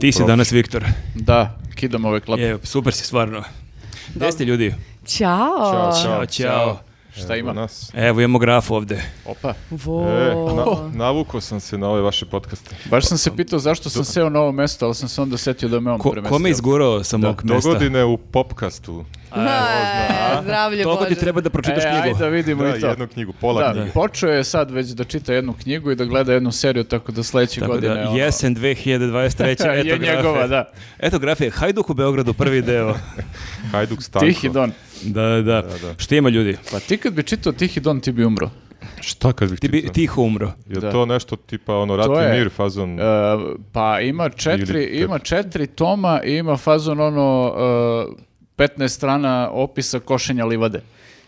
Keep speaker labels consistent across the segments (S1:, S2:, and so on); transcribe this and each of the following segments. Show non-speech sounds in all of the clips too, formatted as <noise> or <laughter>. S1: Ti si danas Viktor.
S2: Da, kidam ove klape.
S1: Je, super si stvarno. Gde ste ljudi?
S3: Ćao.
S2: Ćao, ćao.
S1: Ćao, ćao.
S2: Šta
S4: Evo
S2: ima?
S4: Pa Nas.
S1: Evo imamo graf ovde.
S2: Opa.
S3: Vo.
S4: E, na, navuko sam se na ove vaše podcaste.
S2: Baš sam se pitao zašto sam seo na ovo mesto, ali sam se onda setio da me on
S1: Ko,
S2: premestio.
S1: kome izgurao sa mog
S4: Do
S1: mesta?
S4: godine u popkastu.
S3: E, zdravlje
S1: Toliko
S3: Bože.
S1: ti treba da pročitaš
S2: E, ajde
S1: knjigu.
S2: da vidimo
S4: Da,
S2: i to.
S4: jednu knjigu, pola
S2: Da,
S4: knjige.
S2: počeo je sad već da čita jednu knjigu i da gleda jednu seriju, tako da sledeće
S1: Tako
S2: godine...
S1: da,
S2: ono, <laughs>
S1: <laughs> jesen 2023.
S2: je
S1: eto grafe.
S2: njegova, da.
S1: Eto grafe, Hajduk u Beogradu, prvi <laughs> deo.
S4: Hajduk Stanko.
S2: Tihi Don.
S1: da, da, da.
S4: da.
S1: Šta ima ljudi?
S2: Pa ti kad bi čitao Tihi Don, ti bi umro.
S4: Šta kad bih
S1: Ti bi
S4: čitao?
S1: tiho umro.
S4: Je
S2: Da.
S4: to nešto tipa ono
S2: To
S4: ratni
S2: je,
S4: mir fazon?
S2: E, pa ima četiri,
S4: Ili te-
S2: ima četiri toma i ima fazon ono... e, 15 strana opisa košenja livade.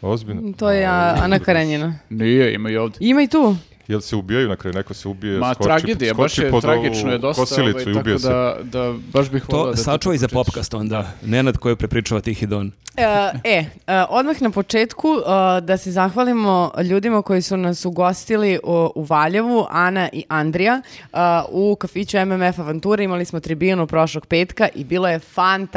S4: Ozbiljno.
S3: To je a, Ana Karenjina.
S2: Nije, ima i ovdje.
S3: Ima i tu.
S4: Jel se ubijaju na kraju? Neko se ubije,
S2: Ma,
S4: skoči,
S2: tragedija, baš
S4: skoči
S2: je
S4: pod
S2: tragično
S4: ovu
S2: je dosta.
S4: kosilicu
S2: ovaj,
S4: i ubije
S2: tako
S4: se.
S2: Da, da, baš bih volao
S1: To
S2: da ti
S1: sačuvaj za
S2: pročitaš.
S1: popkast onda. Nenad koji prepričava Tihi Don.
S3: E, e, e, odmah na početku e, da se zahvalimo ljudima koji su nas ugostili u, u Valjevu, Ana i Andrija, e, u kafiću MMF Avantura. Imali smo tribinu prošlog petka i bilo je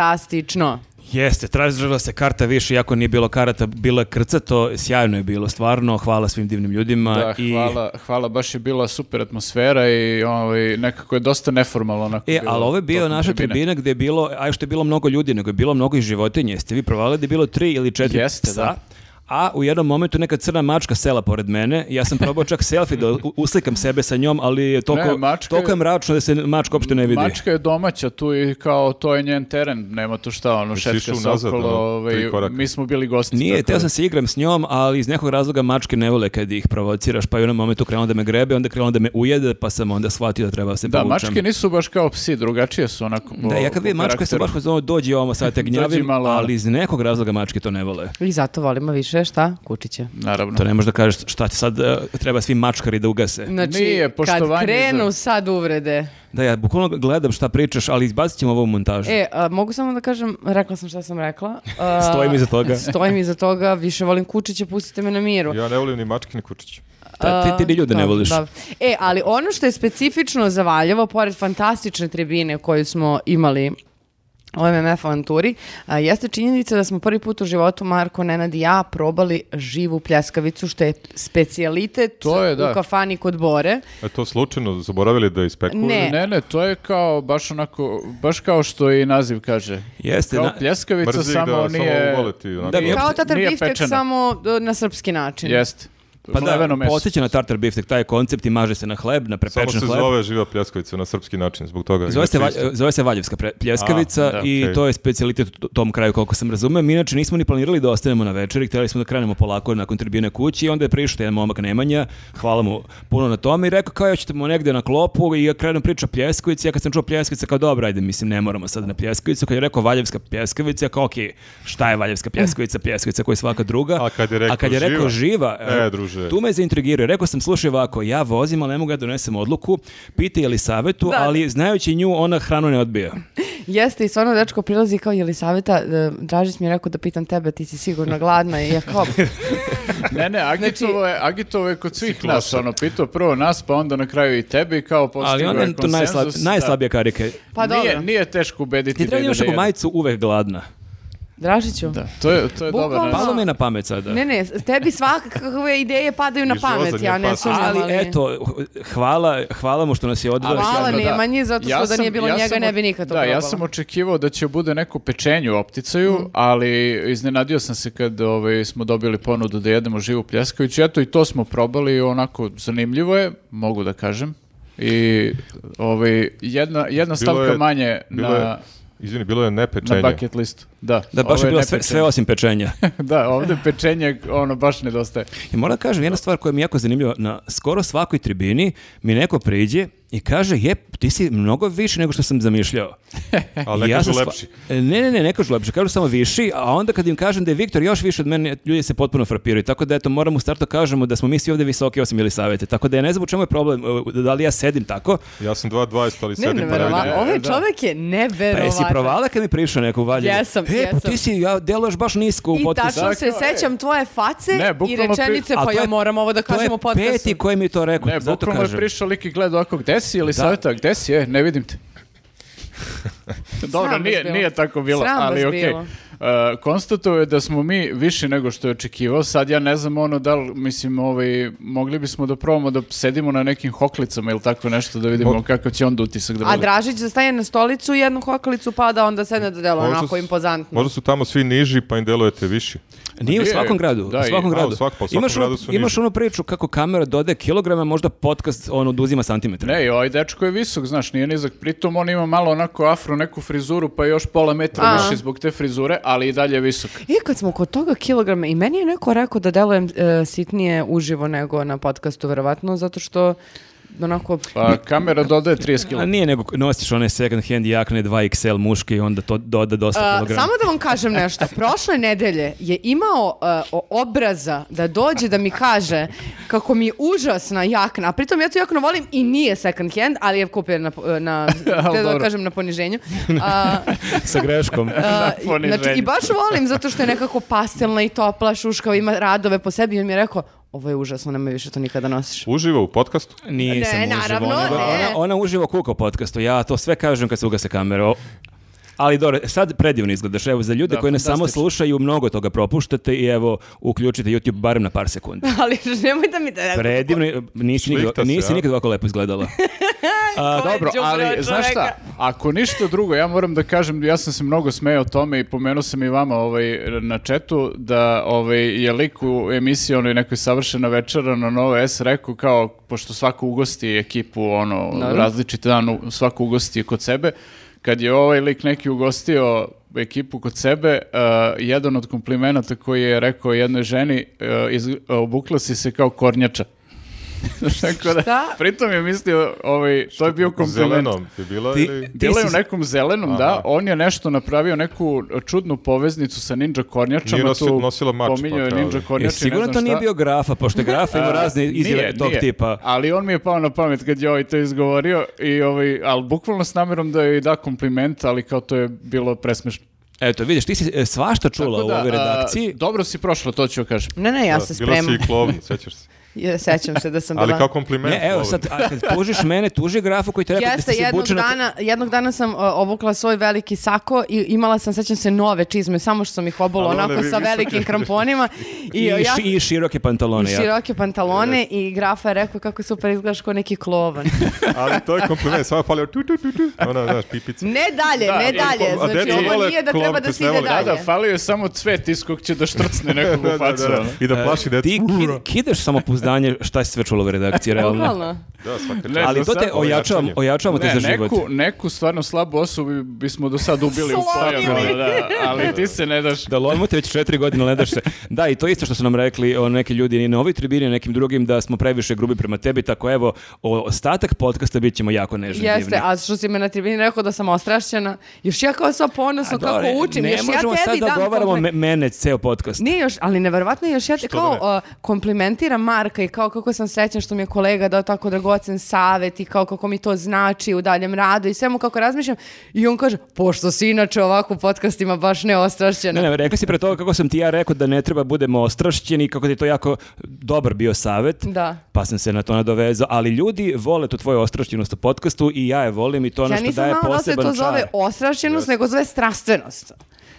S3: fantastično.
S1: Jeste, tražila se karta više, iako nije bilo karata, bila je krcato, sjajno je bilo, stvarno, hvala svim divnim ljudima.
S2: Da,
S1: i...
S2: hvala, hvala, baš je bila super atmosfera i ovaj, nekako je dosta neformalno. Onako
S1: E,
S2: bilo
S1: ali ovo je bio
S2: tokom
S1: naša
S2: tribine.
S1: tribina gdje je bilo, aj što je bilo mnogo ljudi, nego je bilo mnogo i životinje. Jeste vi provali da je bilo tri ili četiri
S2: Jeste,
S1: psa?
S2: da.
S1: A u jednom momentu neka crna mačka sela pored mene. Ja sam probao čak selfie da u- uslikam sebe sa njom, ali je toliko,
S2: Ne, mačka
S1: toliko je
S2: je-
S1: mračno da se mačka uopšte ne vidi.
S2: Mačka je domaća tu i kao to je njen teren, nema tu šta, ono šetka
S4: išao
S2: se
S4: nazad,
S2: okolo,
S4: ono,
S2: ovaj,
S4: tri koraka.
S2: mi smo bili gosti.
S1: Nije,
S2: tako
S1: teo
S2: da-
S1: sam se igram s njom, ali iz nekog razloga mačke ne vole kad ih provociraš, pa je u jednom momentu krenula da me grebe, onda je krenula da me ujede, pa sam onda shvatio da treba da se
S2: Da,
S1: povučem.
S2: mačke nisu baš kao psi, drugačije su onako po
S1: Da, ja kad vidim
S2: po
S1: mačku, ja sam
S2: karakteru.
S1: baš pozvao, dođi ovamo, sad te
S2: <laughs> Dođi
S1: gnjavim,
S2: malo. ono.
S1: ali iz nekog razloga mačke to ne vole.
S3: I zato volimo više, šta? Kučiće.
S2: Naravno.
S1: To ne možeš da kažeš šta ti sad e, treba svi mačkari da ugase.
S3: Znači,
S2: Nije,
S3: kad
S2: poštovanje
S3: krenu
S2: za-
S3: sad uvrede,
S1: Da, ja bukvalno gledam šta pričaš, ali izbacit ćemo ovo u montažu.
S3: E, a, mogu samo da kažem, rekla sam šta sam rekla. A,
S1: <laughs> Stojim iza toga.
S3: Stojim iza toga, više volim kučiće, pustite me na miru.
S4: Ja ne volim ni mačke ni kučiće.
S1: Ta- ti, ti ni ljude ne
S3: Dobro,
S1: voliš.
S3: dobro. E, ali ono što je specifično za Valjevo, pored fantastične tribine koju smo imali u MMF avanturi, a, jeste činjenica da smo prvi put u životu Marko, Nenad i ja probali živu pljeskavicu, što je specijalitet
S2: To je, da.
S3: u kafani kod Bore.
S4: E to slučajno zaboravili da ispeku?
S3: Ne.
S2: Ne, ne, to je kao baš onako, baš kao što i naziv kaže.
S1: Jeste,
S2: Kao
S1: na-
S2: pljeskavica,
S4: Mrzi
S2: samo
S4: da
S2: nije...
S4: samo uvaliti. Onako.
S1: Da, mi je-
S3: Kao
S2: Nije
S3: tatar biftek,
S2: pečena.
S3: samo e, na srpski način.
S2: Jeste.
S1: pa da,
S2: Mleveno meso.
S1: podsjeća na tartar biftek, taj koncept i maže se na hleb, na
S4: Samo se
S1: prepečen hleb.
S4: zove živa pljeskavica na srpski način, zbog toga.
S1: Zove se,
S4: Inače
S1: Va-
S4: isto.
S1: zove se Valjevska pre- pljeskavica
S4: A, da,
S1: i
S4: okej.
S1: to je specijalitet u tom kraju koliko sam razumeo. Mi inače nismo ni planirali da ostanemo na večeri, htjeli smo da krenemo polako nakon tribine kući i onda je prišao jedan momak Nemanja, hvala mu puno na tome i rekao kao ja ćemo negde na klopu i ja krenem priča pljeskavici, ja kad sam čuo pljeskavica kao dobro, ajde, mislim ne moramo sad na pljeskavicu, kad je rekao Valjevska pljeskavica, ja kao okej, šta je Valjevska pljeskavica, pljeskavica koja je svaka druga,
S4: A kad je rekao živa?
S1: rekao živa,
S4: E, druže.
S1: tu me zaintrigirao. Rekao sam, slušaj ovako, ja vozim, ali ne mogu ja donesem odluku, pite je li savetu,
S3: Da.
S1: ali znajući nju, ona hranu ne odbija.
S3: Jeste i stvarno dečko prilazi kao Jelisaveta, e, Dražić mi je rekao da pitam tebe, ti si sigurno gladna i ja
S2: <laughs>
S3: kao,
S2: Ne, ne, agitovo je, agitovo je kod svih nas, ono, pitao prvo nas, pa onda na kraju i tebi, kao
S1: ali
S2: postigo
S1: ona
S2: je
S1: je tu najsla-
S2: konsenzus. da.
S1: najslabija karika.
S3: pa dobro.
S2: Nije, nije teško ubediti
S1: Ti
S2: da
S1: treba
S2: ide
S1: imaš
S2: da
S1: ako
S2: jede.
S1: majicu uvek gladna.
S3: Dražiću.
S2: Da, to je, to je dobar
S3: Bukvalno.
S2: način.
S1: Palo me na pamet sada.
S3: Ne, ne, tebi svakakve ideje padaju na
S4: I živo
S3: pamet,
S4: za nje
S3: ja ne
S4: pati.
S3: sumnjam.
S1: Ali eto, hvala, hvala mu što nas je odveo.
S3: Hvala,
S1: sjajno.
S3: ne. Nemanji, zato što da
S2: Pa sam-
S3: nije bilo njega,
S2: sam
S3: ne
S2: oč-
S3: bi nikad to
S2: Da, ja
S3: probala. Mhm.
S2: sam očekivao da će bude neko pečenje u opticaju, ali iznenadio sam se kad ovaj, smo dobili ponudu da jedemo živu pljeskaviću. Eto, i to smo probali, onako, zanimljivo je, mogu da kažem. I ovaj, jedna, jedna stavka
S4: je-
S2: manje
S4: Bilo
S2: na,
S4: je, izvini, bilo je
S2: na
S4: nepečenje.
S2: bucket listu. Da,
S1: Da, baš
S2: ovo
S1: je bilo sve,
S2: nepečenje.
S1: sve osim pečenja.
S2: <laughs> da, ovde pečenje, ono, baš nedostaje.
S1: I moram da kažem, jedna stvar koja mi je jako zanimljiva, na skoro svakoj tribini mi neko priđe i kaže, jep, ti si mnogo više nego što sam zamišljao.
S4: Ali ne
S1: Ja
S4: kažu
S1: sam sva-
S4: lepši.
S1: E, Ne, ne, ne, ne kažu lepši, kažu samo viši, a onda kad im kažem da je Viktor još više od mene, ljudi se potpuno frapiraju. Tako da eto, moramo u startu kažemo da smo mi svi ovdje visoki osim ili savete. Tako da ja ne znam u čemu je problem, e, da li ja sedim tako.
S4: Ja sam 2.20, ali
S3: Ne,
S4: sedim pa ne
S3: neverovatno.
S4: vidim.
S3: Ovaj
S2: Da.
S3: čovjek je
S1: Pa
S3: neverovatan.
S1: jesi provala kad mi prišao neko u Valjevu?
S3: Jesam,
S1: e, pa
S3: jesam.
S1: ti si, ja deluješ baš nisko u
S3: I
S1: potpisu.
S3: tačno se
S2: Dakle, e.
S3: sećam tvoje face
S2: Ne,
S3: i
S2: bukvalno pri-
S3: rečenice,
S1: A
S3: pa
S1: to
S3: ja
S1: je-
S3: moram ovo da kažem u
S1: to je
S3: podcastu.
S1: peti koji mi je to rekao.
S2: Ne,
S1: zato
S2: bukvalno je
S1: kažem. <laughs>
S2: prišao lik i gleda oko, gde si ili savjeta, gde si, e, ne vidim te. Dobro,
S3: Sram vas
S2: nije,
S3: bilo.
S2: nije tako bilo,
S3: Sram vas
S2: ali okej.
S3: bilo.
S2: E, konstatovao je da smo mi više nego što je očekivao. Sad ja ne znam ono da li, mislim, ovaj, mogli bismo da probamo da sedimo na nekim hoklicama ili tako nešto da vidimo
S4: Mo-
S2: kakav će onda utisak da
S3: A
S2: bude.
S3: Dražić da staje na stolicu i jednu hokalicu pada, onda sedne da delo
S4: Možda
S3: onako
S4: su-
S3: impozantno.
S4: Možda su tamo svi niži, pa im delujete viši.
S1: Nije u
S2: Gdje je?
S1: svakom gradu,
S2: Da,
S1: u svakom
S2: i- a,
S1: gradu.
S4: u svak- pa u svakom
S1: imaš ono-
S4: gradu su
S1: imaš
S4: niži.
S1: onu priču kako kamera dodaje kilograma, možda podcast on oduzima santimetra.
S2: Ne, i ovaj dečko je visok, znaš, nije nizak. Pritom on ima malo onako afro, neku frizuru, pa još pola metra
S3: A.
S2: više zbog te frizure, ali i dalje je visok.
S3: I E, kad smo kod toga kilograma, i meni je neko rekao da delujem e, sitnije uživo nego na podcastu, verovatno, zato što onako...
S2: Pa kamera dodaje 30 kila.
S1: A nije nego nosiš one second hand jakne 2XL muške i onda to doda dosta
S3: A,
S1: kilograma.
S3: e, samo da vam kažem nešto. Prošle nedelje je imao e, o- obraza da dođe da mi kaže kako mi je užasna jakna, a pritom ja tu jaknu volim i nije second hand, ali je kupio na, po-
S2: <laughs>
S3: na htio da
S2: dobro.
S3: kažem na
S2: <laughs>
S3: poniženju. A,
S1: Sa
S3: <laughs>
S1: greškom.
S3: A, i-
S2: poniženju.
S3: znači, I baš volim zato što je nekako pastelna i topla, šuškava, ima radove po sebi i on mi je rekao, ovo je užasno, nemoj više to nikada nosiš.
S4: Uživa u podcastu.
S1: Nisam
S3: Ne,
S1: uživo.
S3: naravno,
S1: ona,
S3: ne.
S1: ona, ona uživo kuka u podcastu, ja to sve kažem kad se ugase kamera. O- Ali dobro, sad predivno izgledaš. Evo, za ljude
S2: Da,
S1: koji nas samo
S2: fantastično.
S1: slušaju, mnogo toga propuštate i evo, uključite YouTube barem na par
S3: <laughs>
S1: sekundi.
S3: Ali nemoj da mi da...
S1: Predivno, nisi, nikad,
S4: Šlihta se,
S1: nisi
S4: a?
S1: nikad ovako lepo izgledala.
S2: A,
S3: Ko je
S2: Pa dobro,
S3: đubre
S2: ali
S3: od
S2: znaš šta,
S3: čoveka?
S2: ako ništa drugo, ja moram da kažem, ja sam se mnogo smejao tome i pomenuo sam i vama ovaj, na četu da ovaj, je lik u emisiji onoj nekoj savršena večera na Novo S rekao kao, pošto svako ugosti ekipu, ono,
S3: Naravno.
S2: različiti dan u- svako ugosti kod sebe, kad je ovaj lik neki ugostio ekipu kod sebe, eh, jedan od komplimenata koji je rekao jednoj ženi, eh, iz, obukla si se kao kornjača. <laughs> Tako da,
S3: Šta?
S2: pritom je mislio, ovaj, to je bio kompliment.
S4: Zelenom je bila
S1: Ti-
S4: ili...
S1: ti-
S2: Bila je
S1: si-
S2: u nekom zelenom, da. On je nešto napravio, neku čudnu poveznicu sa ninja kornjačama.
S4: Nije nosi-
S2: tu
S4: nosila mač, pa
S2: Pominjao je
S4: kao da.
S2: ninja
S1: E,
S2: kornjače.
S1: sigurno to nije bio grafa, pošto je grafa ima razne izjave tog tipa.
S2: Ali on mi je pao na pamet kad je ovaj to izgovorio, i ovaj, ali bukvalno s namjerom da joj da kompliment, ali kao to je bilo presmešno.
S1: Eto, vidiš, ti si e, svašta čula
S2: Tako da,
S1: u ovoj
S2: a,
S1: redakciji.
S2: dobro si prošla, to ću joj kažem.
S3: Ne, ne, ja
S4: Da,
S3: se
S4: bila si
S3: spremam.
S4: i klovn, sećaš se.
S3: Ja, sećam se <laughs> da sam
S4: <laughs> Ali
S3: bila...
S4: kao kompliment.
S1: Ne, evo
S4: klovn.
S1: sad, a kad tužiš mene, tuži grafu koji ti je rekao da
S3: Jeste,
S1: si se
S3: jednog
S1: bučena-
S3: dana, jednog dana sam uh, obukla svoj veliki sako i imala sam, sećam se, nove čizme, samo što sam ih obula
S4: Ali one
S3: onako
S4: vi-
S3: sa
S4: visoke.
S3: velikim kramponima. I,
S1: I,
S3: uh, ja,
S1: ši- i široke pantalone.
S3: i
S1: ja.
S3: široke pantalone i grafa je rekao kako super izgledaš kao neki klovan.
S4: <laughs> Ali to je kompliment, samo falio tu tu tu tu. Ona, znaš,
S1: <laughs>
S4: pipica.
S3: Ne dalje, ne
S2: i-
S3: dalje.
S4: a
S3: Znači,
S4: deca
S3: ovo
S4: vole
S3: nije da
S4: klovne
S3: treba da
S4: koji
S3: se
S4: ne
S3: ide
S4: vole.
S2: Da,
S3: dalje.
S2: da, falio je samo cvet iz kog će da štrcne nekog
S4: <laughs> Da, da,
S2: u facu.
S4: da.
S2: ono.
S4: I da
S1: E,
S4: plaši decu.
S1: Ti ki- kidaš samopoznanje šta si sve čula u redakciji, realno.
S3: Bukvalno.
S4: Da, svaka
S2: Ne,
S4: čast.
S1: Ali
S2: do
S1: to te
S2: sad-
S1: ojačavamo,
S4: ojačanje.
S1: ojačavamo te
S2: Ne,
S1: Pa za život.
S2: neku, neku stvarno slabu osobu bismo do sad ubili u
S3: Slomili.
S2: pojavama, da, ali ti se ne daš.
S1: Da lomimo te već četiri godine, ne daš se. Da, i to je isto što su nam rekli o neki ljudi i na ovoj tribini, nekim drugim, da smo previše grubi prema tebi, tako evo, o, ostatak podcasta bit ćemo jako nežni. i divni.
S3: Jeste, a što si me na tribini rekao da sam ostrašćena, još ja kao sva
S1: A
S3: ponosno kako
S1: dobro,
S3: učim,
S1: ne
S3: još ja
S1: možemo sad
S3: tebi
S1: da
S3: dam
S1: ogovaramo
S3: kompliment.
S1: me- mene ceo podcast.
S3: Nije još, ali neverovatno je još ja te
S4: da
S3: kao uh, komplementiram Marka i kao kako sam srećan što mi je kolega dao tako dragocen savet i kao kako mi to znači u daljem radu i svemu kako razmišljam i on kaže, pošto si inače ovako u podcastima baš neostrašćena.
S1: Ne, ne, rekli si pre toga kako sam ti ja rekao da ne treba budemo ostrašćeni, kako ti je to jako dobar bio savet.
S3: Da.
S1: Pa sam se na to nadovezao, ali ljudi vole tu tvoju ostrašćenost u podcastu i ja je volim i to je ono
S3: ja
S1: što
S3: nisam
S1: daje
S3: znala da se
S1: poseban
S3: to zove
S1: čar.
S3: ostrašćenost, nego zove strastvenost.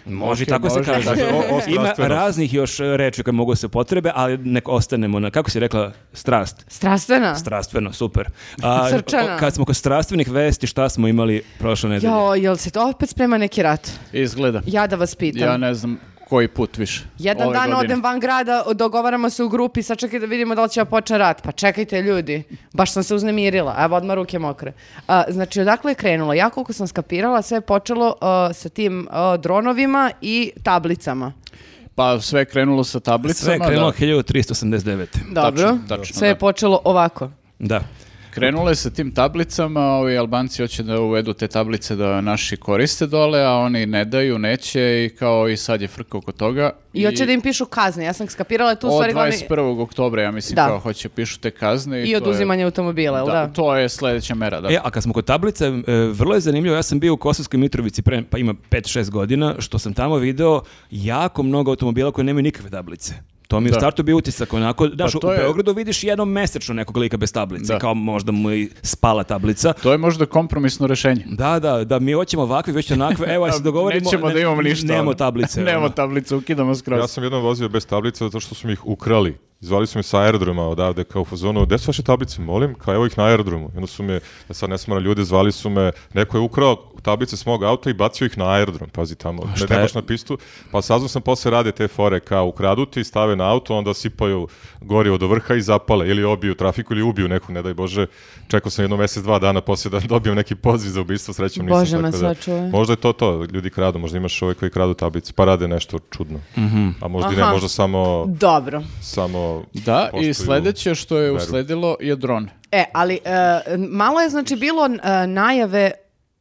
S1: Može i
S2: Ok,
S1: tako se
S2: može. znači,
S1: kaže.
S4: Dakle, o- o
S1: <laughs> Ima
S4: strastvenost.
S1: raznih još e, reči koje mogu se potrebe, ali nek ostanemo na, kako si rekla, strast.
S3: Strastvena?
S1: Strastveno, super. A,
S3: Srčana.
S1: o- Kad smo kod strastvenih vesti, šta smo imali prošle nedelje?
S3: Jo, jel se to opet sprema neki rat?
S2: Izgleda.
S3: Ja da vas pitam.
S2: Ja ne znam koji put više.
S3: Jedan
S2: Ove
S3: dan
S2: godine.
S3: odem van grada, dogovaramo se u grupi, sad čekaj da vidimo da li će da počne rat. Pa čekajte ljudi, baš sam se uznemirila, evo odmah ruke mokre. A, znači, odakle je krenulo? Ja koliko sam skapirala, sve je počelo a, sa tim a, dronovima i tablicama.
S2: Pa sve je krenulo sa tablicama.
S1: Sve je krenulo
S2: da.
S1: 1389.
S3: Dobro.
S2: tačno,
S3: sve je
S2: da.
S3: počelo ovako.
S1: Da.
S2: Krenulo je sa tim tablicama, ovi Albanci hoće da uvedu te tablice da naši koriste dole, a oni ne daju, neće i kao i sad je frka oko toga.
S3: I, hoće da im pišu kazne. Ja sam skapirala tu u
S2: Od
S3: stvari glavni...
S2: 21. oktobra, ja mislim,
S3: Da.
S2: kao hoće pišu te kazne.
S3: I
S2: to je-
S3: oduzimanje automobila, jel da?
S2: Da, to je sledeća mera, da.
S1: E, a kad smo kod tablice, e, vrlo je zanimljivo, ja sam bio u Kosovskoj Mitrovici pre, pa ima 5-6 godina, što sam tamo video jako mnogo automobila koji nemaju nikakve tablice. To mi je u
S2: Da. Pa
S1: startu bio utisak, onako, daš,
S2: to
S1: u
S2: je-
S1: Beogradu vidiš jednom mesečno nekog lika bez tablice,
S2: Da.
S1: kao možda mu i spala tablica.
S2: To je možda kompromisno rešenje.
S1: Da, da, da, mi hoćemo ovakve, vi hoćete onakve,
S2: Pa <laughs>
S1: evo, aj se dogovorimo.
S2: Nećemo
S1: ne-
S2: da imamo ništa.
S1: Nemo
S2: ono. <laughs>
S1: tablice.
S2: Nemo
S1: ono.
S2: tablice, ukidamo skroz.
S4: Ja sam jednom vozio bez tablica zato što su mi ih ukrali. Izvali su mi sa aerodroma odavde kao u fazonu, gde su vaše tablice, molim, kao evo ih na aerodromu. I onda su me, ja sad ne smaram ljude, zvali su me, neko je ukrao tablice s mog auta i bacio ih na aerodrom, pazi tamo, ne,
S1: šta
S4: ne
S1: je?
S4: baš na pistu. Pa saznam sam posle rade te fore kao ukradu ti, stave na auto, onda sipaju gorivo do vrha i zapale ili obiju trafiku ili ubiju nekog, ne daj Bože. Čekao sam jedno mesec, dva dana poslije da <laughs> dobijem neki poziv za ubistvo, srećom nisam.
S3: Bože, me
S4: tako da-
S3: sačuvaj.
S4: Možda je to to, ljudi kradu, možda imaš ove koji kradu tablice, pa rade nešto čudno.
S2: Mhm.
S4: A možda i ne,
S3: Aha.
S4: možda samo...
S3: Dobro.
S4: samo
S2: Da,
S4: poštuju-
S2: i sledeće što je
S4: veru.
S2: usledilo je dron.
S3: E, ali e, malo je znači bilo e, najave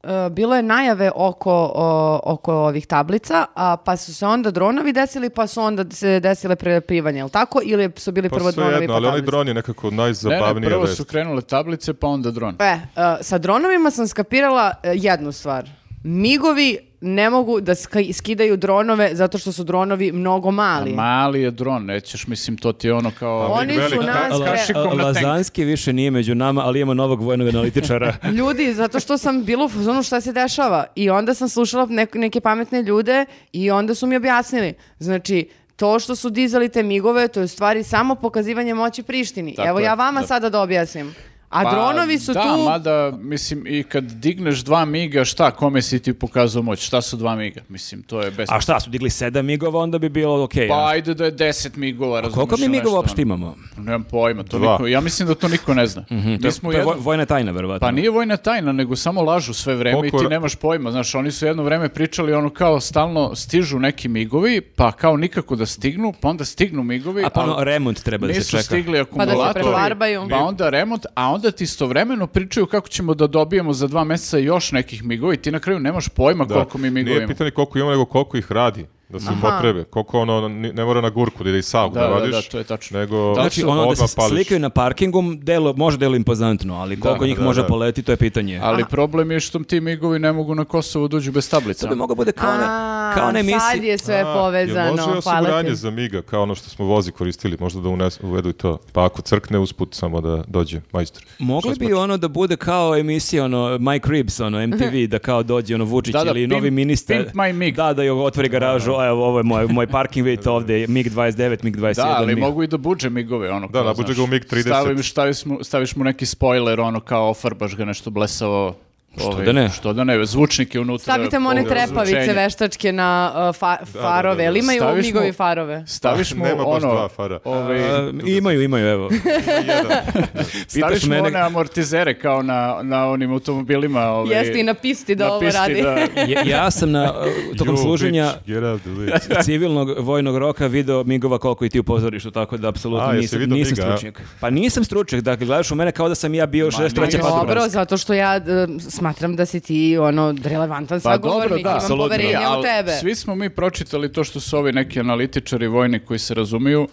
S3: e, bilo je najave oko, o- oko ovih tablica, a pa su se onda dronovi desili, pa su onda se desile prepivanje, jel tako? Ili su bili
S4: Pa
S3: prvo
S4: sve
S3: dronovi
S4: jedno,
S3: pa
S4: ali onaj
S3: tablice?
S4: dron je nekako
S2: Ne,
S4: najzabavnija
S2: ne, prvo
S4: vest.
S2: su krenule tablice, pa onda dron.
S3: E, e, sa dronovima sam skapirala e, jednu stvar. Migovi ne mogu da ska- skidaju dronove zato što su dronovi mnogo
S2: A
S3: mali.
S2: mali je dron, nećeš, mislim, to ti je ono kao...
S3: Oni
S4: Veliki
S3: su
S4: ka-
S3: nas...
S1: La-
S3: pre-
S2: kašikom na tank.
S1: Lazanski više nije među nama, ali imamo novog vojnog analitičara.
S2: <laughs>
S3: Ljudi, zato što sam bila u fazonu šta se dešava i onda sam slušala nek- neke pametne ljude i onda su mi objasnili. Znači, to što su dizali te migove, to je u stvari samo pokazivanje moći Prištini.
S2: Tako
S3: Evo
S2: je,
S3: ja vama sada da objasnim. A
S2: Pa,
S3: dronovi su
S2: da,
S3: tu...
S2: mada, mislim, i kad digneš dva miga, šta, kome si ti pokazao moć? Šta su dva miga? Mislim, to je bez...
S1: A šta, su digli sedam migova, onda bi bilo okej.
S2: Pa
S1: ono.
S2: ajde ono. da je deset migova, razumiješ?
S1: Koliko mi migova uopšte imamo?
S2: Nemam pojma, to
S4: Dva.
S2: niko, ja mislim da to niko ne zna. Mi smo
S1: Mhm. To je
S2: jedno-
S1: voj- vojna tajna, verovatno.
S2: Pa nije vojna tajna, nego samo lažu sve vreme i
S4: Koliko
S2: ti
S4: ra-
S2: nemaš pojma. Znaš, oni su jedno vreme pričali ono kao stalno stižu neki migovi, pa kao nikako da stignu, pa onda stignu migovi,
S1: A pa ono,
S2: ali
S1: remont treba da se
S2: nisu
S1: čeka.
S2: stigli
S3: Pa da
S2: akumulatori.
S3: se prefarbaju.
S2: Pa onda remont, a onda ti istovremeno pričaju kako ćemo da dobijemo za dva meseca još nekih migova i ti na kraju nemaš pojma
S4: Da.
S2: koliko mi migova
S4: Nije
S2: imamo.
S4: pitanje koliko ima, nego koliko ih radi da se upotrebe. Koliko ono, ni- ne mora na gurku da ide i sav da,
S2: Da, da,
S4: radiš,
S2: da, to je tačno.
S4: nego
S1: Znači,
S4: odmah
S1: ono da se
S4: pališ.
S1: slikaju na parkingu, delo, može delo impozantno, ali koliko njih
S4: da,
S1: može
S4: da.
S1: poleti, to je pitanje.
S2: Ali problem je što ti migovi ne mogu na Kosovo dođu bez tablica.
S1: to bi moglo bude kao na,
S3: A,
S1: kao na
S3: sad
S1: emisiji.
S3: je sve
S4: A,
S3: povezano.
S4: jel može i
S3: Hvala
S4: osiguranje
S3: ti.
S4: za miga, kao ono što smo vozi koristili, možda da unes, uvedu i to. Pa ako crkne usput samo da dođe majstor.
S1: Mogli bi ono da bude kao emisija ono Mike Ribs ono MTV
S3: Mhm.
S1: da kao dođe ono Vučić
S2: Da, da,
S1: ili
S2: Pimp-
S1: novi ministar
S2: Pimp my Mig.
S1: da da joj otvori garažu a evo ovo je moj moj parking vidite ovde je MiG 29 MiG 21
S2: Da, ali
S1: MiG.
S2: mogu i da buđe migove, ono. kao,
S4: nabuđe
S2: znaš,
S4: ga u MiG 30.
S2: Staviš, staviš, mu, staviš mu neki spoiler, ono, kao ofarbaš ga nešto blesavo. Što
S1: da ne?
S2: Što da ne, zvučnike unutra.
S3: Stavite mu one
S2: pogled,
S3: trepavice
S2: zvučenje.
S3: veštačke na uh, fa- farove. Jel imaju
S2: Staviš mu-
S3: migovi farove?
S2: Staviš mu
S4: Nema baš
S2: ono,
S4: dva fara.
S2: ovaj,
S1: A, imaju imaju
S2: <laughs>
S1: evo
S4: Jedan.
S1: pitaš
S2: staviš mu
S1: mene-
S2: one amortizere kao na, na onim automobilima. Ovaj,
S3: Jeste i na pisti da
S2: na
S3: ovo
S2: pisti,
S3: radi.
S2: da.
S3: <laughs>
S1: Ja- ja sam
S2: <laughs>
S1: na uh, tokom
S4: You
S1: služenja
S4: bitch, get out the way. <laughs>
S1: civilnog vojnog roka video migova koliko i ti u pozorištu, tako da apsolutno
S4: A, jesi
S1: nisam,
S4: video
S1: nisam
S4: miga, a?
S1: stručnjak. Pa nisam stručnjak, dakle, gledaš u mene kao da sam ja bio 63.
S2: nije.
S1: vatrogasna.
S3: Dobro, zato što ja e, smatram da si ti ono relevantan
S2: Pa dobro,
S3: sagovornik,
S2: da,
S3: imam
S1: apsolutno.
S3: poverenje
S2: Nije,
S3: u
S2: ali
S3: tebe.
S2: Svi smo mi pročitali to što su ovi neki analitičari vojni koji se razumiju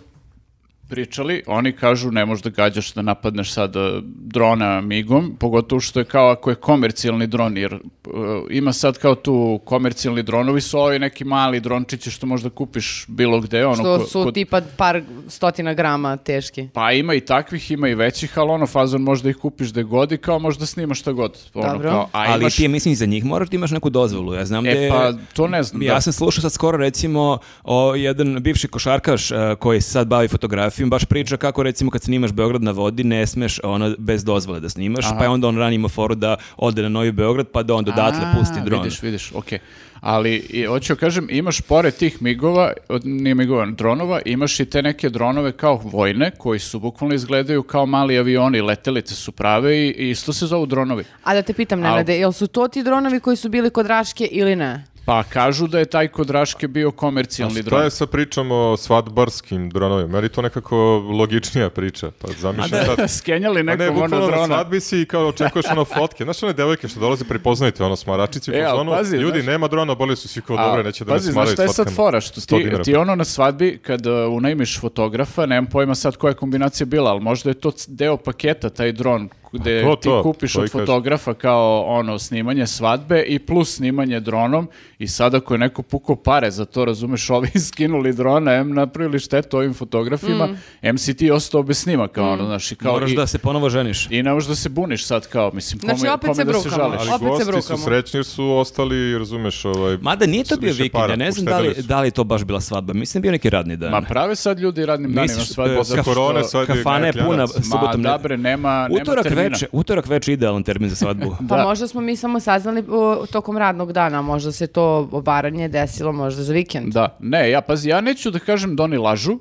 S2: pričali, oni kažu ne možeš da gađaš da napadneš sad e, drona migom, pogotovo što je kao ako je komercijalni dron, jer e, ima sad kao tu komercijalni dronovi su ovi neki mali drončići što možda kupiš bilo gde. Ono,
S3: Što
S2: ko-
S3: su
S2: kod-
S3: tipa par stotina grama teški.
S2: Pa ima i takvih, ima i većih, ali ono fazon možda ih kupiš gde god i kao možda snimaš šta god. Ono,
S3: Dobro.
S2: Kao, a
S1: Ali
S2: imaš-
S1: ti, mislim, za njih moraš da imaš neku dozvolu. Ja znam da
S2: E
S1: je-
S2: pa, to ne znam.
S1: Ja
S2: da.
S1: sam slušao sad skoro recimo o jedan bivši košarkaš e, koji se sad bavi fotografijom, baš priča kako recimo kad snimaš Beograd na vodi ne smeš ono bez dozvole da snimaš, pa je onda on ranimo foru da ode na Novi Beograd pa da onda odatle
S2: A,
S1: pusti dron.
S2: Vidiš, vidiš, okej. Ali, i, hoću kažem, imaš pored tih migova, od, nije migova, dronova, imaš i te neke dronove kao vojne, koji su bukvalno izgledaju kao mali avioni, letelice su prave i, i isto se zovu dronovi.
S3: A da te pitam, Nenade, jel su to ti dronovi koji su bili kod Raške ili ne?
S2: Pa kažu da je taj kod Raške bio komercijalni
S4: To
S2: dron.
S4: je sa pričom o svadbarskim dronovima. Meni je to nekako logičnija priča. Pa zamišljam sad.
S2: <laughs> Skenjali
S4: A ne,
S2: nekog ono
S4: bukvalno na
S2: drona.
S4: svadbi si i kao očekuješ ono fotke. Znaš one devojke što dolaze, prepoznajte ono smaračici.
S2: E,
S4: E,
S2: ali pazi,
S4: pazi, Ljudi,
S2: znaš-
S4: nema drona, boli su svi kao
S2: A,
S4: dobre, Pa neće da me
S2: pazi, znaš
S4: smaraju
S2: šta je sad
S4: slatkama.
S2: fora? Što
S4: 100
S2: ti,
S4: dinara.
S2: ti ono na svadbi, kad uh, unajmiš fotografa, nemam pojma sad koja je kombinacija bila, ali možda je to c- deo paketa, taj dron gde
S4: Pa to,
S2: ti
S4: to,
S2: kupiš
S4: to i
S2: od
S4: kažem.
S2: fotografa kao ono snimanje svadbe i plus snimanje dronom i sad ako je neko pukao pare za to, razumeš, ovi <laughs> skinuli drona, em napravili štetu ovim fotografima,
S3: Mm.
S2: em si ti ostao bez snimaka, ono, znaš, i kao...
S1: Moraš
S2: i,
S1: da se ponovo ženiš.
S2: I ne možeš da se buniš sad kao, mislim, kome,
S3: Znači, opet
S2: kome
S3: se
S2: da se
S3: brukamo.
S2: žališ.
S4: Ali
S3: Opet se
S4: gosti su
S3: brukamo.
S4: srećni jer su ostali, razumeš, ovaj...
S1: Mada nije to
S4: s-
S1: bio
S4: više
S1: vikend, ja
S4: para,
S1: ne znam da li,
S4: uštedeli su.
S1: da li to baš bila svadba. Mislim bio neki radni dan.
S2: Ma prave sad ljudi radnim danima
S1: Misliš,
S2: svadbe.
S1: e,
S2: zato
S1: kaf-
S2: što-
S4: Korone sad je
S1: kafana je
S4: klijanac.
S1: puna
S4: Ma,
S1: subotom.
S2: Ma,
S1: ne-
S2: dobre, nema, nema
S1: utorak
S2: termina.
S1: veče, utorak veče idealan termin za svadbu.
S3: Pa
S2: Da.
S3: možda smo mi samo saznali uh, tokom radnog dana, možda se to obaranje desilo možda za vikend.
S2: Da, ne, ja pazi, ja neću da kažem da oni lažu,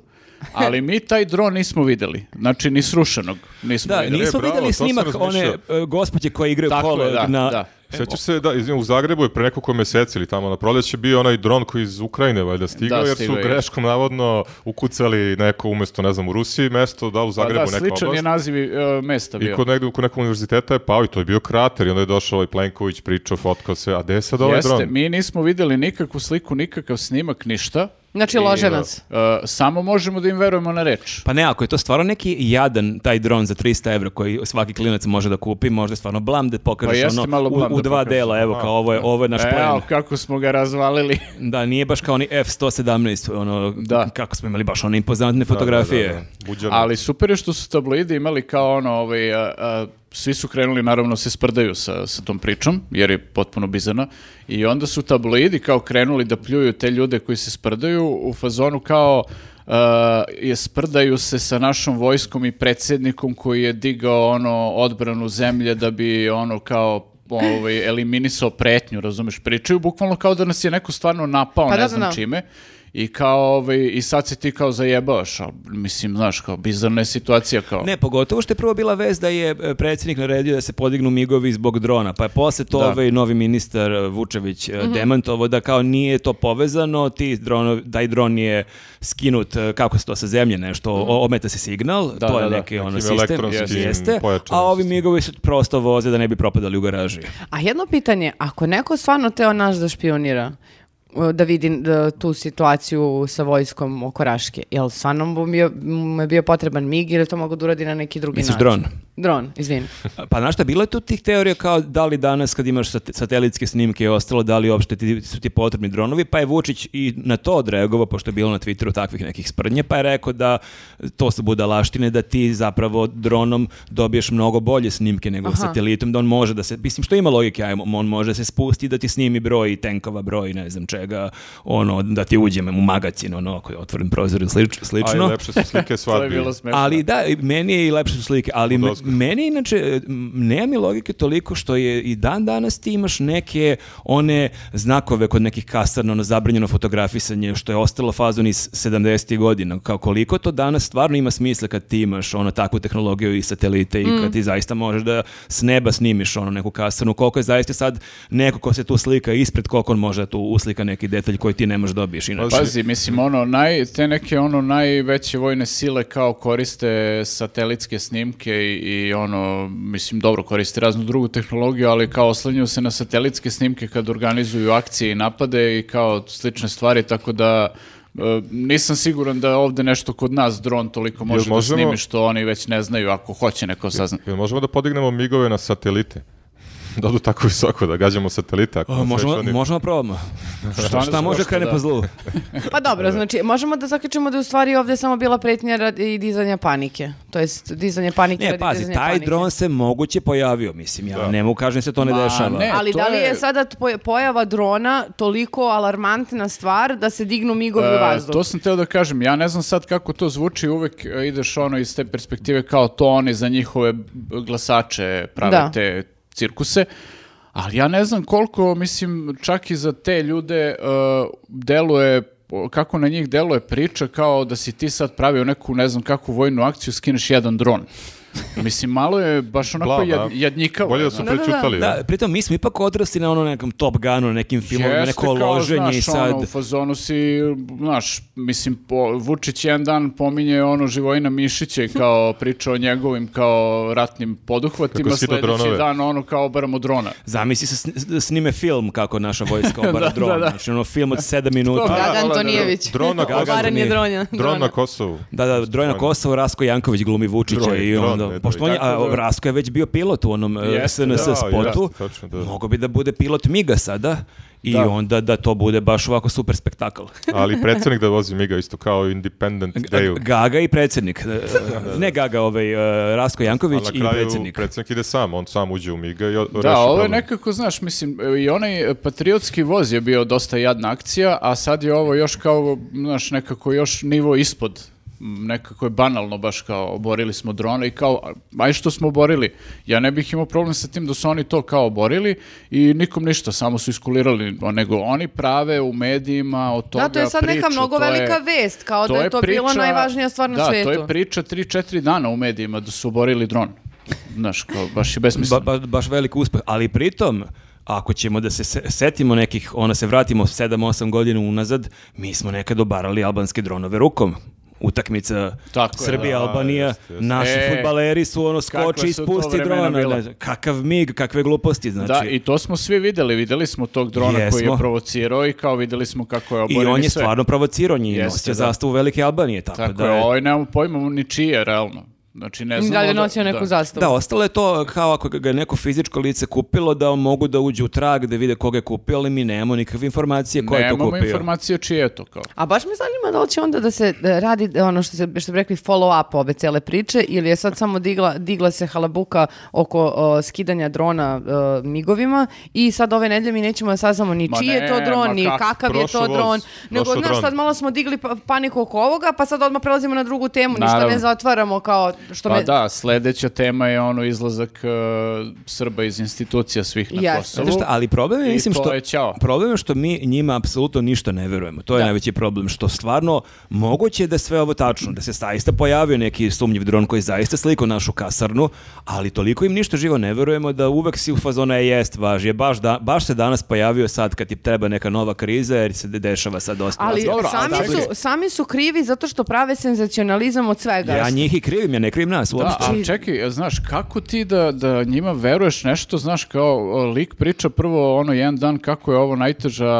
S2: ali mi taj dron nismo videli. Znači, ni srušenog nismo
S1: Da,
S2: videli.
S4: nije-
S1: nismo
S4: bravo,
S1: videli
S4: to sam
S1: snimak one
S4: razmišljao.
S1: e, gospođe koje igraju
S2: Tako
S1: polo
S2: je, da,
S1: na...
S2: da.
S4: E, Sećaš se, da, izvim, u Zagrebu je pre nekoliko meseci ili tamo na proleće bio onaj dron koji je iz Ukrajine valjda stigao,
S2: Da,
S4: jer su
S2: stigao je.
S4: greškom navodno ukucali neko umjesto, ne znam, u Rusiji mesto, da, u
S2: Pa
S4: Zagrebu
S2: da,
S4: neka
S2: sličan je
S4: oblast.
S2: naziv i, e, mesta
S4: I
S2: bio.
S4: kod nekog, kod nekog univerziteta je pao i to je bio krater i onda je došao ovaj Plenković, pričao, fotkao se, a gde je sad ovaj
S2: Jeste,
S4: dron?
S2: mi nismo videli nikakvu sliku, nikakav snimak, ništa.
S3: Znači,
S2: I,
S3: lože nas.
S2: e, samo možemo da im verujemo na reč.
S1: Pa ne, ako je to stvarno neki jadan taj dron za 300 evra koji svaki klinac može da kupi, možda je stvarno blam da pokažeš
S2: Pa jeste
S1: ono
S2: malo
S1: u,
S2: blam
S1: u
S2: da
S1: dva
S2: pokažeš.
S1: dela, evo kao ovo je, ovo je naš plan.
S2: Evo, E, kako smo ga razvalili.
S1: Da, nije baš kao oni F-117, ono,
S2: Da.
S1: kako smo imali baš one impozantne fotografije.
S4: Da, da, da, buđarno.
S2: Ali super je što su tabloidi imali kao ono, ovaj, a, a, svi su krenuli naravno se sprdaju sa, sa tom pričom, jer je potpuno bizarna, i onda su tabloidi kao krenuli da pljuju te ljude koji se sprdaju u fazonu kao a, je sprdaju se sa našom vojskom i predsjednikom koji je digao ono odbranu zemlje da bi ono kao ovaj, eliminisao pretnju, razumeš, pričaju bukvalno kao da nas je neko stvarno napao,
S3: Pa
S2: ne
S3: da, da,
S2: znam
S3: da.
S2: čime. I kao, ovaj, i sad se ti kao zajebavaš, ali mislim, znaš, kao, bizarna je situacija, kao.
S1: Ne, pogotovo što je prvo bila vez da je e, predsjednik naredio da se podignu migovi zbog drona, pa je posle to
S2: Da.
S1: ovaj novi ministar e, Vučević e, demantovao da kao nije to povezano, ti drono, taj dron je skinut, e, kako se to sa zemlje nešto, o- ometa se signal,
S2: Da,
S1: to je
S2: da, da.
S1: neki ono
S4: Nekim
S1: sistem,
S4: elektronskim
S1: jeste,
S4: pojačanim
S1: a ovi
S4: sistemom.
S1: migovi su prosto voze da ne bi propadali u garaži.
S3: A jedno pitanje, ako neko stvarno teo naš da špionira, e, da vidi e, tu situaciju sa vojskom oko Raške. Jel stvarno mu bio, mu je bio potreban mig ili to mogu da uradi na neki drugi
S1: Misliš
S3: način?
S1: dron?
S3: Dron, izvini.
S1: Pa znaš šta, bilo je tu tih teorija kao da li danas kad imaš sat- satelitske snimke i ostalo, da li uopšte ti, su ti potrebni dronovi, pa je Vučić i na to odreagovao, pošto je bilo na Twitteru takvih nekih sprdnje, pa je rekao da to su budalaštine, da ti zapravo dronom dobiješ mnogo bolje snimke nego
S3: Aha.
S1: satelitom, da on može da se, mislim što ima logike, ajmo, on može da se spusti, da ti snimi broj tenkova, broj ne znam čega, ono, da ti uđem u magacin, ono, ako je otvoren prozor i slič-
S4: A i
S1: slično.
S4: lepše su
S2: <laughs>
S4: slike
S2: to je
S4: svadbi.
S2: bilo smešno.
S1: pa Ali da, i meni je i lepše su slike, ali me-
S4: Odozgo.
S1: meni inače e, m, nema mi logike toliko što je i dan danas ti imaš neke one znakove kod nekih kasarna, ono zabranjeno fotografisanje, što je ostalo fazon iz 70. godina. Kao koliko to danas stvarno ima smisla kad ti imaš ono takvu tehnologiju i satelite i kad ti zaista možeš da s neba snimiš ono neku kasarnu, koliko je zaista sad neko ko se tu slika ispred, koliko on može da tu uslika neki detalj koji ti ne možeš dobiješ inače.
S2: Pazi, mislim, ono, naj, te neke ono najveće vojne sile kao koriste satelitske snimke i, i ono, mislim, dobro koriste raznu drugu tehnologiju, ali kao oslanjaju se na satelitske snimke kad organizuju akcije i napade i kao slične stvari, tako da e, nisam siguran da ovde nešto kod nas dron toliko može
S4: možemo-
S2: da snimi što oni već ne znaju ako hoće neko sazna.
S4: Jel možemo da podignemo migove na satelite? <laughs> Da odu tako visoko, da gađamo satelite. Ako
S1: O,
S4: nas
S1: možemo,
S4: već oni-
S1: možemo <laughs> probamo. Pa, Šta,
S2: ne znam
S1: može
S2: zašto,
S1: krene
S2: da.
S1: po zlu?
S3: Pa
S1: <laughs>
S3: dobro, znači možemo da zaključimo da je u stvari ovdje samo bila pretnja radi dizanja panike. To jest dizanje panike
S1: Ne,
S3: radi
S1: pazi,
S3: dizanja
S1: taj
S3: panike.
S1: dron se moguće pojavio, mislim, ja ne mogu kažem da se to ne
S2: Ma,
S1: dešava.
S2: ne. E,
S3: Ali
S2: to
S3: da li je
S2: je-
S3: sada poj- pojava drona toliko alarmantna stvar da se dignu migovi u
S2: E,
S3: vazduh?
S2: To sam teo da kažem, ja ne znam sad kako to zvuči, uvek e, ideš ono iz te perspektive kao to oni za njihove b- glasače prave
S3: Da.
S2: te cirkuse, ali ja ne znam koliko, mislim, čak i za te ljude e, deluje o, kako na njih deluje priča kao da si ti sad pravio neku, ne znam kakvu vojnu akciju, skineš jedan dron. Mislim, malo je baš onako
S4: Blam, da.
S2: jad, jadnjikavo.
S4: Bolje da su
S2: znaš.
S3: Da, da, da.
S4: prećutali.
S1: Da, pritom mi smo ipak odrasli na ono nekom Top Gunu, na nekim filmovima,
S2: Jeste,
S1: neko
S2: kao,
S1: loženje
S2: znaš,
S1: i sad...
S2: Ono, u fazonu si, znaš, mislim, po, Vučić jedan dan pominje ono Živojina Mišića i kao priča o njegovim kao ratnim poduhvatima,
S4: Kako sida
S2: sljedeći
S4: dronove.
S2: dan ono kao obaramo drona.
S1: Zamisli se sn- snime film kako naša
S2: <laughs>
S1: vojska obara
S2: Da,
S1: dron.
S2: da, da.
S1: Znači ono film od 7 minuta.
S2: Da.
S3: Gaga Antonijević.
S4: Dron na
S1: Gaga
S4: Kosovu.
S1: Antonijević.
S3: Obaranje dronja.
S4: Dron
S3: drona.
S4: na Kosovu.
S1: Da, da, Drojna Kosovo, Rasko Janković glumi Vučića
S4: Droj,
S1: i
S4: dron,
S1: onda da,
S4: ne
S1: pošto on
S4: daje.
S1: je, a,
S2: Tako da-
S1: Rasko je već bio pilot u onom e,
S2: Jeste,
S1: SNS
S4: da,
S1: spotu,
S4: jeste, tačno, da.
S1: mogo bi da bude pilot Miga sada i
S2: Da.
S1: onda da to bude baš ovako super spektakl.
S4: Ali predsednik da vozi Miga isto kao Independent Day.
S1: Gaga i predsjednik. E, Ne Gaga, ovaj, e, Rasko Janković
S4: Ali
S1: i
S4: na kraju
S1: predsjednik.
S4: predsjednik ide sam, on sam uđe u Miga i o- ono. reši
S2: Da, ovo je
S4: problem.
S2: nekako, znaš, mislim, i onaj e, patriotski voz je bio dosta jadna akcija, a sad je ovo još kao, znaš, nekako još nivo ispod. M, Nekako je banalno baš kao oborili smo drona i kao, a- aj što smo oborili. Ja ne bih imao problem sa tim da su oni to kao oborili i nikom ništa, samo su iskulirali, o, nego oni prave u medijima o toga
S3: Da, to je sad neka
S2: priču,
S3: mnogo
S2: to je-
S3: velika vest, kao da je to bilo
S2: priča-
S3: najvažnija stvar na
S2: da,
S3: svetu.
S2: to je priča 3-4 dana u medijima da su oborili dron. Znaš, kao, baš je besmisleno.
S1: Ba- ba- baš velik uspeh, ali pritom ako ćemo da se se- setimo nekih, ona se vratimo 7-8 godina unazad, mi smo nekad obarali albanske dronove rukom. Utakmica
S2: Tako je,
S1: Srbija,
S4: da.
S1: Albanija,
S4: Jeste, jeste.
S1: naši
S2: E,
S1: futbaleri su ono
S2: kakva
S1: skoči,
S2: su to
S1: ispusti
S2: vremena
S1: drona.
S2: bila.
S1: ne, Kakav mig, kakve gluposti, znači.
S2: Da, i to smo svi videli, videli smo tog drona koji
S1: Jesmo.
S2: je provocirao i kao videli smo kako je
S1: I
S2: oboren
S1: on je
S2: sve.
S1: stvarno provocirao njih,
S2: Jeste,
S1: nosio
S2: da.
S1: zastavu Velike Albanije, tako,
S2: Tako
S1: da...
S2: je,
S1: je-
S2: ovaj nemamo pojma ni čije, realno. Znači, ne znamo...
S3: Da li je
S2: da-
S3: nosio neku
S2: da.
S3: zastavu?
S1: Da, ostalo je to kao ako ga je neko fizičko lice kupilo da mogu da uđu u trag da vide koga je kupio, ali mi nemamo nikakve informacije ko je to
S2: Nemamo
S1: kupio.
S2: informacije čije je to kao.
S3: A baš me zanima da li će onda da se e, radi e, ono što, se, što bi rekli follow up ove cele priče ili je sad samo digla, digla se halabuka oko o, skidanja drona e, migovima i sad ove nedelje mi nećemo da saznamo ni
S2: Ma
S3: čiji je to
S2: ne, ma
S3: dron, ni
S2: kak-
S3: kakav je
S4: prošao
S3: to
S4: voz,
S3: dron. Nego,
S4: prošao
S3: znaš,
S4: dron.
S3: sad malo smo digli pa- paniku oko ovoga, pa sad odmah prelazimo na drugu temu, ništa
S2: Naravno.
S3: ne zatvaramo kao što
S2: Pa
S3: me...
S2: da, sledeća tema je ono izlazak e, Srba iz institucija svih na
S3: Jeste.
S2: Kosovu.
S1: Znate šta, ali problem je,
S2: I
S1: mislim,
S2: to
S1: što,
S2: je ćao.
S1: problem je što mi njima apsolutno ništa ne verujemo. To je najveći problem, što stvarno moguće je da je sve ovo tačno, da se zaista pojavio neki sumnjiv dron koji zaista sliko našu kasarnu, ali toliko im ništa živo ne verujemo da uvek si u fazona je jest važi, je baš, da, baš se danas pojavio sad kad ti treba neka nova kriza jer se de- dešava sad dosta.
S3: Ali
S2: Dobro, ali
S3: sami,
S2: da,
S3: su, sami su krivi zato što prave senzacionalizam od svega.
S1: Ja njih i krivim, ja ne krivim nas
S2: Da,
S1: uopšte.
S2: ali čekaj, znaš, kako ti da, da njima veruješ nešto, znaš, kao o, lik priča prvo ono jedan dan kako je ovo najteža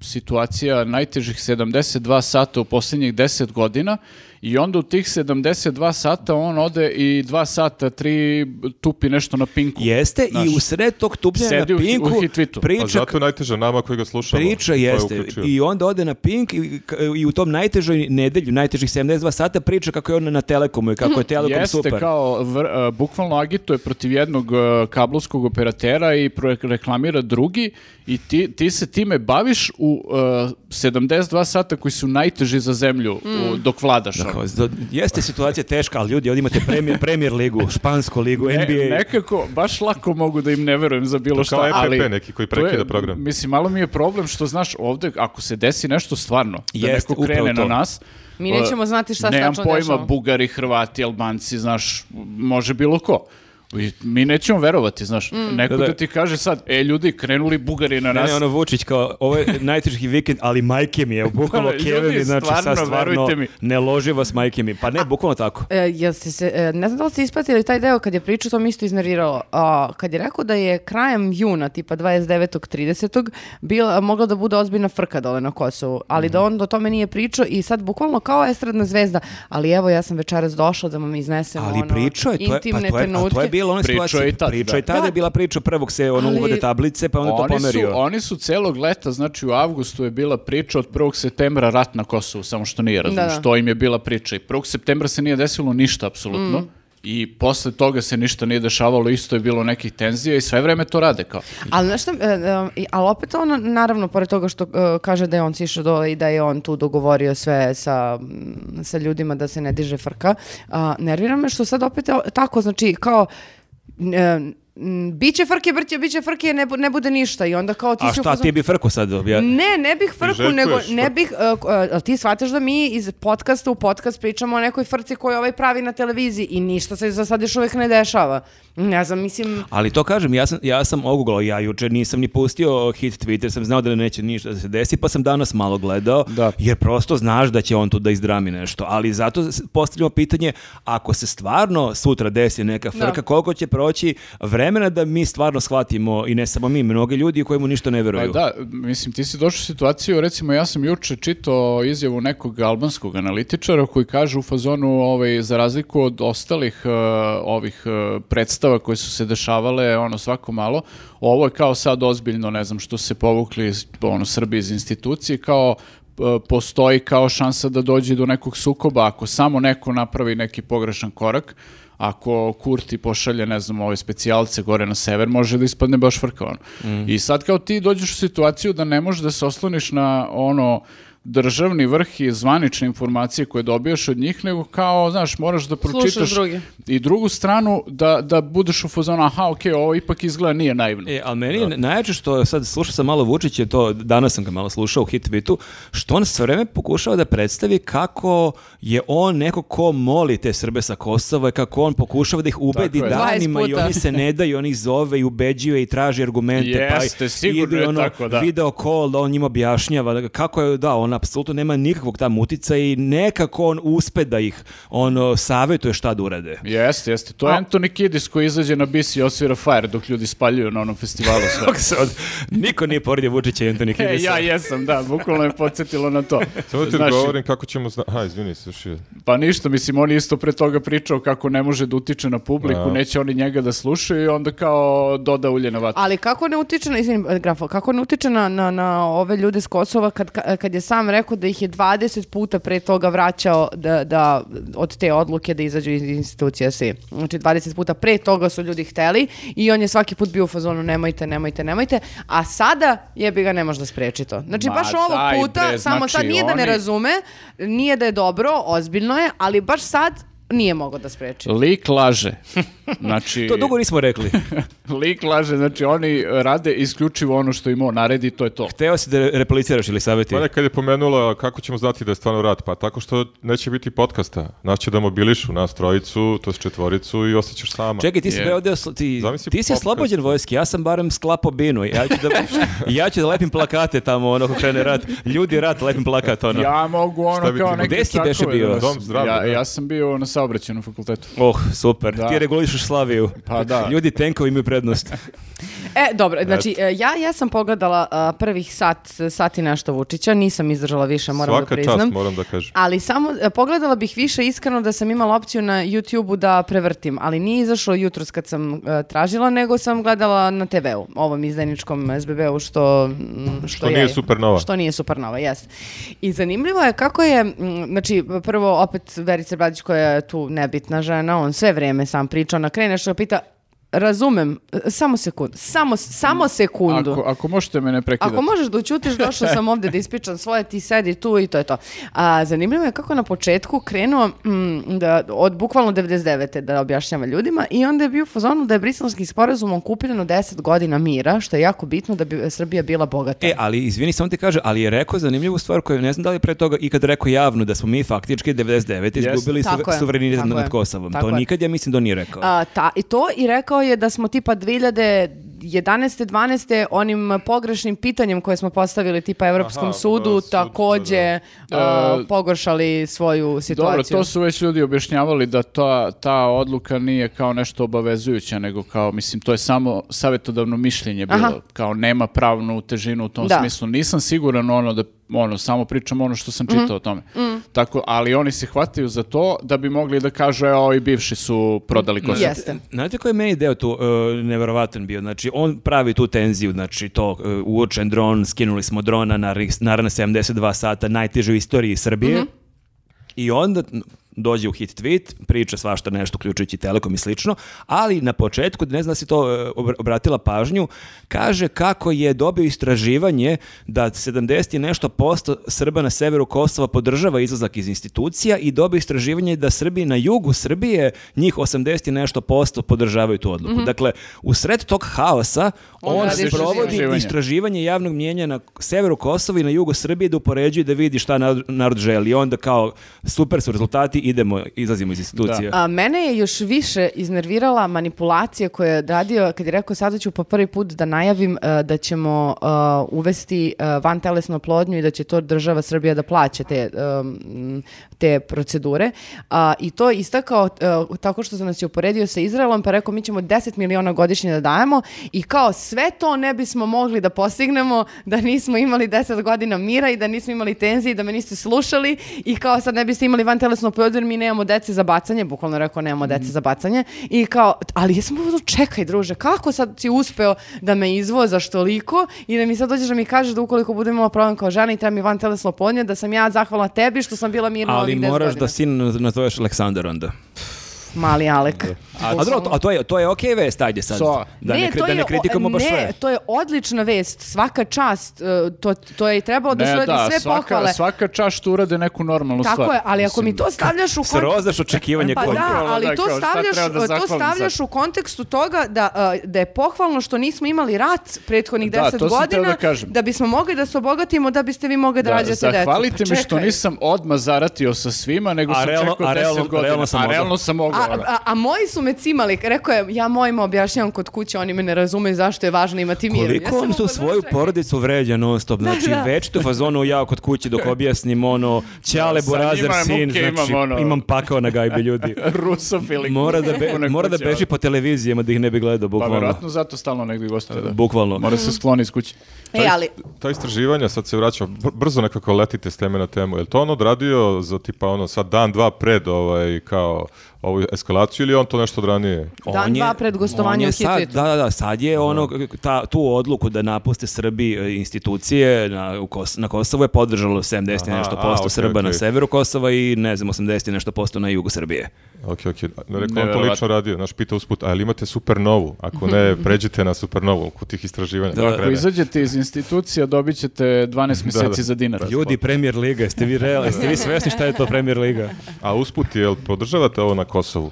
S2: situacija, najtežih 72 sata u posljednjih 10 godina i onda u tih 72 sata on ode i 2 sata, 3 tupi nešto na pinku.
S1: Jeste
S2: Znaš,
S1: i u sred tog tupljenja
S2: sedi
S1: na
S2: u hi-
S1: pinku
S2: u hitvitu.
S4: Pa
S2: Pa
S1: priča
S4: zato je najteže nama koji ga slušamo.
S1: Priča
S4: ko je
S1: jeste.
S4: uključio.
S1: I onda ode na Pink i, i u tom najtežoj nedelju, najtežih 72 sata priča kako je on na Telekomu i kako je Telekom
S2: Jeste
S1: super.
S2: kao vr- e, bukvalno agituje protiv jednog e, kablovskog operatera i pro- reklamira drugi i ti, ti se time baviš u e, 72 sata koji su najteži za zemlju u- dok vladaš. ono.
S1: Kao, za- Jeste situacija teška, ali ljudi, ovdje imate premier, premier ligu, špansku ligu,
S2: E,
S1: NBA.
S2: nekako, baš lako mogu da im ne verujem za bilo
S4: To
S2: šta,
S4: kao EPP
S2: ali...
S4: neki koji
S2: to je-
S4: prekida program.
S2: Mislim, malo mi je problem što, znaš, ovde, ako se desi nešto stvarno, da
S1: Jeste,
S2: neko krene
S1: upravo to.
S2: na nas...
S3: Mi nećemo
S2: e,
S3: znati šta se
S2: nemam
S3: tačno
S2: pojma,
S3: dešava.
S2: Bugari, Hrvati, Albanci, znaš, može bilo ko. I mi nećemo verovati, znaš.
S3: Mm.
S2: Neko
S1: Da,
S2: da,
S1: da.
S2: ti kaže sad, e, ljudi, krenuli Bugari na
S1: Ne,
S2: nas.
S1: ne, ono Vučić kao, ovo je najteži vikend, ali majke mi je, bukvalno
S2: <laughs> Ljudi,
S1: keve mi, znači sad
S2: stvarno,
S1: stvarno
S2: verujte mi.
S1: ne loži vas majke mi. Pa ne, bukvalno tako.
S3: E, jel ste se, e, ne znam da li ste ispratili taj deo kad je pričao, to mi isto iznerviralo. A, kad je rekao da je krajem juna, tipa 29. 30. Bila, mogla da bude ozbiljna frka dole na Kosovu, ali
S1: Mhm.
S3: da on do tome nije pričao i sad bukvalno kao estradna zvezda, ali evo ja sam večeras došla da vam iznesem
S1: Ali
S3: ono,
S1: pričao je, to je, pa
S3: intimne
S1: to je, a
S3: trenutke.
S1: to je bilo ona
S2: Pričao je
S1: situacija.
S2: i tad,
S1: Pričao je
S2: da.
S1: tada,
S3: Da.
S1: je bila priča, prvog se ono
S3: Ali-
S1: uvode tablice, pa onda to
S2: Oni su,
S1: pomerio.
S2: oni su celo leta, znači u avgustu je bila priča od 1. septembra rat na Kosovu, samo što nije, razumiješ,
S3: Da, da.
S2: to im je bila priča. I 1. septembra se nije desilo ništa, apsolutno.
S3: Mm.
S2: I posle toga se ništa nije dešavalo, isto je bilo nekih tenzija i sve vreme to rade kao.
S3: Ali znaš šta, e, e, i- ali opet ono, naravno, pored toga što e, kaže da je on sišao dole i da je on tu dogovorio sve sa, mm, sa ljudima da se ne diže frka, a, nervira me što sad opet e, tako, znači kao... e, m, Biće frke, brće, biće frke, ne, bu- ne bude ništa. I onda kao ti
S1: A
S3: si u
S1: šta
S3: fazonu-
S1: ti bi frko sad objavio?
S3: Ne, ne bih frku,
S4: željkuješ
S3: nego ne
S4: frku.
S3: bih, e, k- e, ali ti shvataš da mi iz podcasta u podcast pričamo o nekoj frci koju ovaj pravi na televiziji i ništa se za sad još uvijek ne dešava. Ne znam, mislim...
S1: Ali to kažem, ja sam, ja sam oguglao, ja jučer nisam ni pustio hit Twitter, sam znao da neće ništa da se desi, pa sam danas malo gledao,
S2: Da.
S1: jer prosto znaš da će on tu da izdrami nešto. Ali zato s- postavljamo pitanje, ako se stvarno sutra desi neka frka,
S3: Da.
S1: koliko će proći vremena da mi stvarno shvatimo, i ne samo mi, mnogi ljudi kojemu ništa ne
S2: Pa
S1: veruju.
S2: da, mislim, ti si došao u situaciju, recimo ja sam juče čitao izjavu nekog albanskog analitičara koji kaže u fazonu, ovaj, za razliku od ostalih eh, ovih eh, predstava koje su se dešavale, ono, svako malo, ovo je kao sad ozbiljno, ne znam, što su se povukli iz- ono, Srbi iz institucije, kao eh, postoji kao šansa da dođe do nekog sukoba ako samo neko napravi neki pogrešan korak, ako Kurti pošalje, ne znam, ove specijalce gore na sever, može da ispadne baš frka ono. I sad kao ti dođeš u situaciju da ne možeš da se osloniš na ono državni vrh i zvanične informacije koje dobijaš od njih, nego kao, znaš, moraš da pročitaš
S3: druge.
S2: i drugu stranu da, da budeš u fazonu, aha, okej, ovo ipak izgleda nije naivno.
S1: E, ali meni je najjače što sad slušao sam malo Vučića, to danas sam ga malo slušao u hit vitu, što on sve vreme pokušava da predstavi kako je on neko ko moli te Srbe sa Kosova i kako on pokušava da ih ubedi
S2: Tako je.
S3: 20
S1: danima
S3: puta.
S1: i oni se ne daju, oni ih zove i ubeđuje i traži argumente. pa
S2: Jeste,
S1: i-
S2: sigurno
S1: idu i
S2: je
S1: ono,
S2: tako, da.
S1: Video call, da on njima objašnjava da kako je, da, on apsolutno nema nikakvog tam utica i nekako on uspe da ih ono, savjetuje šta da urade.
S2: Jeste, jeste. To je
S1: A-
S2: Anthony Kiddis koji izađe na bis i osvira fire dok ljudi spaljuju na onom festivalu <laughs> sve.
S1: Kako se od- Niko nije poredio Vučića i Antoni
S2: E,
S1: Kiddisa.
S2: ja jesam, da, bukvalno me podsjetilo na to.
S4: <laughs> Samo da ti
S2: Znaš,
S4: govorim kako ćemo... Zna... Aha, izvini, slušaj.
S2: Pa ništa, mislim, on je isto pre toga pričao kako ne može da utiče na publiku,
S4: Da.
S2: neće oni njega da slušaju i onda kao doda ulje na vatru.
S3: Ali kako ne utiče na, izvinim, e, grafo, kako ne utiče na, na, na ove ljude s Kosova kad, ka- kad je sam rekao da ih je 20 puta pre toga vraćao da, da od te odluke da izađu iz institucija svi. Znači 20 puta pre toga su ljudi hteli i on je svaki put bio u fazonu nemojte, nemojte, nemojte, a sada jebi ga ne može da spreči to. Znači
S2: Ma
S3: baš ovog
S2: daj
S3: puta,
S2: bre,
S3: samo sad
S2: znači,
S3: nije da ne
S2: oni-
S3: razume, nije da je dobro, ozbiljno je, ali baš sad nije mogao da spreči.
S2: Lik laže. <laughs> Znači,
S1: To dugo nismo rekli.
S2: lik laže, znači oni rade isključivo ono što im on naredi, to je to.
S1: Teo si da re- repliciraš ili savjeti?
S4: Pa ne, kad je pomenula kako ćemo znati da je stvarno rat, pa tako što neće biti podcasta. Nas će da mobilišu, nas trojicu, to s četvoricu i ostaćeš sama.
S1: Čekaj, ti si
S2: pa Je.
S1: bre ovdje oslo- ti,
S4: Zamisli
S1: ti si
S4: popkast.
S1: slobođen vojski, ja sam barem sklapao binu. Ja ću da,
S2: <laughs>
S1: ja ću da lepim plakate tamo, ono, ako krene rat. Ljudi rat, lepim plakat, ono.
S2: Ja mogu
S4: Šta
S2: ono
S4: bi
S2: kao
S4: ti-
S2: neke
S1: Gde si beše
S2: stakove
S1: bio?
S2: da nosim.
S4: Dom zdravlja,
S2: Ja,
S4: da.
S2: ja sam bio na saobraćenom fakultetu.
S1: Oh, super.
S2: Da.
S1: Ti regulišeš Slaviju.
S2: Pa da.
S1: Ljudi tenkovi imaju prednost.
S3: E, dobro, znači, e, ja, ja sam pogledala a, prvih sat, sat i nešto Vučića, nisam izdržala više, moram
S4: Svaka
S3: da priznam.
S4: čast, moram da kažem.
S3: Ali samo, e, pogledala bih više iskreno da sam imala opciju na YouTube-u da prevrtim, ali nije izašlo jutros kad sam e, tražila, nego sam gledala na TV-u, ovom izdajničkom SBB-u što, mm, što,
S4: Što nije
S3: je-
S4: Supernova.
S3: Što nije supernova, jest. I zanimljivo je kako je, mm, znači, prvo opet Verica Bradić koja je tu nebitna žena, on sve vrijeme sam priča, ona krene što pita, razumem, e, samo sekund, samo, samo sekundu.
S2: Ako, ako možete me ne prekidati.
S3: Ako možeš
S4: <laughs>
S3: da ućutiš, došla sam ovdje da ispičam svoje, ti sedi tu i to je to. A, zanimljivo je kako na početku krenuo mm, da, od bukvalno 99. da objašnjava ljudima i onda je bio u fazonu da je briselski sporazumom kupljeno 10 godina mira, što je jako bitno da bi Srbija bila bogata.
S1: E, ali izvini, samo ti kaže, ali je rekao zanimljivu stvar koju ne znam da li je pre toga ikad rekao javno da smo mi faktički 99 izgubili
S3: Tako
S1: suve-
S3: je,
S1: suverenitet
S3: tako
S1: nad
S3: je,
S1: Kosovom.
S3: tako
S1: to
S3: je.
S1: nikad ja mislim da nije rekao.
S3: A, ta, I to i rekao je da smo tipa 2011. 12. onim pogrešnim pitanjem koje smo postavili tipa Evropskom
S4: Aha,
S3: sudu
S4: da, E, sud,
S3: takođe
S2: da, da.
S3: a, pogoršali svoju situaciju.
S2: Dobro, to su već ljudi objašnjavali da ta, ta odluka nije kao nešto obavezujuća, nego kao, mislim, to je samo savjetodavno mišljenje bilo,
S3: Aha.
S2: kao nema pravnu težinu u tom
S3: Da.
S2: smislu. Nisam siguran ono da, ono, samo pričam ono što sam čitao o
S3: Mhm.
S2: tome. Tako, ali oni se hvataju za to da bi mogli da kažu, evo, i bivši su prodali Kosovo.
S3: Jeste.
S1: E, Znate koji je meni deo tu uh, neverovatan bio? Znači, on pravi tu tenziju, znači to e, uočen dron, skinuli smo drona na, ris- naravno 72 sata, najteže u istoriji Srbije. I onda n- dođe u hit tweet, priča svašta nešto, uključujući Telekom i slično, ali na početku, ne znam da si to e, obr- obratila pažnju, kaže kako je dobio istraživanje da 70 i nešto posto Srba na severu Kosova podržava izlazak iz institucija i dobio istraživanje da Srbi na jugu Srbije, njih 80 i nešto posto podržavaju tu odluku. Dakle, u sred tog haosa
S3: On
S1: on,
S3: radi
S1: se provodi
S2: istraživanje.
S1: istraživanje javnog mnjenja na severu Kosova i na jugu Srbije da upoređuje da vidi šta narod, narod želi. I onda kao super su rezultati idemo, izlazimo iz institucije.
S3: A, mene je još više iznervirala manipulacija koju je radio kad je rekao sada ću po prvi put da najavim e, da ćemo e, uvesti e, vantelesnu oplodnju i da će to država Srbija da plaća te, em, te procedure. A, I to je istakao e, tako što sam nas je uporedio sa Izraelom pa je rekao mi ćemo 10 miliona godišnje da dajemo i kao sve to ne bismo mogli da postignemo da nismo imali 10 godina mira i da nismo imali tenzije i da me niste slušali i kao sad ne biste imali vantelesnu oplodnju jer mi nemamo dece za bacanje, bukvalno je rekao nemamo dece
S1: Mhm.
S3: za bacanje i kao, ali jesmo u fazonu, čekaj druže, kako sad si uspeo da me izvozaš toliko i da mi sad dođeš da mi kažeš da ukoliko budem imala problem kao žena i treba mi vantelesno oplodnje da sam ja zahvala tebi što sam bila mirna
S1: Ali
S3: ovih 10
S1: moraš
S3: godina.
S1: da sin naz- nazoveš Aleksandar onda.
S3: Mali Alek.
S1: A, dobro, to- a to je, to je okej vest, ajde sad.
S2: Co?
S1: Da ne, kri- da ne
S3: je o-
S1: kritikamo baš
S3: ne,
S1: sve.
S3: to je odlična vest, svaka čast, e, to, to je i trebalo da se uradi sve
S2: svaka,
S3: pohvale.
S2: svaka čast što urade neku normalnu stvar.
S3: Tako je, ali ako mi
S2: Mislim,
S3: to stavljaš u kontekst...
S1: Srozaš očekivanje
S3: Pa
S1: kod-
S3: da,
S2: Kontrola,
S3: ali
S2: da,
S3: to
S2: kao šta
S3: stavljaš,
S2: treba da
S3: to
S2: zahvalim
S3: stavljaš
S2: sad?
S3: u kontekstu toga da, a, da je pohvalno što nismo imali rat prethodnih
S2: Da,
S3: 10
S2: to sam
S3: godina,
S2: teo da kažem.
S3: bismo mogli da se obogatimo, da biste vi mogli da, rađate decu.
S2: Zahvalite
S3: Pa
S2: mi što
S3: čekaj.
S2: nisam odmah zaratio sa svima, nego
S1: A
S2: sam
S1: realno-
S2: čekao
S1: a
S2: 10
S1: realno-
S2: godina.
S1: realno sam
S2: a
S1: mogao.
S2: realno sam mogao.
S3: A,
S2: ono.
S3: a, a moji su me cimali, rekao je, ja mojima objašnjavam kod kuće, oni me ne razumeju zašto je važno imati mir. Ja
S1: Koliko
S3: sam
S1: on
S3: u
S1: su
S3: fazonu,
S1: svoju
S3: čekaj.
S1: porodicu vređa non stop, znači
S3: da.
S1: večito u fazonu ja kod kući dok objasnim
S2: <laughs>
S1: ono Ćale
S2: Sa
S1: Borazer
S2: njima
S1: sin,
S2: muke
S1: znači
S2: imam, ono.
S1: imam pakao na gajbi
S2: <laughs>
S1: ljudi.
S2: Rusofili.
S1: Mora da, be-
S2: Pune
S1: mora da
S2: kuće,
S1: beži po televizijama da ih ne bi gledao,
S2: Pa
S1: bukvalno.
S2: verovatno zato stalno negdje gostuje. Da.
S1: Bukvalno.
S2: Mora se skloni iz
S1: <laughs>
S2: kuće.
S3: E, ali,
S4: Ta istraživanja, sad se vraćam, br- brzo nekako letite s teme na temu. Je li to on odradio za tipa ono sad dan, dva pred ovaj, kao ovu eskalaciju ili je on to nešto odranije?
S3: Dan,
S1: On je-
S3: dva pred gostovanjem
S1: on je
S3: u
S1: sad-
S3: Hitu.
S1: Da, da, da, sad je ono, ta, tu odluku da napuste Srbi e, institucije na, u Kos- na Kosovo je podržalo 70 i
S4: Aha,
S1: nešto
S4: a,
S1: posto
S4: okej,
S1: Srba na
S4: okej.
S1: severu Kosova i ne znam, 80 i nešto posto na jugu Srbije.
S4: Ok, ok. Ne rekao on to
S2: Neverovatno.
S4: lično radio. Naš pita usput, a jel imate supernovu? Ako ne, pređite na supernovu kod tih istraživanja.
S1: Da,
S4: Tako
S1: da.
S2: Ako
S4: krene.
S2: izađete iz institucija, dobit ćete 12 mjeseci
S4: da.
S2: za dinar.
S1: Ljudi, Premier Liga, jeste vi
S3: <laughs>
S1: real, jeste vi svesni šta je to Premier Liga?
S4: A usput, jel podržavate ovo na Kosovu?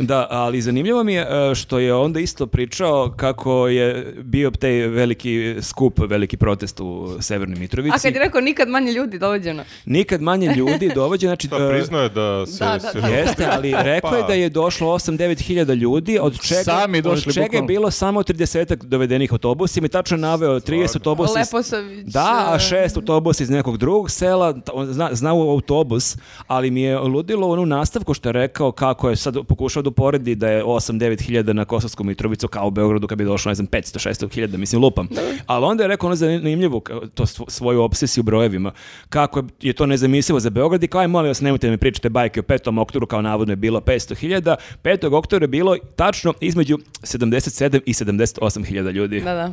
S1: Da, ali zanimljivo mi je e, što je onda isto pričao kako je bio taj veliki skup, veliki protest u Severnoj Mitrovici.
S3: a kad je rekao nikad manje ljudi dovođeno.
S1: Nikad manje ljudi dovođe, znači...
S4: Da,
S1: e,
S4: priznao je Pa da se...
S3: da, da,
S4: se-
S3: da.
S1: Jeste, ali rekao je da je došlo 8-9 hiljada ljudi, od čega,
S2: Sami došli,
S1: od čega je
S2: bukvalno.
S1: bilo samo 30 dovedenih autobusima i tačno je naveo 30 autobusa. iz-
S3: Leposavić,
S1: Da, a
S3: e,
S1: šest autobusa iz nekog drugog sela, ta- on zna, znao autobus, ali mi je ludilo onu nastavku što je rekao kako je sad pokušao da uporedi da je 8-9 hiljada na Kosovsku Mitrovicu kao u Beogradu kad bi došlo, ne znam, 500-600 hiljada, mislim, lupam. Ali onda je rekao ono zanimljivu, ka- to svo- svoju obsesiju brojevima, kako je to nezamislivo za Beograd i kao je, molim vas, nemojte da mi pričate bajke o 5. oktobru, kao navodno je bilo 500 hiljada, 5. oktobra je bilo tačno između 77 i 78 hiljada ljudi.
S3: Da, da.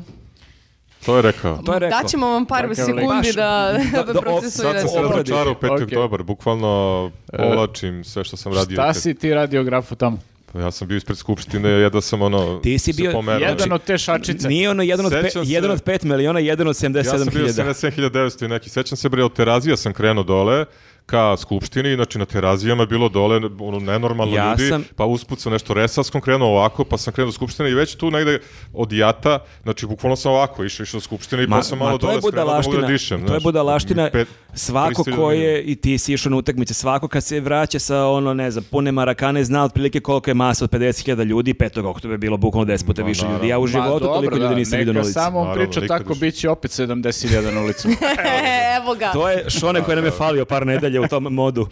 S4: To je rekao.
S1: To je rekao. Dakle,
S3: Daćemo vam par
S2: Takav lik.
S3: sekundi
S1: Baš,
S3: da,
S1: da,
S3: <laughs> da,
S1: da, o,
S4: Sad sam se
S1: Obradi.
S4: razočarao 5.
S2: Okej.
S4: oktobar, bukvalno
S1: E.
S4: povlačim sve što sam radio.
S2: Šta
S4: kad-
S2: si ti radio grafu tamo?
S4: Pa ja sam bio ispred skupštine, jedva sam ono...
S1: Ti si
S4: se
S1: bio-
S4: pomerao.
S2: Jedan
S4: Znači,
S2: od te šačice.
S1: Nije ono jedan od, pe,
S4: Sećam se-
S1: jedan od 5 miliona, jedan od 77
S4: Ja sam bio
S1: E, hiljada.
S4: 77.900 i neki. Sećam se, bre, od terazija sam krenuo dole ka skupštini, znači na terazijama je bilo dole ono, nenormalno
S1: Ja
S4: ljudi,
S1: sam-
S4: pa usput sam nešto resavskom krenuo ovako, pa sam krenuo do skupštine i već tu negde od jata, znači bukvalno sam ovako išao, išao do skupštine i pa sam malo
S1: to
S4: dole
S1: je
S4: skrenuo da mogu
S1: budalaština.
S4: da dišem.
S1: to je
S4: znaš.
S1: budalaština.
S4: Pet-
S1: svako
S4: 300
S1: ko
S4: ljudi.
S1: je i ti si išao na utakmice, svako kad se vraća sa ono ne znam, pune Marakane zna otprilike koliko je masa od 50.000 ljudi, 5. oktobra je bilo bukvalno 10 puta
S4: Ma,
S1: više ljudi.
S4: naravno.
S1: Ja u
S2: Ma,
S1: životu
S2: dobro,
S1: toliko ljudi
S2: da,
S1: nisam vidio na
S2: neka
S1: ulici.
S2: samo on
S4: Naravno,
S2: priča
S4: nikad
S2: tako,
S4: više.
S2: bit će opet 70.000 na
S1: <laughs>
S2: ulicu.
S3: <laughs> Evo ga.
S1: To je Šone koji nam je falio par nedelja u tom modu.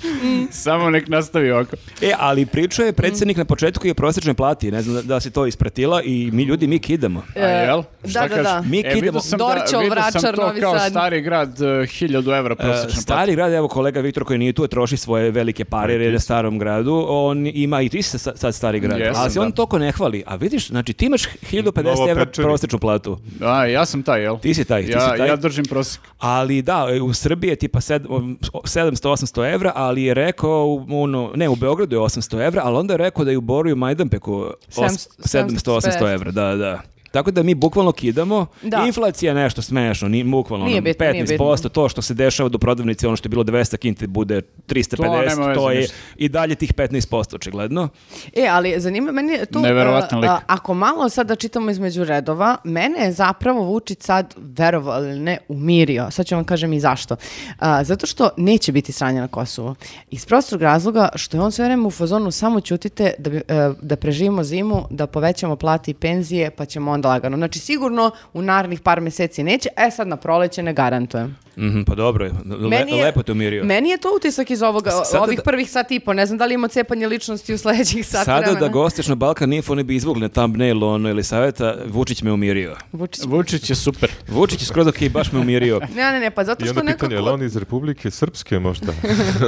S2: Samo nek nastavi ovako.
S1: E, ali pričao je predsjednik na početku i o prosječnoj plati. Ne znam da, da si to ispratila i mi ljudi, mi kidamo.
S2: A jel? Šta
S3: E, da, da,
S2: kažeš?
S3: da.
S1: Mi
S2: E,
S1: kidamo.
S2: vidio sam, da,
S3: Dorćol,
S2: vidio sam
S3: Vračar,
S2: to
S3: Novi
S2: kao
S3: Sad.
S2: stari grad, e, 1000 evra
S1: E,
S2: prosječna plata.
S1: Stari grad, evo kolega Viktor koji nije tu, troši svoje velike pare jer je na starom gradu, on ima i ti si sa- sad stari grad,
S2: Jesam,
S1: ali se on
S2: da.
S1: toliko ne hvali. A vidiš, znači ti imaš 1050 evra
S4: Novopečeni.
S1: prosječnu platu,
S2: A, ja sam taj, jel?
S1: Ti si taj, ti
S2: ja,
S1: si taj.
S2: Ja držim prosjek.
S1: ali da, e, u Srbiji je tipa sed- 700-800 evra, ali je rekao, u- ono, ne, u Beogradu je 800 evra, ali onda je rekao da je u Boru i u Majdanpeku os-
S3: 700,
S1: 700-800 evra, da, da. Tako da mi bukvalno kidamo.
S3: Da.
S1: Inflacija je nešto smešno, ni, bukvalno
S3: Nije
S1: ono,
S3: bitno, nije
S1: 15%, to što se dešava do prodavnice, ono što je bilo 200 kinti bude 350,
S2: To nema
S1: to,
S2: veze
S1: je
S2: ništa.
S1: i dalje tih 15% očigledno.
S3: E, ali zanima meni tu...
S2: Neverovatan
S3: a,
S2: lik.
S3: a, ako malo sad da čitamo između redova, mene je zapravo Vučić sad, verovali ili ne, umirio. Sad ću vam kažem i zašto. A, zato što neće biti sranja na Kosovu. Iz prostog razloga što je on sve vreme u fazonu samo ćutite da, bi, e, da preživimo zimu, da povećamo plate i penzije, pa ćemo onda lagano. Znači, sigurno u narednih par meseci neće, e sad na proleće ne garantujem.
S1: Mhm, pa dobro, je. Le- lepo te umirio.
S3: Meni je to utisak iz ovoga,
S1: S- sada
S3: ovih
S1: da-
S3: prvih sat i po. Ne znam da li ima cepanje ličnosti u sledećih sat
S1: Sada
S3: vremena.
S1: da gostiš na Balkan Info ne bi izvukli na thumbnail ono ili savjeta, Vučić me umirio.
S3: Vučić.
S2: Vučić je super.
S1: Vučić je skroz ok, baš me umirio.
S3: Ne, ne, ne, pa zato
S4: I
S3: što
S4: onda
S3: nekako...
S4: pitanje, je li on iz Republike Srpske možda? <laughs>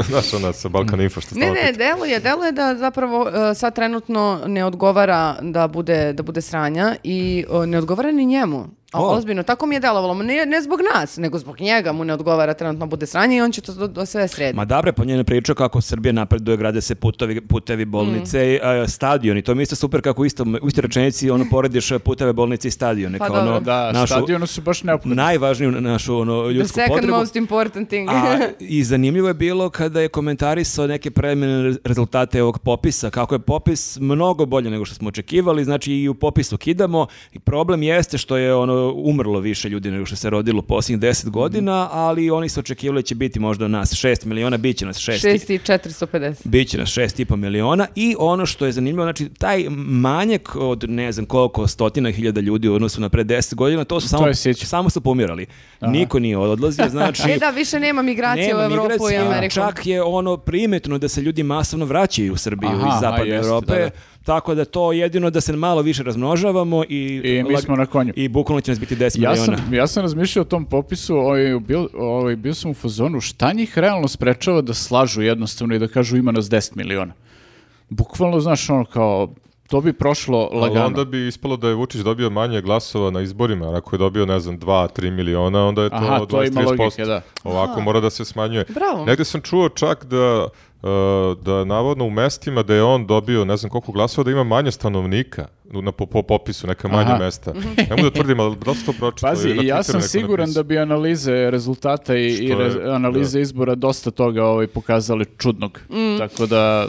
S4: Znaš ona sa Balkan Info što
S3: Ne,
S4: stalno
S3: ne,
S4: pita.
S3: deluje, deluje da zapravo e, sad trenutno ne odgovara da bude, da bude sranja i e, ne odgovara ni njemu. A,
S1: O.
S3: Ozbiljno, tako mi je delovalo. Ma Ne, ne zbog nas, nego zbog njega mu ne odgovara trenutno da bude sranja i on će to do, do sve sredi.
S1: Ma dobre, pa njene priča kako Srbija napreduje, grade se putovi, putevi, bolnice, i stadioni. To mi je isto super kako u istom- u istoj rečenici ono porediš puteve, bolnice i stadione.
S3: Pa
S1: kao ono,
S3: dobro.
S2: Da,
S1: našu-
S2: stadionu su baš neophodni.
S1: najvažniju našu ono,
S3: The
S1: ljudsku
S3: second
S1: potrebu.
S3: most important thing. <laughs>
S1: A, I zanimljivo je bilo kada je komentarisao neke preliminarne rez- rezultate ovog popisa, kako je popis mnogo bolje nego što smo očekivali, znači i u popisu kidamo i problem jeste što je ono umrlo više ljudi nego što se rodilo u posljednjih 10 godina, ali oni su očekivali da će biti možda nas 6 miliona, bit će nas 6.
S3: 6450.
S1: Biće nas 6,5 miliona i ono što je zanimljivo, znači taj manjak od ne znam koliko stotina hiljada ljudi u odnosu na pre 10 godina, to su samo,
S2: je sića.
S1: samo su pomirali. Niko nije odlazio, znači...
S3: E da, više nema migracije
S1: Nema
S3: u Evropu i
S1: migracije,
S3: Ameriku.
S1: Čak je ono primetno da se ljudi masovno vraćaju u Srbiju
S2: Aha,
S1: iz zapadne
S2: aha, jeste,
S1: Evrope.
S2: da, da.
S1: Tako da to jedino da se malo više razmnožavamo i,
S2: I mi
S1: lag-
S2: smo na konju.
S1: I bukvalno će nas biti 10
S2: Ja
S1: miliona.
S2: sam, ja sam razmišljao o tom popisu, ovaj, bio, ovaj, bio sam u fazonu, šta njih realno sprečava da slažu jednostavno i da kažu ima nas 10 miliona? Bukvalno, znaš, ono kao, to bi prošlo
S4: Ali
S2: lagano.
S4: onda bi ispalo da je Vučić dobio manje glasova na izborima, jer ako je dobio, ne znam, 2-3 miliona, onda je to
S2: Aha,
S4: 20-30%.
S2: to ima logike, da.
S4: Ovako mora da se smanjuje.
S3: Bravo.
S4: Negde sam čuo čak da e, da navodno u mestima da je on dobio ne znam koliko glasova da ima manje stanovnika na po, po popisu neka manja
S2: Aha.
S4: mesta.
S3: Mhm.
S4: Ne mogu da tvrdim, ali da li sam to pročitao?
S2: Pazi,
S4: ili na
S2: i ja
S4: Twitteru
S2: sam
S4: neko
S2: siguran
S4: napisao.
S2: da bi analize rezultata i, i
S4: Što je,
S2: rez- analize izbora dosta toga ovaj, pokazali čudnog.
S3: Mm.
S2: Tako da,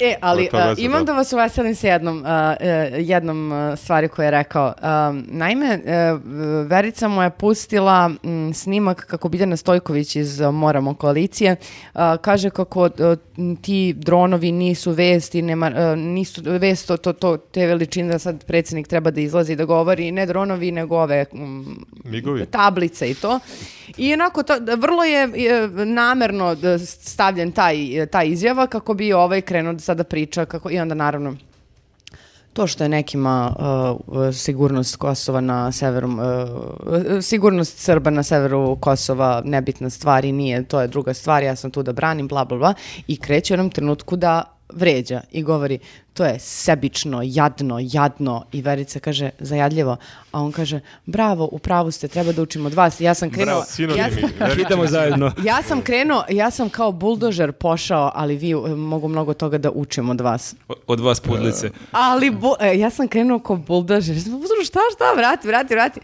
S3: E, ali
S4: To je ta
S3: a,
S4: veza,
S3: imam
S4: da.
S3: da vas uveselim sa jednom, a, e, jednom a, stvari koju je rekao. Um, naime, e, Verica mu je pustila mm, snimak kako Biljana Stojković iz a, Moramo koalicije a, kaže kako e, ti dronovi nisu vesti, nema, e, nisu vest to, to, to, te veličine da sad predsjednik treba da izlazi i da govori, ne dronovi nego ove mm,
S4: Migovi.
S3: tablice i to. I onako, to, da, vrlo je e, namerno da, stavljen taj, e, ta izjava kako bi ovaj krenuo da sada priča kako, i onda naravno to što je nekima e, sigurnost Kosova na severu, e, sigurnost Srba na severu Kosova nebitna stvar i nije, to je druga stvar, ja sam tu da branim, bla, bla, bla. I kreće u jednom trenutku da vređa i govori, to je sebično, jadno, jadno. I Verica kaže, zajadljivo. A on kaže, bravo, u pravu ste, treba da učimo od vas. I Ja sam krenula...
S4: Sinonimi.
S3: ja sam-
S4: Veliki
S1: Idemo zajedno.
S3: ja sam krenuo, ja sam kao buldožer pošao, ali vi e, mogu mnogo toga da učim od vas.
S1: Od vas pudlice.
S3: Ali bu- e, ja sam krenuo kao buldožer. Ja sam uzro, šta, šta, vrati, vrati, vrati.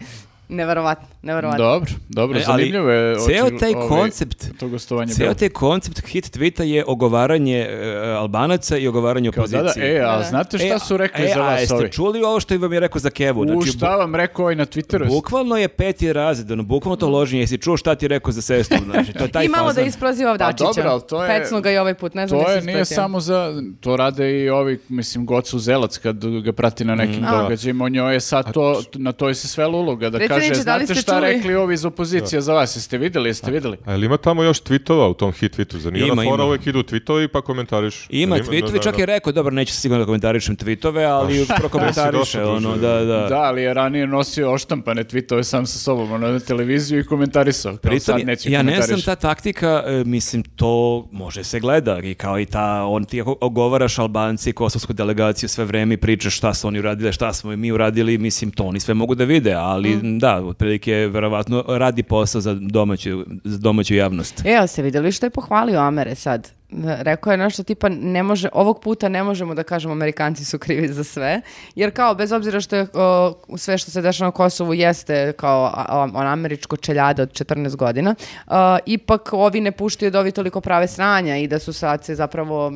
S3: Neverovatno, neverovatno.
S2: dobro, dobro,
S1: E, ali
S2: zanimljivo je.
S1: ceo
S2: očigl-
S1: taj
S2: ovaj,
S1: koncept-
S2: To gostovanje
S1: Cijel
S2: bilo.
S1: taj koncept hit tweeta je ogovaranje e, Albanaca i ogovaranje
S2: Kao, da,
S1: opozicije.
S2: da, e, a
S3: Da, da.
S2: znate šta
S1: E,
S2: su rekli
S1: e,
S2: za
S1: a
S2: vas
S1: jeste
S2: ovi?
S1: čuli ovo što vam je rekao za Kevu?
S2: U
S1: Znači,
S2: šta vam rekao ovaj na Twitteru?
S1: Bukvalno je peti razred, ono, bukvalno to loženje. Jesi čuo šta ti je rekao za sestru? Znači, to je taj
S3: I malo da
S1: fazon.
S3: isproziva
S2: Pa
S3: Dačića.
S2: dobro, ali to je-
S3: Pecnu ga i ovaj put, ne znam
S2: To
S3: da
S2: je, nije samo za, to rade i ovi, mislim, Gocu Zelac kad ga prati na
S1: Mm,
S2: nekim događajima, o njoj je ovaj sad to, na toj se svela uloga, da
S3: Predsjedniče,
S2: kaže,
S3: da li
S2: znate
S3: ste
S2: šta
S3: čuli?"
S2: rekli ovi iz opozicije za vas, jeste vidjeli, jeste vidjeli?
S4: A jel ima tamo još tweetova u tom hit tweetu? Zar nije
S1: Ima,
S4: ona fora
S1: ima.
S4: uvek idu tweetovi pa komentariš?
S1: Ima
S4: Jel da,
S1: tweetove,
S4: da,
S1: čak
S4: da.
S1: je rekao, dobro, neću sigurno da komentarišem tweetove, ali <laughs> prokomentariše,
S4: došao,
S1: ono,
S4: druže?
S1: Pa, da, da.
S2: Da, ali je ranije nosio oštampane tweetove sam sa sobom, ono, na televiziju i komentarisao. Kao,
S1: Pritom,
S2: sad neće
S1: ja ne znam
S2: komentariš.
S1: ta taktika, e, mislim, to može se gleda i kao i ta, on ti ako ogovaraš Albanci, kosovsku
S2: Mm.
S1: delegaciju sve vreme i pričaš šta su oni uradili, šta smo i mi uradili, mislim, to oni sve mogu da vide, ali da, da, otprilike verovatno radi posao za domaću, za domaću
S3: <laughs>
S1: javnost.
S3: Evo se E, vidjeli što je pohvalio Amere sad. E, Rekao je nešto tipa ne može, ovog puta ne možemo da kažemo Amerikanci su krivi za sve, jer kao bez obzira što je o, sve što se dešava na Kosovu jeste kao a- a- ono američko čeljade od 14 godina, a, ipak ovi ne puštaju da ovi toliko prave sranja i da su sad se zapravo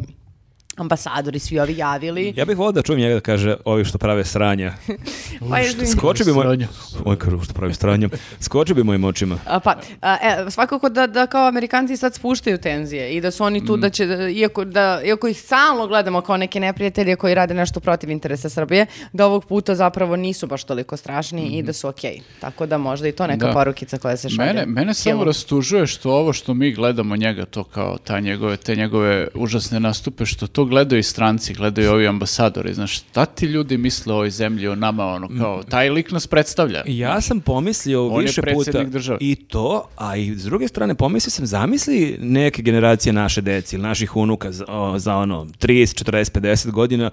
S3: ambasadori svi ovi javili.
S1: Ja bih volio da čujem njega da kaže ovi što prave
S2: <laughs>
S1: sranja.
S3: Pa izvini.
S1: Skoči bi moj...
S2: Sranja.
S1: Oj, karu, što pravi sranja. Skoči bi mojim očima.
S3: A, pa, a, e, svakako da, da kao Amerikanci sad spuštaju tenzije i da su oni tu
S2: Mm.
S3: da će, da- iako, da, iako ih stalno gledamo kao neke neprijatelje koji rade nešto protiv interesa Srbije, da ovog puta zapravo nisu baš toliko strašni i da su okej. Tako da možda i to neka
S2: Mhm. Da.
S3: porukica koja se šalje.
S2: Mene, mene samo
S3: Jel'o?
S2: rastužuje što ovo što mi gledamo njega, to kao ta njegove, te njegove užasne nastupe, što to gledaju i stranci, gledaju i ovi ambasadori. Znaš, šta ti ljudi misle o ovoj zemlji, o nama, ono, kao,
S4: Mm.
S2: taj lik nas predstavlja.
S1: Ja sam pomislio
S2: On je
S1: više puta
S2: predsjednik države.
S1: i to, a i s druge strane pomislio sam, zamisli neke generacije naše deci ili naših unuka za, o, za ono 30, 40, 50 godina,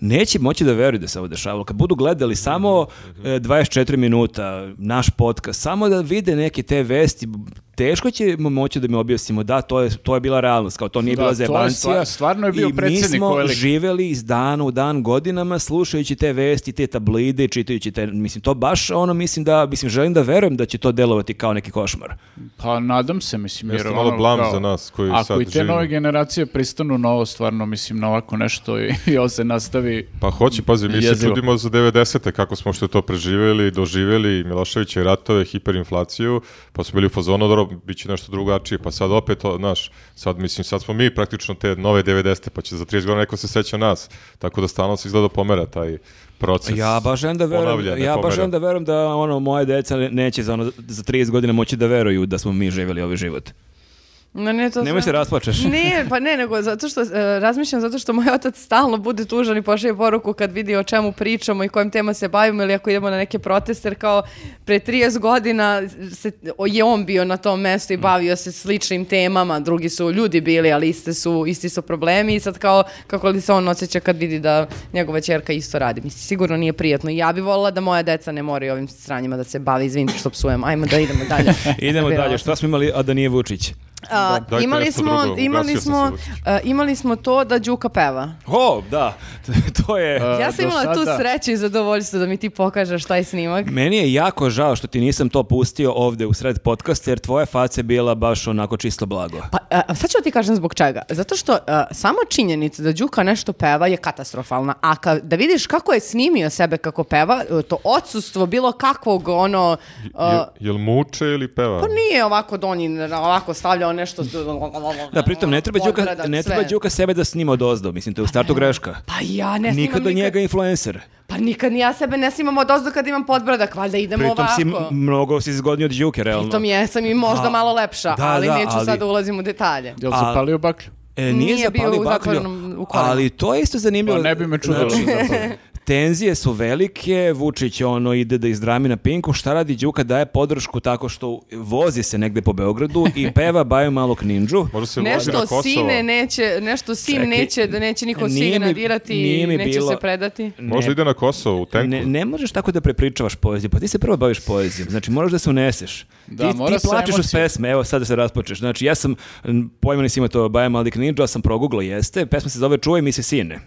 S1: neće moći da veruju da se ovo dešavalo. Kad budu gledali samo e, 24 minuta naš podcast, samo da vide neke te vesti, teško ćemo moći da mi objasnimo da to je to je bila realnost kao to nije
S2: Da,
S1: bila
S2: to je
S1: zebancija
S2: stvar- stvarno je bio
S1: i mi
S2: predsjednik
S1: smo
S2: ovaj lik.
S1: živeli iz dana u dan godinama slušajući te vesti, te tablide, čitajući te, mislim, to baš ono, mislim da, mislim, želim da verujem da će to delovati kao neki košmar.
S2: Pa nadam se, mislim, jer ono,
S4: Jeste malo blam
S2: kao,
S4: za nas koji
S2: ako
S4: sad
S2: i te
S4: živimo.
S2: nove generacije pristanu na ovo, stvarno, mislim, na ovako nešto i, <laughs> i ovo se nastavi
S4: Pa hoće, pazi, mi se
S2: Jezivo.
S4: čudimo za 90. kako smo što to preživjeli, doživjeli Miloševiće ratove, hiperinflaciju, pa smo bili u fazonu, dobro, bit će nešto drugačije, pa sad opet, o, znaš, sad mislim, sad smo mi praktično te nove 90. pa će za 30 godina neko se seća nas, tako da stalno se izgleda pomera taj proces.
S1: Pa Ja baš želim da
S4: Ponavlja,
S1: verujem,
S4: ne
S1: ja baš
S4: pomera.
S1: želim da verujem da ono, moje deca ne- neće za, ono, za 30 godina moći da veruju da smo mi živjeli ovaj život.
S3: No, ne, to
S1: Nemoj
S3: sam-
S1: se
S3: <laughs>
S1: rasplačeš.
S3: Ne, pa ne, nego zato što, e, razmišljam zato što moj otac stalno bude tužan i pošalje poruku kad vidi o čemu pričamo i kojim tema se bavimo ili ako idemo na neke proteste, jer kao pre 30 godina se, o, je on bio na tom mestu i
S1: Mm.
S3: bavio se sličnim temama, drugi su ljudi bili, ali iste su, isti su problemi i sad kao kako li se on osjeća kad vidi da njegova ćerka isto radi. Mislim, sigurno nije prijatno. I Ja bi volila da moja deca ne moraju ovim stranjima da se bavi, izvinite što psujem, ajmo da idemo dalje.
S1: <laughs> Idemo
S3: Nervirala
S1: dalje, šta smo imali, a da nije Vučić?
S3: a,
S4: Dajte
S3: imali
S4: nešto
S3: smo,
S4: drugo,
S3: imali
S4: ugasio sam
S3: smo,
S4: se već.
S3: a, imali smo to da Đuka peva.
S1: O, da, <laughs> to je...
S2: A,
S3: ja sam
S2: do
S3: imala tu
S2: sada-
S3: sreću i zadovoljstvo da mi ti pokažeš taj snimak.
S1: Meni je jako žao što ti nisam to pustio ovde u sred podcasta, jer tvoja faca je bila baš onako čisto blago.
S3: Pa, a, sad ću ti kažem zbog čega. Zato što a, sama činjenica da Đuka nešto peva je katastrofalna. A ka- da vidiš kako je snimio sebe kako peva, e, to odsustvo bilo kakvog ono... a,
S4: Je- jel muče ili peva?
S3: pa nije ovako donji, ovako stavljao nešto... z-
S1: Da, pritom ne treba Đuka,
S3: podgradak,
S1: ne
S3: sve.
S1: treba Đuka sebe da snima od ozdo, mislim, to je u startu greška.
S3: Pa ja ne snimam
S1: Nikad do njega influencer.
S3: Pa nikad ni ja sebe ne snimam od ozdo kad imam podbradak, valjda idemo
S1: Pritom
S3: ovako.
S1: si m- mnogo si zgodniji od Đuke, realno.
S3: Pritom jesam i možda
S1: A,
S3: malo lepša,
S1: da,
S3: ali
S1: da,
S3: neću
S1: ali-
S3: sad da ulazim u detalje.
S2: Jel
S1: A-
S2: zapalio baklju?
S1: E, nije,
S3: Nije bio
S1: zapalio
S3: u
S1: baklju,
S3: zatvorenom- u kolima.
S1: ali to je isto zanimljivo.
S2: Pa ne bi me čudilo
S1: Znači,
S2: da zapalio.
S1: <laughs> tenzije su velike, Vučić ono ide da izdrami na pinku, šta radi Đuka daje podršku tako što vozi se negde po Beogradu <laughs> i peva Baju malog ninđu.
S4: Možda se vozi na
S3: Nešto
S4: Kosovo.
S3: sine neće, nešto sin
S1: Čekaj,
S3: neće, da neće niko
S1: nije
S3: sine
S1: mi-
S3: nadirati,
S1: nije mi
S3: neće
S1: bilo-
S3: se predati.
S4: Možda ide na Kosovo u tenku.
S1: Ne, ne možeš tako da prepričavaš poeziju, pa ti se prvo baviš poezijom, znači moraš da se uneseš.
S2: Da,
S1: ti, ti
S2: mora sa
S1: plačeš uz
S2: emocijom.
S1: pesme, evo sad da se raspočeš. Znači ja sam, n- pojma nisi ima to Baja Malik Ninja, sam proguglo, jeste, pesma se zove Čuvaj mi se sine.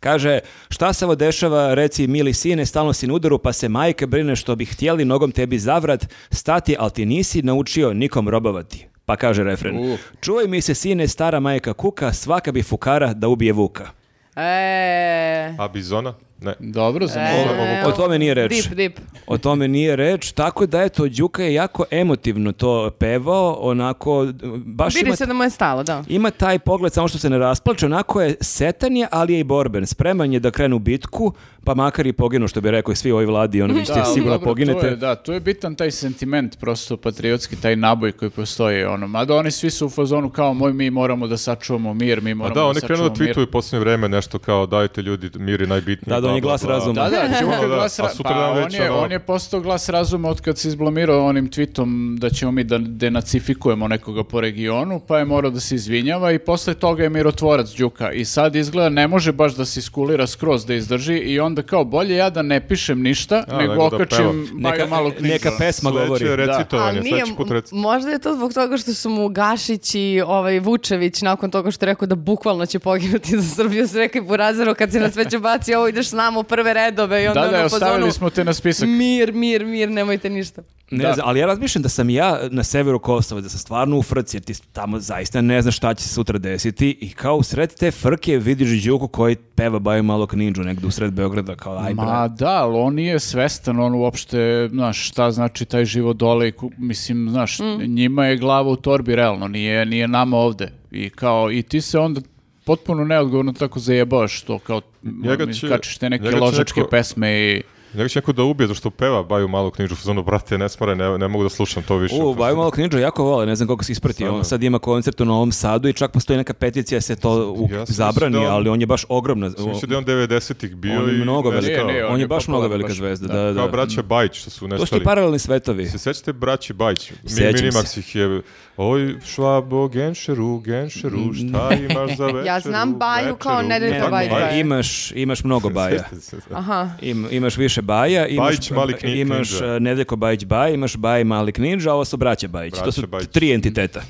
S1: Kaže, šta se ovo dešava, reci mili sine, stalno si na udaru, pa se majke brine što bi htjeli nogom tebi zavrat, stati, ali ti nisi naučio nikom robovati. Pa kaže refren,
S2: Uh.
S1: čuvaj mi se sine, stara majka kuka, svaka bi fukara da ubije vuka.
S3: E,
S4: A Bizona? Ne.
S2: Dobro, zanimljivo.
S1: O, o tome nije reč.
S3: Dip, dip.
S1: O tome nije reč, tako da eto, Đuka je jako emotivno to pevao, onako, baš
S3: Vidi
S1: ima,
S3: se da mu je stalo, da.
S1: ima taj pogled, samo što se ne rasplače, onako je setan je, ali je i borben, spreman je da krenu u bitku, pa makar i poginu, što bi rekao i svi ovoj vladi, ono, vi ćete
S2: Da,
S1: sigurno
S2: dobro,
S1: poginete.
S2: To je, da, tu je bitan taj sentiment, prosto patriotski, taj naboj koji postoji. Ono. Mada oni svi su u fazonu kao moj, mi moramo da sačuvamo mir, mi
S4: A
S2: moramo
S4: Pa da,
S2: da,
S4: oni krenu
S2: sačuvamo
S4: da
S2: mir.
S4: tweetuju posljednje vreme nešto kao dajte ljudi mir je najbitnije.
S1: Da, da, on je
S4: bla,
S1: glas
S4: bla. Znači, ono,
S1: razuma.
S4: <laughs>
S2: Da, da, Đuka
S4: Da, da,
S2: glas
S4: a
S2: ra-
S4: sutra
S2: pa
S4: dan
S2: on
S4: već,
S2: je,
S4: ono-
S2: on je postao glas razuma od kad se izblamirao onim tweetom da ćemo mi da denacifikujemo nekoga po regionu, pa je morao da se izvinjava i posle toga je mirotvorac Đuka i sad izgleda ne može baš da se iskulira skroz da izdrži i onda kao bolje ja da ne pišem ništa,
S4: A,
S2: nego
S4: nego da pevam.
S2: okačim
S1: Neka,
S2: Maju malo knjigu.
S1: neka pesma govori.
S4: Sledeće recitovanje,
S3: Ali nije,
S4: sledeći put rec...
S3: m- možda je to zbog toga što su mu Gašić i ovaj Vučević nakon toga što je rekao da bukvalno će poginuti za Srbiju su rekli Burazeru kad se nas već baci ovo ideš s nama u prve redove i onda
S2: Da, da,
S3: ono mm. po
S2: ostavili
S3: zonu,
S2: smo te na spisak.
S3: mir, mir, mir, nemojte ništa.
S1: Ne
S2: Da.
S1: znam, ali ja razmišljam da sam ja na severu Kosova, da sam stvarno u frci, jer ti tamo zaista ne znaš šta će se sutra desiti i kao u sred te frke vidiš Đuku koji peva baju malo knidžu negde u sred Beograda, kao aj
S2: Ma
S1: bre.
S2: da, ali on nije svestan, on uopšte, znaš, šta znači taj život dole, i ku- mislim, znaš,
S3: Mm.
S2: njima je glava u torbi, realno, nije, nije nama ovde. I kao, i ti se onda potpuno neodgovorno tako zajebavaš to, kao,
S4: Njega
S2: mi
S4: će-
S2: kačiš te neke
S4: njega će
S2: ložačke
S4: neko-
S2: pesme i...
S4: Nego će neko da ubije, zašto peva Baju malo knjižu, ono, brate, ne smore, ne, ne mogu da slušam to više.
S1: U, baju malo knidžu jako vole, ne znam koliko se ispratio.
S4: Stvarno.
S1: On sad ima koncert u Novom Sadu i čak postoji neka peticija da se to u,
S4: Ja sam
S1: zabrani,
S4: mislio da on-
S1: ali on je baš ogromna.
S4: Mislim da je on 90-ih bio
S1: on je
S4: i nestao.
S1: mnogo velika,
S2: Ne, ne,
S1: on, je baš mnogo
S2: popularan
S1: velika
S2: baš.
S1: zvezda.
S2: Da,
S1: Da, da.
S4: Kao braća Bajić što su
S1: To su
S4: nestali.
S1: ti paralelni svetovi.
S4: Se sećate braći Bajić? Mi,
S1: Sećam se.
S4: Minimax ih je, oj švabo, genšeru, genšeru, šta
S1: Mm.
S4: imaš za večeru?
S3: <laughs> Ja znam Baju kao
S4: večeru?" pa
S3: Nedeljka
S4: Ne,
S3: Bajić,
S1: E,
S3: Baja.
S1: imaš, imaš mnogo
S4: <laughs>
S1: baja.
S4: Sećate se.
S3: Aha.
S1: Im, imaš više baja, imaš,
S4: Bajić, mali kni-
S1: imaš
S4: knidža.
S1: e, Nedeljko Bajić Baj, imaš Baj Mali Knidža, a ovo su braća Bajić. to su
S4: Braća Bajić.
S1: tri entiteta.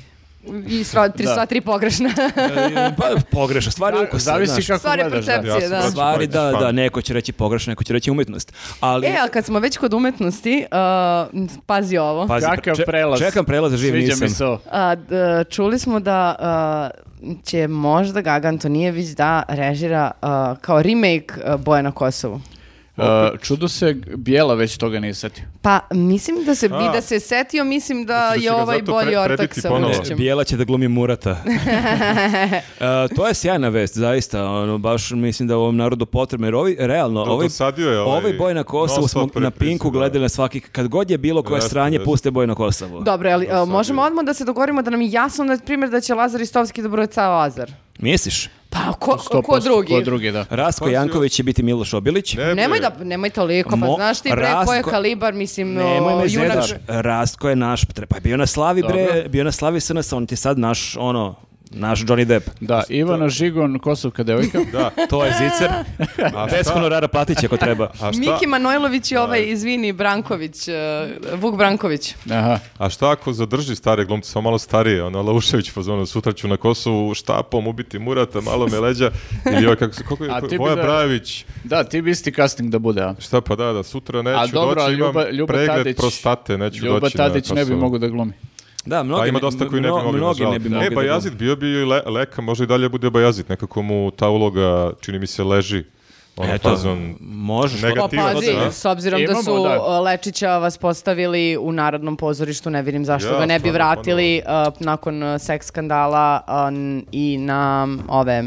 S3: I sva tri,
S2: Da.
S3: sva tri pogrešna.
S1: E, pa pogrešno, stvari ukusa,
S2: Zavisi
S1: znaš.
S2: kako
S3: Stvar je
S2: gledaš, da.
S3: percepcije,
S4: Ja sam
S3: da.
S4: braća
S1: Stvari,
S4: Bajić Pa,
S1: da,
S4: fan.
S1: da, neko će reći pogrešno, neko će reći umetnost. Ali,
S3: E, a kad smo već kod umetnosti, uh, pazi ovo.
S1: pazi,
S2: Kakav prelaz.
S1: Čekam prelaz, živ
S2: Sviđa mi
S1: nisam.
S2: se ovo.
S3: A, d- čuli smo da a, će možda Gaga Antonijević da režira a, kao remake a, Boja na Kosovu.
S2: E, čudo se, Bijela već toga nije setio.
S3: Pa mislim da se i
S4: A.
S3: da se setio, mislim da
S4: Mislim da će
S3: je
S4: ga
S3: ovaj
S4: zato
S3: bolji
S4: pre-
S3: ortak
S4: prebiti
S3: sa
S4: ponovo.
S1: E,
S3: Vučićem.
S1: Bijela će da glumi <laughs> Murata. E, to je sjajna vest, zaista. Ono, baš mislim da ovom narodu potrebno. Jer ovi, realno,
S4: Do-
S1: ovaj,
S4: dosadio je ovaj
S1: boj na Kosovu
S4: non-stop
S1: smo na
S4: reprise,
S1: Pinku
S4: da.
S1: gledali na svaki... Kad god je bilo koje
S4: Jeste,
S1: stranje,
S4: jeste.
S1: puste boj na Kosovu.
S3: Dobro, ali a,
S4: sad
S3: možemo
S4: je.
S3: odmah da se dogovorimo da nam je jasno, na primjer, da će Lazar Istovski da broje cao Lazar.
S1: Misliš?
S3: Pa ko, ko,
S2: 100%,
S3: drugi?
S2: Ko drugi, da.
S1: Rasko
S4: Pa,
S1: Janković će biti Miloš Obilić.
S4: Ne, bre.
S3: Nemoj da, nemoj toliko, pa
S1: Mo-
S3: znaš ti bre, ko je
S1: Rasko-
S3: kalibar, mislim,
S1: Nemoj
S3: o,
S1: me
S3: junak.
S1: zedaš. Rastko je naš, tre- pa je bio na slavi bre,
S2: Dobro.
S1: bio na slavi SNS, on ti je sad naš, ono, naš Johnny Depp.
S2: Da, Ivana Žigon, Kosovka <laughs> devojka.
S4: Da.
S1: To je <laughs> zicer.
S3: <laughs>
S4: A
S1: Bez
S4: šta-
S1: honorara platit će ako treba.
S4: A šta,
S3: Miki Manojlović i ovaj, izvini, Branković, e, Vuk Branković.
S2: Aha.
S4: a šta ako zadrži stare glumce, samo malo starije, ono Laušević fazonu, sutra ću na Kosovu štapom ubiti Murata, malo me
S1: <laughs>
S4: leđa, ili ovaj kako se, kako je,
S2: A ti bi
S4: Voja
S2: da-
S4: Brajević,
S2: Da, ti bi isti casting da bude, a?
S4: šta pa da, da, sutra neću
S2: A dobro, a
S4: doći, imam
S2: Ljuba, Ljuba
S4: pregled
S2: Tadić,
S4: prostate, neću
S2: Ljuba
S4: doći
S2: Tadić
S4: na
S2: ne bi
S4: Kosovu.
S2: mogao da glumi.
S1: Da, mnogi,
S4: Pa ima
S1: ne-
S4: dosta koji ne bi
S1: mno-
S4: mogli,
S1: mnogi
S4: nažalost.
S1: ne bi mogli
S4: E,
S1: da
S4: Bajazit
S1: budu.
S4: bio bi i le- leka, možda i dalje bude Bajazit, nekako mu ta uloga, čini mi se, leži. Ono,
S1: Eto,
S4: fazon,
S1: možeš.
S3: Pa
S4: negativno,
S3: pazi,
S4: da.
S3: s obzirom da
S2: Imamo,
S3: su
S2: da.
S3: uh, Lečića vas postavili u Narodnom pozorištu, ne vidim zašto
S4: Ja,
S3: ga ne bi
S4: stvarno,
S3: vratili uh, nakon uh, seks skandala uh, n- i na um, ove...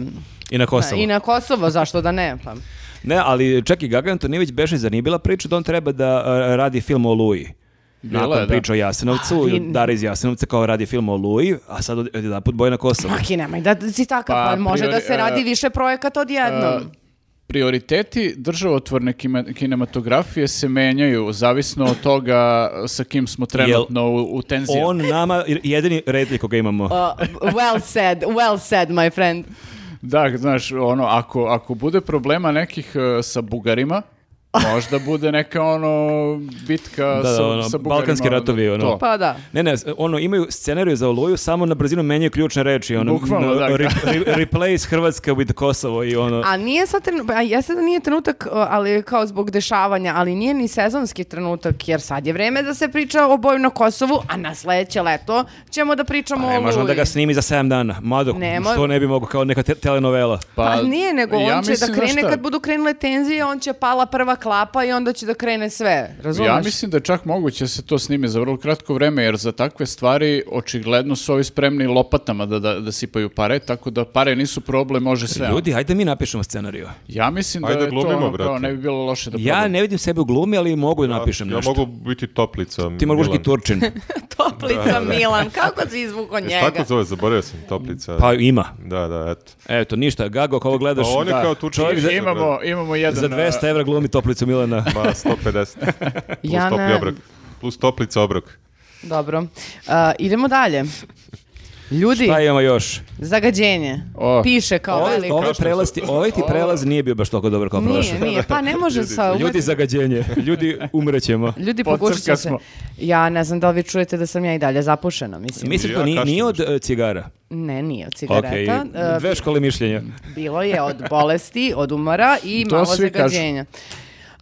S1: I na Kosovo.
S3: I na Kosovo, zašto da ne? Pa.
S1: Ne, ali čak i Gaga Antonijević beše, zar nije bila priča da on treba da e, radi film o Luji?
S2: Bila
S1: Nakon
S2: je, da.
S1: priča o Jasenovcu,
S3: Ali-
S1: Dara iz Jasenovca kao radi film o Luji, a sad od- odjedanput boje na Kosovo.
S3: Maki, nemaj da si takav,
S2: Pa,
S3: pa, može
S2: priori-
S3: da se radi
S2: e,
S3: više projekata odjednom.
S2: Prioriteti državotvorne kime- kinematografije se menjaju zavisno od toga sa kim smo trenutno u, u tenziji.
S1: On nama jedini redli koga imamo.
S3: Uh, well said, well said, my friend.
S2: Da, znaš, ono, ako, ako bude problema nekih e, sa
S1: <laughs>
S2: Bugarima, možda bude neka ono bitka
S1: Da, da,
S2: sa,
S1: ono,
S2: sa Bugarima.
S1: balkanski ratovi, ono.
S2: To.
S3: Pa da.
S1: Ne, ne, ono, imaju scenariju za Oluju, samo na brzinu menjaju ključne reči. Ono,
S2: Bukvalno, da.
S1: re- re- replace Hrvatska with Kosovo i ono...
S3: A nije sad trenutak, a jeste da nije trenutak, o, ali kao zbog dešavanja, ali nije ni sezonski trenutak, jer sad je vreme da se priča o boju na Kosovu, a na sledeće leto ćemo da pričamo
S1: Pa Ne,
S3: o
S1: možemo da
S3: Oluji.
S1: ga snimi za 7 dana. Mado,
S3: Nemo-
S1: što ne bi mogu, kao neka te- telenovela.
S3: Pa, nije, nego
S2: ja
S3: on će da
S2: mislim, znaš
S3: krene
S2: šta,
S3: kad budu krenule tenzije, on će pala prva klapa i onda će da krene sve, razumeš?
S2: Ja mislim da je čak moguće da se to snime za vrlo kratko vreme, jer za takve stvari očigledno su ovi spremni lopatama da, da, da sipaju pare, tako da pare nisu problem, može sve.
S1: Ljudi, ajde mi napišemo scenariju.
S2: Ja mislim da
S4: Ajde,
S2: je to
S4: glumimo,
S2: ono, kao,
S4: brate.
S2: ne bi bilo loše da
S1: Ja
S2: probamo.
S1: ne vidim sebe u glumi, ali mogu da napišem
S4: ja
S1: nešto.
S4: mogu biti toplica.
S1: Ti mogu biti
S4: Milan.
S1: Turčin.
S3: <laughs> Toplica Milan, kako si izvukao
S4: Jel se
S3: njega?
S4: Tako E, zove, zaboravio sam toplica.
S1: Pa ima.
S4: Da, da, eto.
S1: Eto, ništa, Gago, ako ovo
S4: Pa
S1: gledaš,
S4: on je
S2: Da.
S4: kao tučan.
S2: I- imamo, imamo jedan...
S1: za 200 evra glumi toplicu
S3: <laughs>
S1: Milana.
S4: Ma, 150. pa Plus
S3: Ja
S4: topli
S3: ne-
S4: obrok. Plus toplica obrok.
S3: Dobro. A, idemo dalje. Ljudi,
S1: Pa imamo još.
S3: zagađenje.
S2: O.
S3: Piše kao
S1: Ovaj,
S3: veliko.
S1: ovaj,
S4: Kažem
S1: prelaz, ti- ovaj ti prelaz nije bio baš toliko dobar kao prošli.
S3: Pa Nije, nije. Pa ne može sa... umet-
S1: Ljudi, zagađenje. Ljudi, umrećemo.
S3: Ljudi,
S2: Podcrka
S3: pogušit ću se.
S2: smo.
S3: Ja ne znam da li vi čujete da sam ja i dalje zapušena, mislim.
S1: Misliš
S4: Ja
S1: da nije,
S4: kašljem
S1: nije od e, cigara?
S3: Ne, nije od
S1: Ok,
S3: cigareta. E,
S1: dve škole mišljenja.
S3: Bilo je od bolesti, od umora i
S2: To
S3: malo
S2: svi kažu.
S3: zagađenja.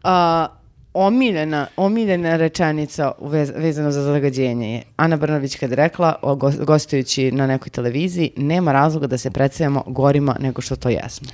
S3: A, omiljena, omiljena rečenica u vez- vezano za zagađenje je Ana Brnović kad je rekla, o, gos- gostujući na nekoj televiziji, nema razloga da se predstavljamo gorima nego što to jesmo.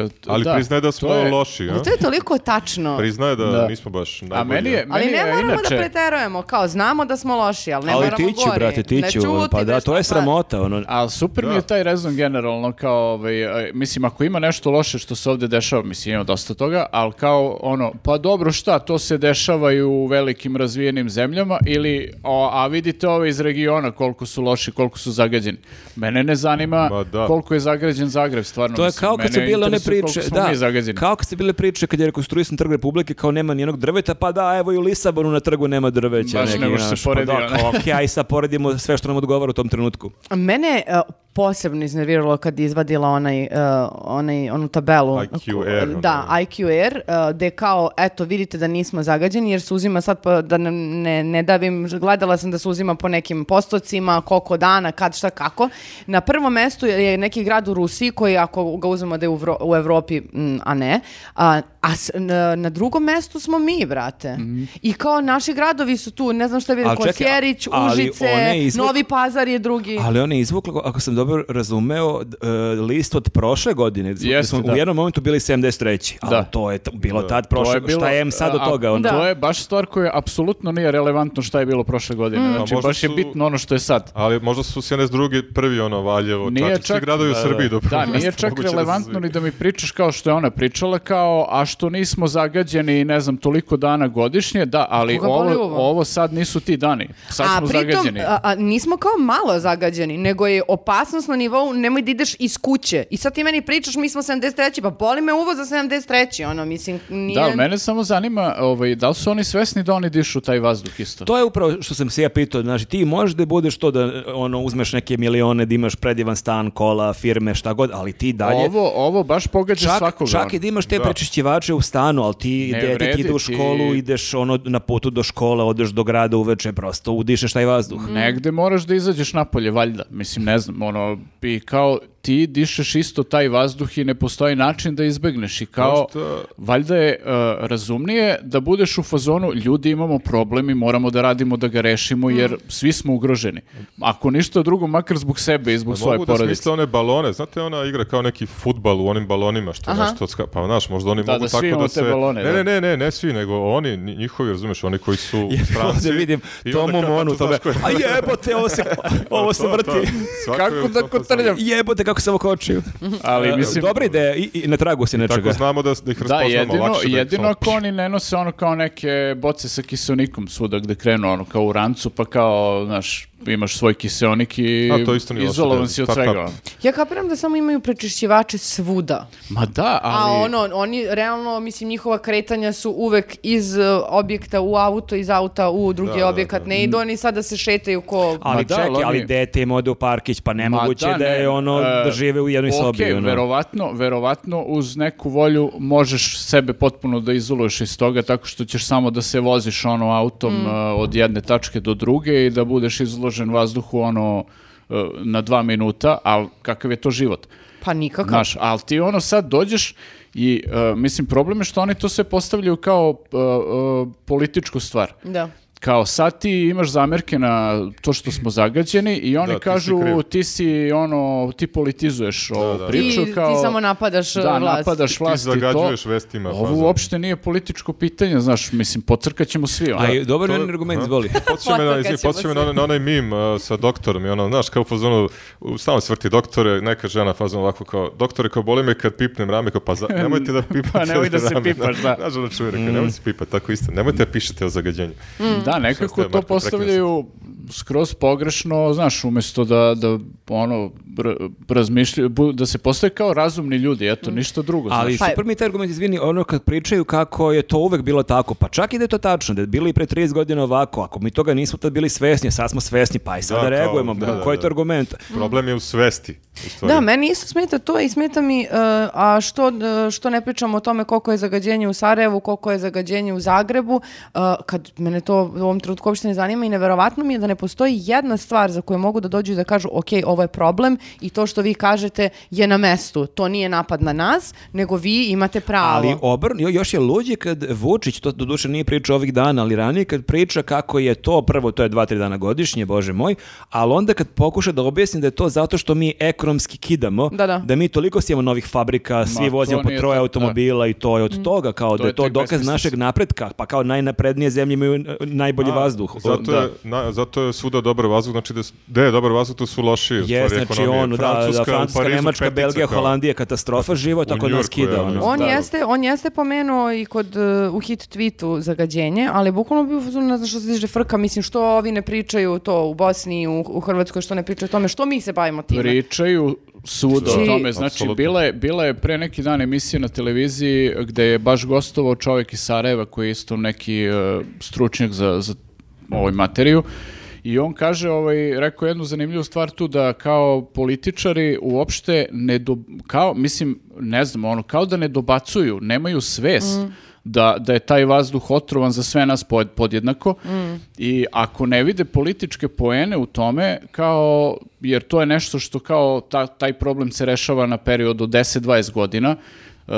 S2: E, t-
S4: Ali
S2: da,
S4: priznaje da
S2: to
S4: smo
S2: je-
S4: loši, a?
S3: To je toliko tačno.
S4: Priznaje da,
S2: Da.
S4: nismo baš najbolji.
S2: A meni je,
S3: ali
S2: meni
S3: ne
S2: je
S3: moramo
S2: inače...
S3: da preterujemo, kao znamo da smo loši, ali ne
S1: ali
S3: moramo
S1: tiću,
S3: gori.
S1: brate,
S3: Ne
S1: tiću.
S3: ćuti,
S1: pa da,
S3: ne
S1: to je
S3: šta pa-
S1: sramota. Ono.
S2: A super mi je
S4: Da.
S2: taj rezon generalno kao, ovaj, e, mislim, ako ima nešto loše što se ovdje dešava, mislim, ima dosta toga, ali kao ono, pa dobro šta, to se dešava i u velikim razvijenim zemljama ili, o, a vidite ove iz regiona koliko su loši, koliko su zagađeni. Mene ne zanima
S4: Ma da.
S2: koliko je zagađen Zagreb, stvarno.
S1: To je
S2: mislim,
S1: kao kad su
S2: mene
S1: bile one
S2: interesuje
S1: priče,
S2: koliko smo
S1: da,
S2: mi zagađeni.
S1: kao kad su bile priče kad je rekonstruisan trg Republike, kao nema nijednog drveta, pa da, evo i u Lisabonu na trgu nema drveća.
S2: Baš
S1: neki,
S2: ne može
S1: znaš,
S2: se
S1: pa
S2: porediti,
S1: Da,
S2: ono.
S1: kao, okej, aj sad poredimo sve što nam odgovara u tom trenutku.
S3: Mene je e, posebno iznerviralo kad je izvadila onaj, e, onaj, onu tabelu.
S4: IQR,
S3: Da,
S4: ono.
S3: IQR, uh, gde kao, eto, vidite da nismo zagađeni, jer se uzima sad, pa, da ne, ne, ne davim, gledala sam da se uzima po nekim postocima, koliko dana, kad, šta, kako. Na prvom mestu je neki grad u Rusiji, koji ako ga uzmemo da je u, Vro- u Evropi, mm, a ne, a, a s- na, na drugom mestu smo mi, brate. I kao naši gradovi su tu, ne znam šta vidim,
S1: Mhm. Ali čekaj,
S3: Kosjerić,
S1: ali
S3: Užice,
S1: one izvod-
S3: Novi Pazar je drugi.
S1: Ali on je izvukla, ako sam dobro razumeo, d- e, list od prošle godine. gde smo- gde
S2: Jeste,
S1: smo
S2: da.
S1: u jednom momentu bili 73. Ali
S2: Da.
S1: to je t- bilo tad
S2: To
S1: prošle, šta je em sad od
S2: a-
S1: toga? Ono?
S3: Da.
S2: To je baš stvar koja apsolutno nije relevantno šta je bilo prošle godine. Znači,
S4: A Mm. Pa možda
S2: baš je
S4: su-
S2: bitno ono što je sad.
S4: Ali možda su s jedne s druge prvi ono Valjevo,
S2: Nije
S4: Čačak, svi
S2: čak-
S4: gradovi u
S1: da,
S4: Srbiji dobro.
S2: Da, nije čak relevantno ni da mi pričaš kao što je ona pričala, kao a što nismo zagađeni, ne znam, toliko dana godišnje, da, ali
S3: Koga boli
S2: ovo,
S3: ovo?
S2: ovo sad nisu ti dani. Sad smo zagađeni.
S3: a, a, nismo kao malo zagađeni, nego je opasnost na nivou nemoj da ideš iz kuće. I sad ti meni pričaš mi smo 73. Pa boli me uvo za 73. Ono, mislim, nije...
S2: Da, mene samo zanima, ovaj, da li su oni svesni da oni dišu taj vazduh isto?
S1: To je upravo što sam se ja pitao, znači ti možeš da budeš to da e, ono uzmeš neke milione, da imaš predivan stan, kola, firme, šta god, ali ti dalje
S2: Ovo, ovo baš pogađa
S1: Čak,
S2: svakoga.
S1: čak
S2: ono.
S1: i da imaš te
S4: Da.
S1: prečišćivače u stanu, ali ti
S2: Ne
S1: dete
S2: vredi
S1: ide u
S2: ti.
S1: školu, ideš ono na putu do škole, odeš do grada uveče, prosto udišeš taj vazduh.
S2: Mm. Negde moraš da izađeš napolje, valjda. Mislim, ne znam, ono, i kao ti dišeš isto taj vazduh i ne postoji način da izbegneš. I kao,
S4: Možda-
S2: valjda je uh, razumnije da budeš u fazonu, ljudi imamo problem i moramo da radimo da ga rešimo, jer
S4: Mm.
S2: svi smo ugroženi. Ako ništa drugo, makar zbog sebe i zbog svoje
S4: Pa Mogu da
S2: porodice.
S4: smisle one balone, znate ona igra kao neki futbal u onim balonima što
S3: Aha.
S4: nešto odska... Pa znaš, možda oni
S2: Da,
S4: mogu
S2: da svi
S4: tako
S2: imamo
S4: da
S2: te
S4: se...
S2: balone,
S4: ne,
S2: da.
S4: ne, ne, ne, ne svi, nego oni, nji- njihovi, razumeš, oni koji
S1: <laughs>
S4: su u Franciji.
S1: <laughs> Ovdje vidim
S4: i onda
S1: Tomu
S4: kao
S1: Monu,
S4: tačno
S1: tome,
S4: znaš ko je-
S1: a jebote, ovo
S2: <laughs>
S1: se, <laughs> ovo se
S4: To, to,
S1: vrti.
S4: svako je u
S2: Kako da
S4: tom fazonu.
S2: kotrljam?
S1: Jebote, kako sam okočio.
S2: Ali,
S1: E,
S2: mislim,
S1: Dobra ideja, i, i na tragu si nečega.
S4: Tako znamo da, da ih
S2: Da,
S4: raspoznamo
S2: jedino,
S4: lakše. da ih
S2: jedino
S4: samo-
S2: ako oni ne nose ono kao neke boce sa kiseonikom svuda gde krenu, ono kao u rancu, pa kao, znaš, imaš svoj kiseonik i
S4: A, to isto nije loša
S2: izolovan
S4: ideja.
S2: si od
S4: Startup.
S2: svega. ono.
S3: Ja kapiram da samo imaju prečišćivače svuda.
S2: Ma da, ali...
S3: A ono, oni realno, mislim, njihova kretanja su uvek iz e, objekta u auto, iz auta u drugi
S4: Da, da,
S3: objekat.
S4: da.
S3: Ne idu oni sad da se šetaju ko...
S1: Ali
S2: Ma da,
S1: čekaj,
S2: ali
S1: ali
S2: oni-
S1: dete im ode u parkić, pa nemoguće
S2: Ma
S1: da,
S2: ne,
S1: je ono,
S2: e,
S1: da žive u jednoj
S2: okej,
S1: sobi. Ono.
S2: verovatno, verovatno uz neku volju možeš sebe potpuno da izoluješ iz toga tako što ćeš samo da se voziš ono autom
S3: Mm.
S2: e, od jedne tačke do druge i da budeš izložen vazduhu ono e, na dva minuta, ali kakav je to život?
S3: Pa nikakav.
S2: Znaš, ali ti ono sad dođeš i e, mislim problem je što oni to sve postavljaju kao e, e, političku stvar.
S3: Da.
S2: kao sad ti imaš zamerke na to što smo zagađeni i oni
S4: Da, ti si
S2: kažu
S4: kriv.
S2: ti si ono ti politizuješ ovu priču
S3: I
S2: kao
S3: ti samo napadaš uh,
S2: da,
S3: vlast.
S2: napadaš vlast i to.
S4: zagađuješ vestima, pa
S2: Ovo
S4: za-
S2: uopšte nije političko pitanje, znaš, mislim, pocrkat ćemo svi. ono.
S1: A i dobar
S4: to je-
S1: meni argument,
S4: Aha.
S2: <laughs>
S1: izvoli.
S4: Podsjeća me na,
S3: Potrkat
S4: izvini,
S3: ćemo
S4: podsjeća me na,
S3: se.
S4: onaj- na onaj mim uh, sa doktorom i ono, znaš, kao u fazonu, u- stalno se vrti doktore, neka žena fazonu ovako kao, doktore, kao boli me kad pipnem rame, kao, pa
S2: <laughs>
S4: za, nemojte da pipate
S2: Pa nemoj da se
S4: rame,
S2: pipaš,
S4: znaš, <laughs>
S2: da. Mm.
S4: Znaš, ono čuje, rekao, nemojte se pipati, tako isto, nemojte da pišete o zagađenju. Šta
S2: Da,
S4: ste,
S2: nekako to
S4: Marko,
S2: postavljaju skroz pogrešno, znaš, umjesto da, da ono, r- razmišljaju, bu- da se postave kao razumni ljudi, eto, ništa drugo.
S1: Ali
S2: znaš.
S3: Pa-
S1: super mi je taj argument, izvini, ono kad pričaju kako je to uvek bilo tako, pa čak i da je to tačno, da je bilo i pre 30 godina ovako, ako mi toga nismo tad bili svesni, sad smo svesni, pa i sad
S4: Da,
S1: da,
S4: kao,
S1: reagujemo,
S4: da,
S1: pa
S4: da,
S1: koji je
S4: da.
S1: to argument?
S4: Problem je u svesti. U stvari.
S3: Da, meni isto smeta to i smeta mi, e, a što, e, što ne pričamo o tome koliko je zagađenje u Sarajevu, koliko je zagađenje u Zagrebu, e, kad mene to u ovom trenutku uopšte ne zanima i neverovatno mi je da ne postoji jedna stvar za koju mogu da dođu i da kažu ok, ovo je problem i to što vi kažete je na mestu, to nije napad na nas, nego vi imate pravo.
S1: Ali obrn, jo- još je luđe kad Vučić, to doduše nije priča ovih dana, ali ranije kad priča kako je to, prvo to je dva, tri dana godišnje, bože moj, ali onda kad pokuša da objasni da je to zato što mi ekonomski kidamo,
S3: Da, da.
S1: mi toliko sijemo novih fabrika, svi
S2: to
S1: vozimo po
S2: nije
S1: troje
S2: to,
S1: automobila i to je
S3: Mm.
S1: od toga, kao da
S2: je
S1: je to
S2: tek
S1: dokaz
S2: besmislica.
S1: našeg napretka, pa kao najnaprednije zemlje imaju e, najbolji
S4: A,
S1: vazduh. O,
S4: Zato je, na, zato je svuda dobar vazduh, znači da, s- gde je dobar vazduh, tu su lošiji. u
S1: Jes,
S4: stvari,
S1: znači
S4: ekonomije.
S1: ono, da, da,
S4: u
S1: Francuska,
S4: Parizu,
S1: Nemačka,
S4: petica
S1: Belgija,
S4: kao.
S1: Holandija, katastrofa živo, tako nas
S4: Njujorku je,
S1: kida.
S4: ono,
S1: ono.
S4: da.
S3: On jeste, on jeste pomenuo i kod e, u hit tweetu zagađenje, ali bukvalno bi u fazonu, ne znam što se diže frka, mislim što ovi ne pričaju to u Bosni, u, u Hrvatskoj, što ne pričaju o tome, što mi se bavimo time.
S2: Pričaju svuda o
S3: Znači-
S2: tome. Znači,
S4: Apsolutno.
S2: bila je, bila je pre neki dan emisija na televiziji gde je baš gostovao čovjek iz Sarajeva koji je isto neki e, stručnjak za, za ovu materiju. I on kaže, ovaj, rekao jednu zanimljivu stvar tu da kao političari uopšte ne do, kao, mislim, ne znam, ono, kao da ne dobacuju, nemaju svest da, da je taj vazduh otrovan za sve nas pod, podjednako i ako ne vide političke poene u tome, kao, jer to je nešto što kao ta, taj problem se rešava na period od 10-20 godina, Uh,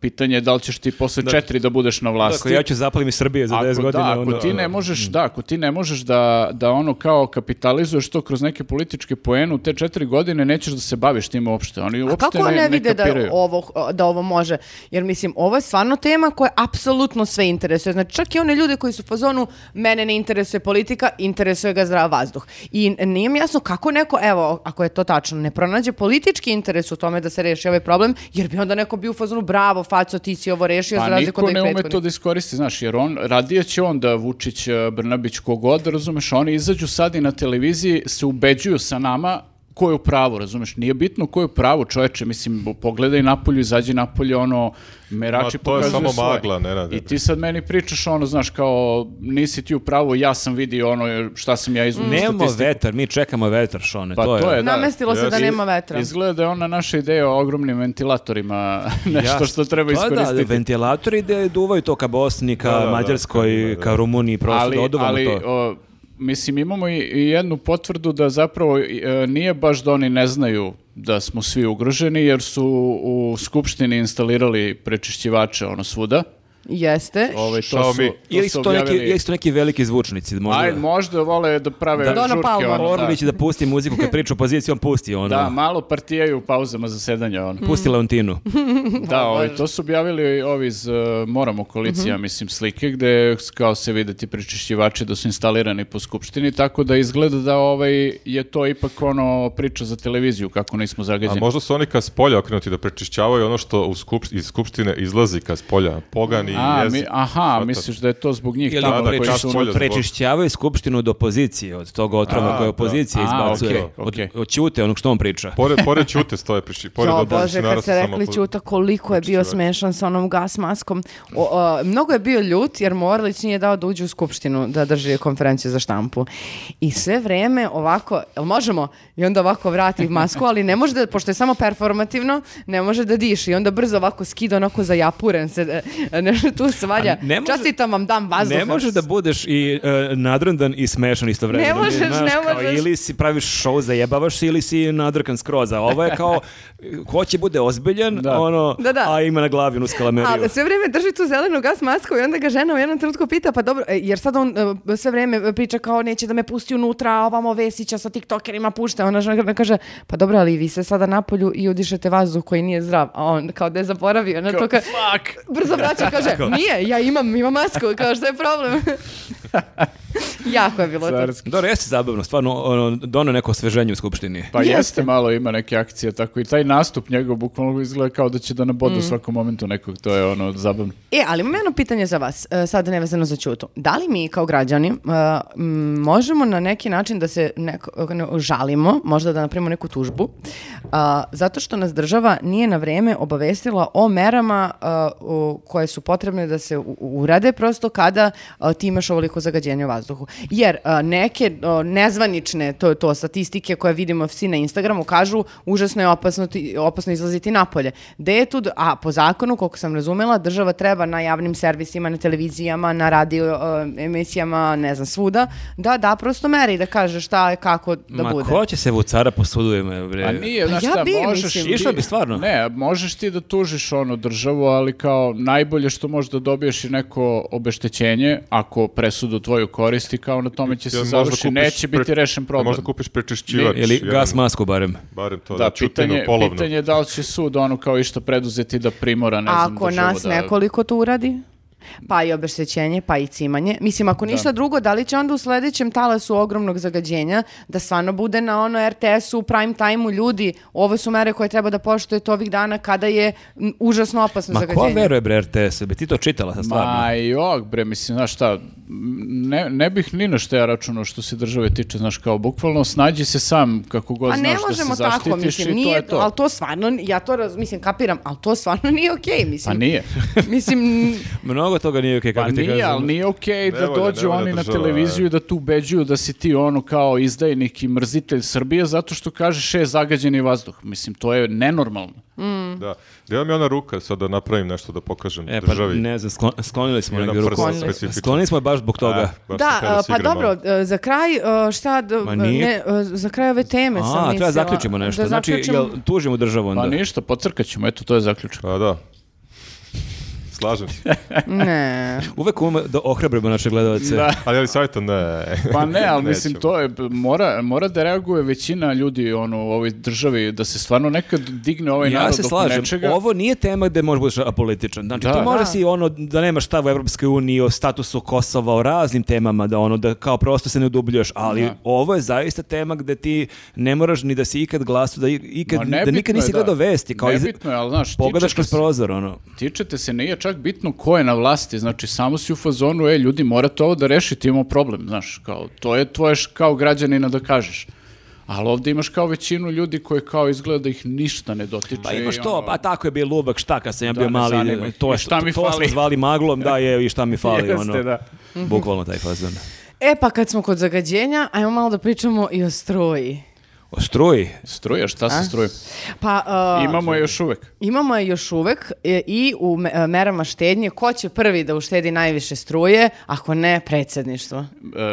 S2: pitanje je da li ćeš ti posle četiri da budeš na vlasti.
S1: Tako, Dakle, ja ću zapalim iz Srbije za 10
S2: Ako-
S1: godina.
S2: Da, ako
S1: ono,
S2: ti ne možeš, da, ako ti ne možeš da, da ono kao kapitalizuješ to kroz neke političke poenu, te četiri godine nećeš da se baviš tim uopšte. Oni
S3: A
S2: uopšte
S3: kako ne,
S2: ne, ne
S3: vide da
S2: kapiraju.
S3: ovo, da ovo može? Jer mislim, ovo je stvarno tema koja apsolutno sve interesuje. Znači, čak i one ljude koji su u fazonu, mene ne interesuje politika, interesuje ga zdrav vazduh. I nije mi jasno kako neko, evo, ako je to tačno, ne pronađe politički interes u tome da se reši ovaj problem, jer bi onda neko bio u fazonu, bravo, faco, ti si ovo rešio, za
S2: Pa
S3: razliku
S2: niko
S3: od ovih
S2: ne ume
S3: prethodnih."
S2: to da iskoristi, znaš, jer on, radije će onda Vučić, eh, Brnabić, kogod, razumeš, oni izađu sad i na televiziji se ubeđuju sa nama ko je u pravu, razumeš, nije bitno ko je u pravu, čoveče, mislim, pogledaj napolju, izađi napolje, ono, merači
S4: Ma, to je
S2: pokazuju
S4: samo
S2: svoje.
S4: magla, Nenade.
S2: I ti sad meni pričaš, ono, znaš, kao, nisi ti u pravu, ja sam vidio ono, šta sam ja izumio
S1: Nemamo vetar, mi čekamo vetar, Šone.
S2: Pa
S1: to, je.
S2: da.
S3: Namestilo se da
S4: Jeste.
S3: nema vetra.
S2: Izgleda da je ona naša ideja o ogromnim ventilatorima <laughs> nešto
S1: Ja-
S2: što treba
S1: Pa
S2: iskoristiti.
S1: Da, ventilatori da duvaju to ka Bosni, ka
S4: Da, da, da,
S1: Mađarskoj,
S4: da, da.
S1: ka Rumuniji, prosto da oduvamo
S2: ali,
S1: to.
S2: o, mislim, imamo i, i jednu potvrdu da zapravo i, e, nije baš da oni ne znaju da smo svi ugroženi, jer su u Skupštini instalirali prečišćivače, ono, svuda.
S3: Jeste.
S2: Ove, to
S4: Xiaomi.
S2: su, to
S1: Ili
S2: su
S1: su, to neki,
S2: objavili-
S1: ili su to neki veliki zvučnici, možda.
S2: Ajde, možda vole da prave
S3: Da. Dona
S2: žurke.
S3: Palma.
S2: ono,
S1: Orlić
S2: da.
S1: da pusti muziku kad priča o poziciji, on pusti ono.
S2: Da, malo partijaju u pauzama zasedanja. Ono.
S1: Pusti
S2: <laughs>
S1: Leontinu.
S2: Da,
S4: Ovaj,
S2: ovi, to su objavili ovi iz uh, Moramo
S4: Mhm.
S2: koalicija, mislim, slike gde kao se vide ti prečišćivači da su instalirani po skupštini, tako da izgleda da ovaj, je to ipak ono priča za televiziju, kako nismo
S4: A
S2: zagađeni.
S4: možda su oni ka spolja okrenuti da prečišćavaju ono što u skupš- iz skupštine izlazi ka spolja. Pogani,
S2: A,
S4: jezi.
S2: mi- aha,
S4: Svata.
S2: misliš da je to zbog njih
S1: Ili
S2: tamo
S4: da,
S2: koji
S4: čast
S2: su...
S1: prečišć-
S4: bolje zbog-
S1: prečišćavaju skupštinu od opozicije, od tog otrova
S4: A,
S1: koje
S4: da.
S1: opozicija
S2: A,
S1: izbacuje.
S2: okej, okej.
S1: Od, od Ćute, onog što on priča.
S4: Pored, pored ćute stoje priči. Pored
S3: Jo,
S4: dobrog
S3: Bože,
S4: scenara
S3: kad ste
S4: sa samo
S3: rekli
S4: po-
S3: Ćuta, koliko je bio
S4: čovjek.
S3: smešan sa onom gas maskom. O, a, mnogo je bio ljut, jer mu Orlić nije dao da uđe u skupštinu da drži konferenciju za štampu. I sve vreme ovako, jel možemo? I onda ovako vrati masku, ali ne može da, pošto je samo performativno, ne može da diši. I onda brzo ovako skida, onako zajapuren se, e, ne, tu svalja.
S1: A ne može-
S3: Čestitam vam, dam vazduh.
S1: Ne možeš da budeš i e, nadrndan i smešan istovremeno.
S3: Ne možeš,
S1: Znaš,
S3: ne
S1: kao,
S3: možeš.
S1: Ili si praviš šou, zajebavaš se, ili si nadrkan skroz. A ovo je kao, ko će bude ozbiljan,
S2: Da.
S1: ono,
S3: Da, da.
S1: a ima na glavi onu skalameriju.
S3: A sve vrijeme drži tu zelenu gas masku i onda ga žena u jednom trenutku pita, pa dobro, e, jer sad on e, sve vrijeme priča kao neće da me pusti unutra, a ovamo Vesića sa tiktokerima pušta, ona žena kaže, pa dobro, ali vi se sada napolju i udišete vazduh koji nije zdrav, a on kao da je zaboravio, ona to ka-
S2: Fuck!
S3: brzo vraća i kaže, nije, ja imam, imam masku, kao što je problem. <laughs> jako je bilo to.
S2: Carski.
S1: Dobro, jeste zabavno, stvarno, ono, dono neko osveženje u skupštini.
S2: Pa
S3: Jeste.
S2: jeste. malo ima neke akcije tako i taj nastup njegov bukvalno izgleda kao da će da naboda u
S4: Mhm.
S2: svakom momentu nekog, to je ono zabavno.
S3: E, ali imam jedno pitanje za vas, e, sad nevezano za Ćutu. Da li mi kao građani e, m, možemo na neki način da se neko, ne, žalimo, možda da napravimo neku tužbu, a, zato što nas država nije na vrijeme obavestila o merama a, o- koje su potrebne da se u- u- urade prosto kada a, ti imaš ovoliko zagađenja u vazduhu. Jer a, neke o, nezvanične to, to statistike koje vidimo svi na Instagramu kažu užasno je opasno, ti- opasno izlaziti napolje. Gde je tu, d- a po zakonu, koliko sam razumela, država treba na javnim servisima, na televizijama, na radio e, emisijama, ne znam, svuda, da da prosto meri, da kaže šta je, kako da
S1: Ma
S3: bude.
S1: ko će se vucara po sudovima, bre?
S2: A
S4: E,
S2: nije,
S3: Pa
S2: znaš
S3: ja
S2: šta,
S3: bi,
S2: možeš...
S3: mislim.
S2: ti-
S1: Išla bi stvarno.
S2: Ne, možeš ti da tužiš ono državu, ali kao najbolje što možeš da dobiješ i neko obeštećenje, ako presudu tvoju koristi, kao na tome će se
S4: Ili možda
S2: završiti,
S4: kupiš
S2: neće
S4: pre-
S2: biti rešen problem.
S4: Možda kupiš prečišćivač.
S1: Ili
S4: jedan,
S1: gas masku barem.
S4: Barem to, znači, da,
S2: Da,
S4: ćutinu
S2: pitanje,
S4: polovnu.
S2: pitanje je da li će sud ono kao išta preduzeti da primora, ne znam,
S3: Ako
S2: državu
S3: nas
S2: da...
S3: nekoliko to uradi, pa i obeštećenje, pa i cimanje. Mislim, ako ništa drugo, da li će onda u sledećem talasu ogromnog zagađenja da stvarno bude na ono RTS-u, prime time-u ljudi, ovo su mere koje treba da poštujete ovih dana kada je m, užasno opasno
S1: Ma ko
S3: zagađenje.
S1: veruje, bre, RTS-u? Bi ti to čitala sa stvarno?
S2: Ma jok, bre, mislim, znaš šta, ne, ne bih ni na šta ja računao što se države tiče, znaš, kao bukvalno snađi se sam kako god
S3: Pa ne
S2: znaš da se
S3: možemo
S2: zaštitiš
S3: tako, mislim,
S2: i to
S3: nije,
S2: je to.
S3: ali to stvarno, ja to raz, mislim, kapiram, ali to stvarno nije okej,
S2: Pa
S3: mislim.
S2: nije.
S3: <laughs> Mislim,
S1: Mnogo toga nije okej,
S2: Pa
S1: kako ti
S2: nije,
S1: kažem.
S2: ali nije okej da
S4: Nevolja,
S2: dođu
S4: nevolja
S2: oni na
S4: država,
S2: televiziju
S4: je.
S2: i da tu ubeđuju da si ti ono kao izdajnik i mrzitelj Srbije zato što kažeš je zagađeni vazduh. Mislim, to je nenormalno.
S4: Da. Gde vam je ona ruka sad da napravim nešto da pokažem
S1: E, pa
S4: državi?
S1: ne znam, sklon- sklonili smo
S4: Jedan
S1: negdje ruku.
S4: prst
S3: Sklonili.
S4: specifičan.
S1: Sklonili smo je baš zbog toga.
S4: E, baš sam
S3: da,
S4: teo da
S3: e,
S4: se
S3: pa
S4: igram
S3: dobro,
S4: malo.
S3: e, za kraj, e, šta, d-
S1: Ma nije.
S3: ne, e, za kraj ove teme sam
S1: A,
S3: mislila.
S1: treba zaključimo nešto.
S3: Da
S1: znači,
S3: zaključimo.
S1: jel tužimo državu onda?
S2: Pa ništa, pocrkat ćemo, eto, to je zaključak.
S4: Pa da. Slažem se.
S3: Ne.
S1: Uvek umemo da ohrabrimo naše gledalce.
S2: <laughs> Da.
S4: Ali ali savjeta ne.
S2: Pa ne, <laughs> ali
S4: <laughs>
S2: mislim,
S4: Nećemo.
S2: to je, mora, mora da reaguje većina ljudi ono, u ovoj državi, da se stvarno nekad digne ovaj
S1: Ja
S2: narod
S1: se
S2: oko
S1: slažem,
S2: nečega.
S1: ovo nije tema gde možeš budeš apolitičan. Znači,
S2: Da.
S1: ti možda
S3: Da.
S1: si ono, da nemaš stav u Evropskoj uniji, o statusu Kosova, o raznim temama, da ono, da kao prosto se ne udubljuješ, ali
S2: Da.
S1: ovo je zaista tema gde ti ne moraš ni da si ikad glasu, da, i- ikad,
S2: Ma, nebitno
S1: da nikad
S2: je,
S1: nisi
S2: da.
S1: gledao vesti. Kao iz-
S2: Nebitno je, ali znaš,
S1: Pogledaš
S2: tiče
S1: kroz
S2: se-
S1: prozor, ono.
S2: Tičete se, nije čak bitno ko je na vlasti, znači samo si u fazonu, e, ljudi, morate ovo da rešite, imamo problem, znaš, kao, to je tvoje š- kao građanina da kažeš. Ali ovdje imaš kao većinu ljudi koji kao izgleda da ih ništa ne dotiče.
S1: Pa
S2: i
S1: imaš
S2: ono,
S1: to, pa tako je bio lubak, šta kad sam ja
S2: Da,
S1: bio
S2: ne zanima
S1: mali,
S2: ih.
S1: to, je,
S2: I šta mi
S1: to smo
S2: fali?
S1: zvali maglom, da je, i šta mi fali,
S2: <laughs> Jeste,
S1: ono.
S2: da.
S1: Bukvalno taj fazon.
S3: <laughs> E, pa kad smo kod zagađenja, ajmo malo da pričamo i o struji.
S1: O struji,
S2: Struja, šta se struje?
S3: Pa, e,
S2: Imamo je još uvek.
S3: Imamo je još uvek e, i u me- e, merama štednje. Ko će prvi da uštedi najviše struje, ako ne predsjedništvo?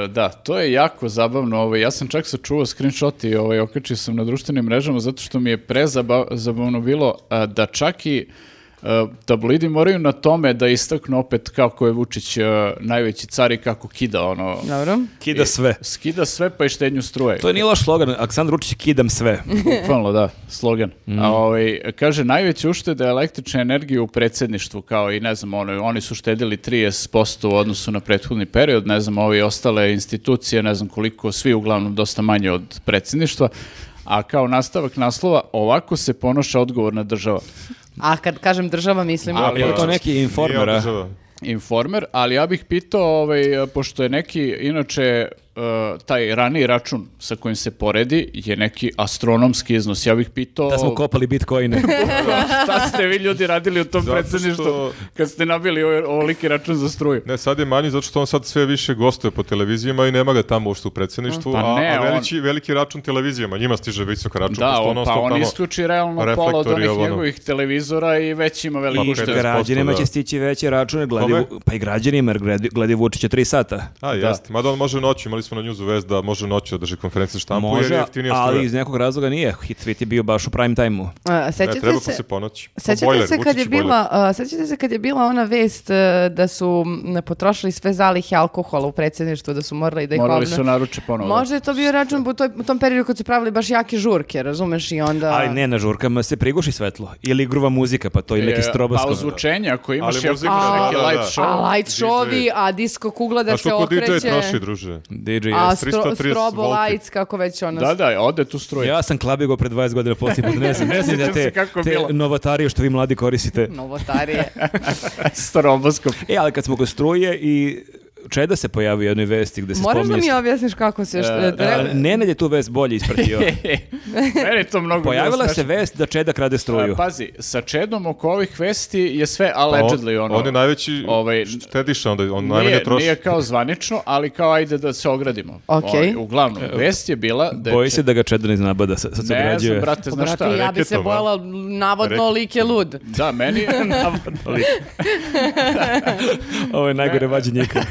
S2: E, da, to je jako zabavno. Ovaj, ja sam čak sačuvao screenshot i ovaj, okačio sam na društvenim mrežama zato što mi je prezabavno bilo a, da čak i e, tabloidi moraju na tome da istaknu opet kako je Vučić e, najveći car i kako kida ono.
S3: Dobro.
S1: kida sve.
S2: Skida sve pa i štednju struje.
S1: To je nije loš slogan, Aleksandar Vučić kidam sve.
S2: Bukvalno, da, slogan.
S1: Mm.
S2: A, ovaj, kaže, najveće uštede električne energije u predsjedništvu, kao i ne znam, ono, oni su štedili 30% u odnosu na prethodni period, ne znam, ovi ostale institucije, ne znam koliko, svi uglavnom dosta manje od predsjedništva, a kao nastavak naslova, ovako se ponaša odgovorna država.
S3: A kad kažem država, mislim...
S1: A, je li to
S4: Pa,
S1: neki
S4: nije
S1: informera?
S4: održava.
S2: Informer, ali ja bih pitao, ovaj, pošto je neki, inače, e, taj raniji račun sa kojim se poredi je neki astronomski iznos. Ja bih pitao...
S1: Da smo kopali
S2: <laughs>
S1: bitcoine.
S2: šta ste vi ljudi radili u tom
S4: Zato što-
S2: predsjedništvu kad ste nabili ovaj- ovoliki račun za struju?
S4: Ne, sad je manji zato što on sad sve više gostuje po televizijama i nema ga tamo uopšte u predsjedništvu,
S2: Pa
S4: a,
S2: ne,
S4: a
S2: on-
S4: veliki, veliki račun televizijama, njima stiže visok račun.
S2: Da,
S4: pošto
S2: on,
S4: non
S2: pa
S4: stop
S2: on
S4: tamo-
S2: isključi realno pola od
S4: ono reflektori,
S2: onih
S4: ovo, ono.
S2: njegovih televizora i već ima veliki
S4: I
S1: I
S4: Pa,
S2: uštedu.
S4: pet-
S1: građanima
S4: da.
S1: će stići veće račune, gledi,
S4: Kome?
S1: Vu- pa i građanima, jer gledi, gledi Vučića 3 sata.
S4: A, jeste. Mada on može noću, imali smo na njuzu vez da može noću da drži konferenciju štampu, jer je
S1: Može,
S4: jeftinija
S1: ali
S4: struja.
S1: iz nekog razloga nije. Hit tweet je bio baš u prime time-u.
S3: A,
S4: Ne, treba
S3: E, sećate
S4: se,
S3: se...
S4: se ponoći. Pa
S3: Sećate
S4: bojler,
S3: se kad
S4: Vučić
S3: je
S4: i bojler.
S3: bila, a, sećate se kad je bila ona vest e, da su m, potrošili sve zalihe alkohola u predsjedništvu, da su morali da ih
S2: Morali
S3: obna-
S2: su naruče ponovo.
S3: Možda je to bio račun u, toj, u tom periodu kad su pravili baš jake žurke, razumeš, i onda...
S1: Ali ne, na žurkama se priguši svetlo. Ili gruva muzika, pa to i neki
S2: E, Pa
S1: stroboskop.
S2: ozvučenje, ako imaš
S4: Ali
S2: jako
S4: muzika,
S2: neki
S4: da, da,
S2: light
S4: da.
S2: show.
S3: A light
S4: DJ.
S3: showi, a disco kugla da
S4: A
S3: se
S4: što ko
S3: okreće.
S4: DJ troši, druže?
S1: DJ
S3: A
S1: jest.
S3: stro,
S4: 330
S3: strobo
S4: volti.
S3: lights, kako već ono...
S2: Da, da, ode tu struja.
S1: Ja sam klabigo pre 20 godina poslije put, ne znam,
S2: <laughs>
S1: ne znam
S2: Sjećam
S1: te,
S2: se kako je
S1: te
S2: bilo.
S1: novatarije što vi mladi koristite.
S2: <laughs>
S3: Novotarije.
S2: <laughs> Stroboskop.
S1: E, ali kad smo kod struje i Čeda se pojavio u jednoj vesti gde se
S3: Moraš da
S1: spominje...
S3: mi objasniš kako se... Što,
S2: E,
S3: treba-
S1: A, Nenad <laughs> je tu vest bolje
S2: <laughs>
S1: ispratio.
S2: Meni je to mnogo bilo
S1: Pojavila se
S2: smešno.
S1: vest da Čeda krade struju.
S2: A, pa, Pazi, sa Čedom oko ovih vesti je sve allegedly
S4: Pa on,
S2: ono.
S4: on je najveći
S2: ovaj,
S4: štediša, onda, on najmanje
S2: Nije,
S4: troši.
S2: nije kao zvanično, ali kao ajde da se ogradimo.
S3: Ok.
S2: Ovaj, uglavnom, vest je bila da je
S1: Boji
S2: Čed-
S1: se da ga Čeda ne iznabada, sad sad se
S2: Ne znam,
S1: ograđuje.
S2: brate,
S3: Pa,
S2: znaš
S3: brate,
S2: šta?
S3: ja bi se
S4: reketom, a?
S3: bojala navodno
S4: Reket-
S3: lik je lud.
S2: Da, meni je,
S1: <laughs> Ovo je najgore vađenje
S2: <laughs>
S1: ikad.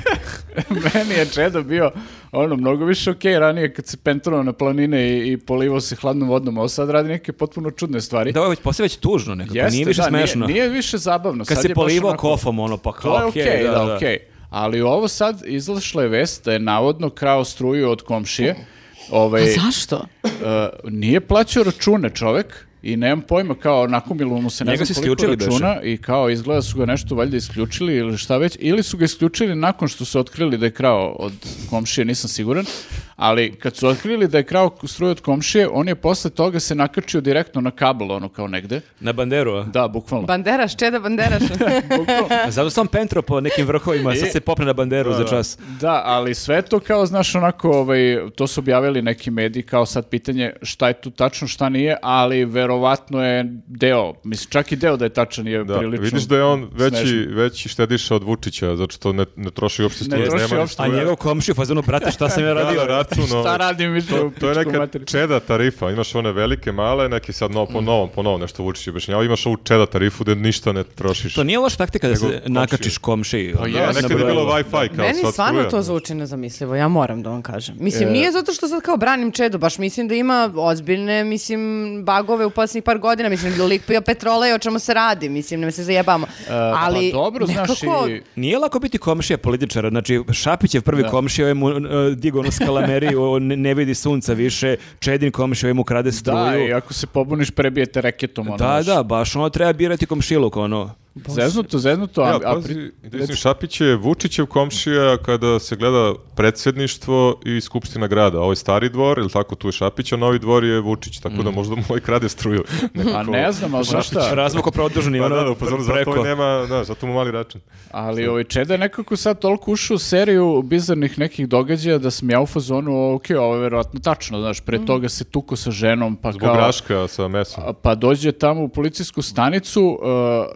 S2: meni je Čedo bio ono, mnogo više okej ranije kad se penturao na planine i, i polivao se hladnom vodnom, a ovo sad radi neke potpuno čudne stvari.
S1: Da, ovo je već posle već tužno nekako,
S2: Jeste,
S1: pa nije više
S2: da,
S1: smešno.
S2: Nije, više zabavno.
S1: Kad
S2: sad
S1: se
S2: je baš
S1: polivao
S2: onako-
S1: kofom, ono, pa kao,
S2: To je okej,
S1: okej,
S2: da, okej. Ali ovo sad izašla je vest da je navodno krao struju od komšije. Ovaj,
S3: Zašto?
S2: e, nije plaćao račune čovek i nemam pojma, kao nakumilo mu se ne
S1: Njega
S2: znam
S1: su
S2: koliko
S1: isključili
S2: računa i kao izgleda su ga nešto valjda isključili ili šta već, ili su ga isključili nakon što su otkrili da je krao od komšije, nisam siguran, ali kad su otkrili da je krao struju od komšije, on je posle toga se nakačio direktno na kabel, ono kao negde.
S1: Na banderu,
S3: <laughs>
S1: a?
S2: Da, bukvalno.
S3: Banderaš, čeda
S2: <laughs>
S3: banderaš.
S2: Bukvalno.
S1: Zato sam pentro po nekim vrhovima, sad se popne na banderu za čas.
S2: Da, ali sve to kao, znaš, onako, ovaj, to su objavili neki mediji, kao sad pitanje šta je tu tačno, šta nije, ali verovatno je deo, mislim, čak i deo da je tačan je
S4: Da,
S2: prilično
S4: vidiš da je on veći,
S2: smešno.
S4: veći štediša od Vučića, zato što ne, ne troši uopšte struje.
S2: troši
S4: nema ni
S2: uopšte.
S1: A
S4: struje.
S1: njegov komši u fazonu, brate, šta sam
S4: <laughs>
S1: ja
S4: Da,
S1: radio?
S4: da, račun,
S2: Šta
S4: ovaj,
S2: radim, vidiš, u
S4: To je
S2: pičku
S4: neka
S2: materinu.
S4: čeda tarifa, imaš one velike, male, neki sad novo, po novom, po novom nešto Vučić objašnjava, imaš ovu čeda tarifu gde ništa ne trošiš.
S1: To nije loša taktika da
S4: Nego
S1: se
S4: komšiju.
S1: nakačiš komšiji. ono,
S4: Da,
S2: jeste,
S1: na
S4: nekad je bilo
S1: brojevo.
S4: Wi-Fi kao
S3: Meni
S4: sad
S3: stvarno
S4: struja.
S3: to zvuči nezamislivo, ja moram da vam kažem. Mislim,
S2: E.
S3: nije zato što sad kao branim Čedu, baš mislim da ima ozbiljne, mislim, bagove u posljednjih par godina, mislim, lik pio petrola i o čemu se radi, mislim, ne se zajebamo. Ali,
S2: pa dobro, znaš,
S3: nekako-
S2: i...
S1: Nije lako biti komšija političara, znači Šapićev prvi komšija ovaj mu e, digo ono
S4: <laughs>
S1: skalameriju, on ne, ne vidi sunca više, Čedin komšija ovaj mu krade
S2: Da, i
S1: struju.
S2: ako se pobuniš, prebijete reketom, ono.
S1: Da,
S2: znaš.
S1: da, baš ono treba birati komšiluk, ono.
S2: Zeznuto, zeznuto, a,
S4: Ja,
S2: a
S4: pazi,
S2: pri-
S4: mislim, Šapić je Vučićev komšija kada se gleda predsjedništvo i skupština grada. Ovo je stari dvor, ili tako, tu je Šapić, a novi dvor je Vučić, tako da možda moj krade struju.
S2: Pa ne znam, ali znaš šta?
S1: Razvuko produženi,
S4: Pa
S1: ono,
S4: da, da, u fazonu, zato
S1: preko.
S4: i nema, da, zato mu mali račun.
S2: Ali ovaj Čeda je nekako sad toliko ušao u seriju bizarnih nekih događaja da sam ja u fazonu, ok, ovo je verovatno tačno, znaš,
S1: Mhm.
S2: pre toga se tuko sa ženom, pa
S4: Zbog
S2: kao...
S4: raška sa mesom.
S2: a, Pa dođe tamo u policijsku stanicu, e,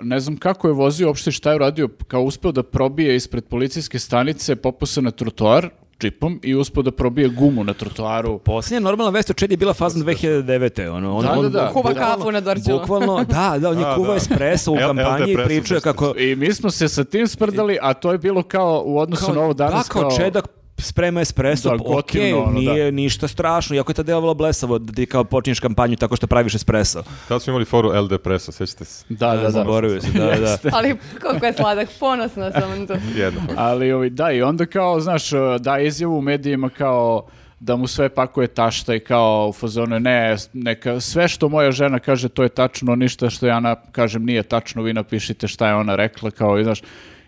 S2: ne znam kako je vozio, uopšte šta je radio, kao uspeo da probije ispred policijske stanice, popao se na trotoar džipom i uspeo da probije gumu na trotoaru.
S1: Posljednja normalna vest o Čedi je bila fazon 2009. Ono, on,
S2: Da, da, da.
S1: on
S3: Kuva
S1: bukvalno-
S3: kafu na Dorćolu.
S1: Bukvalno, da, da, on je
S4: A,
S1: kuva
S4: da.
S1: espresso u
S4: El-
S1: kampanji i
S4: LDP
S1: pričuje
S4: presu,
S1: kako...
S2: I mi smo se sa tim sprdali, a to je bilo kao u odnosu na ovo Pa danas.
S1: da, kao, Čedak sprema espresso,
S2: Da,
S1: ok,
S2: gotivno, ono, da.
S1: nije ništa strašno, iako je to delovalo blesavo, da ti kao počinješ kampanju tako što praviš espresso.
S4: Tad smo imali foru LD presa, sećate se.
S2: Da, da, da.
S1: Zaboravio se,
S2: <laughs>
S1: da, da.
S3: ali koliko je sladak, ponosna sam na to.
S4: Jedno.
S2: <laughs> Ali ovi, da, i onda kao, znaš, da izjavu u medijima kao da mu sve pakuje tašta i kao u fazonu, ne, neka, sve što moja žena kaže to je tačno, ništa što ja na, kažem nije tačno, vi napišite šta je ona rekla, kao, i, znaš,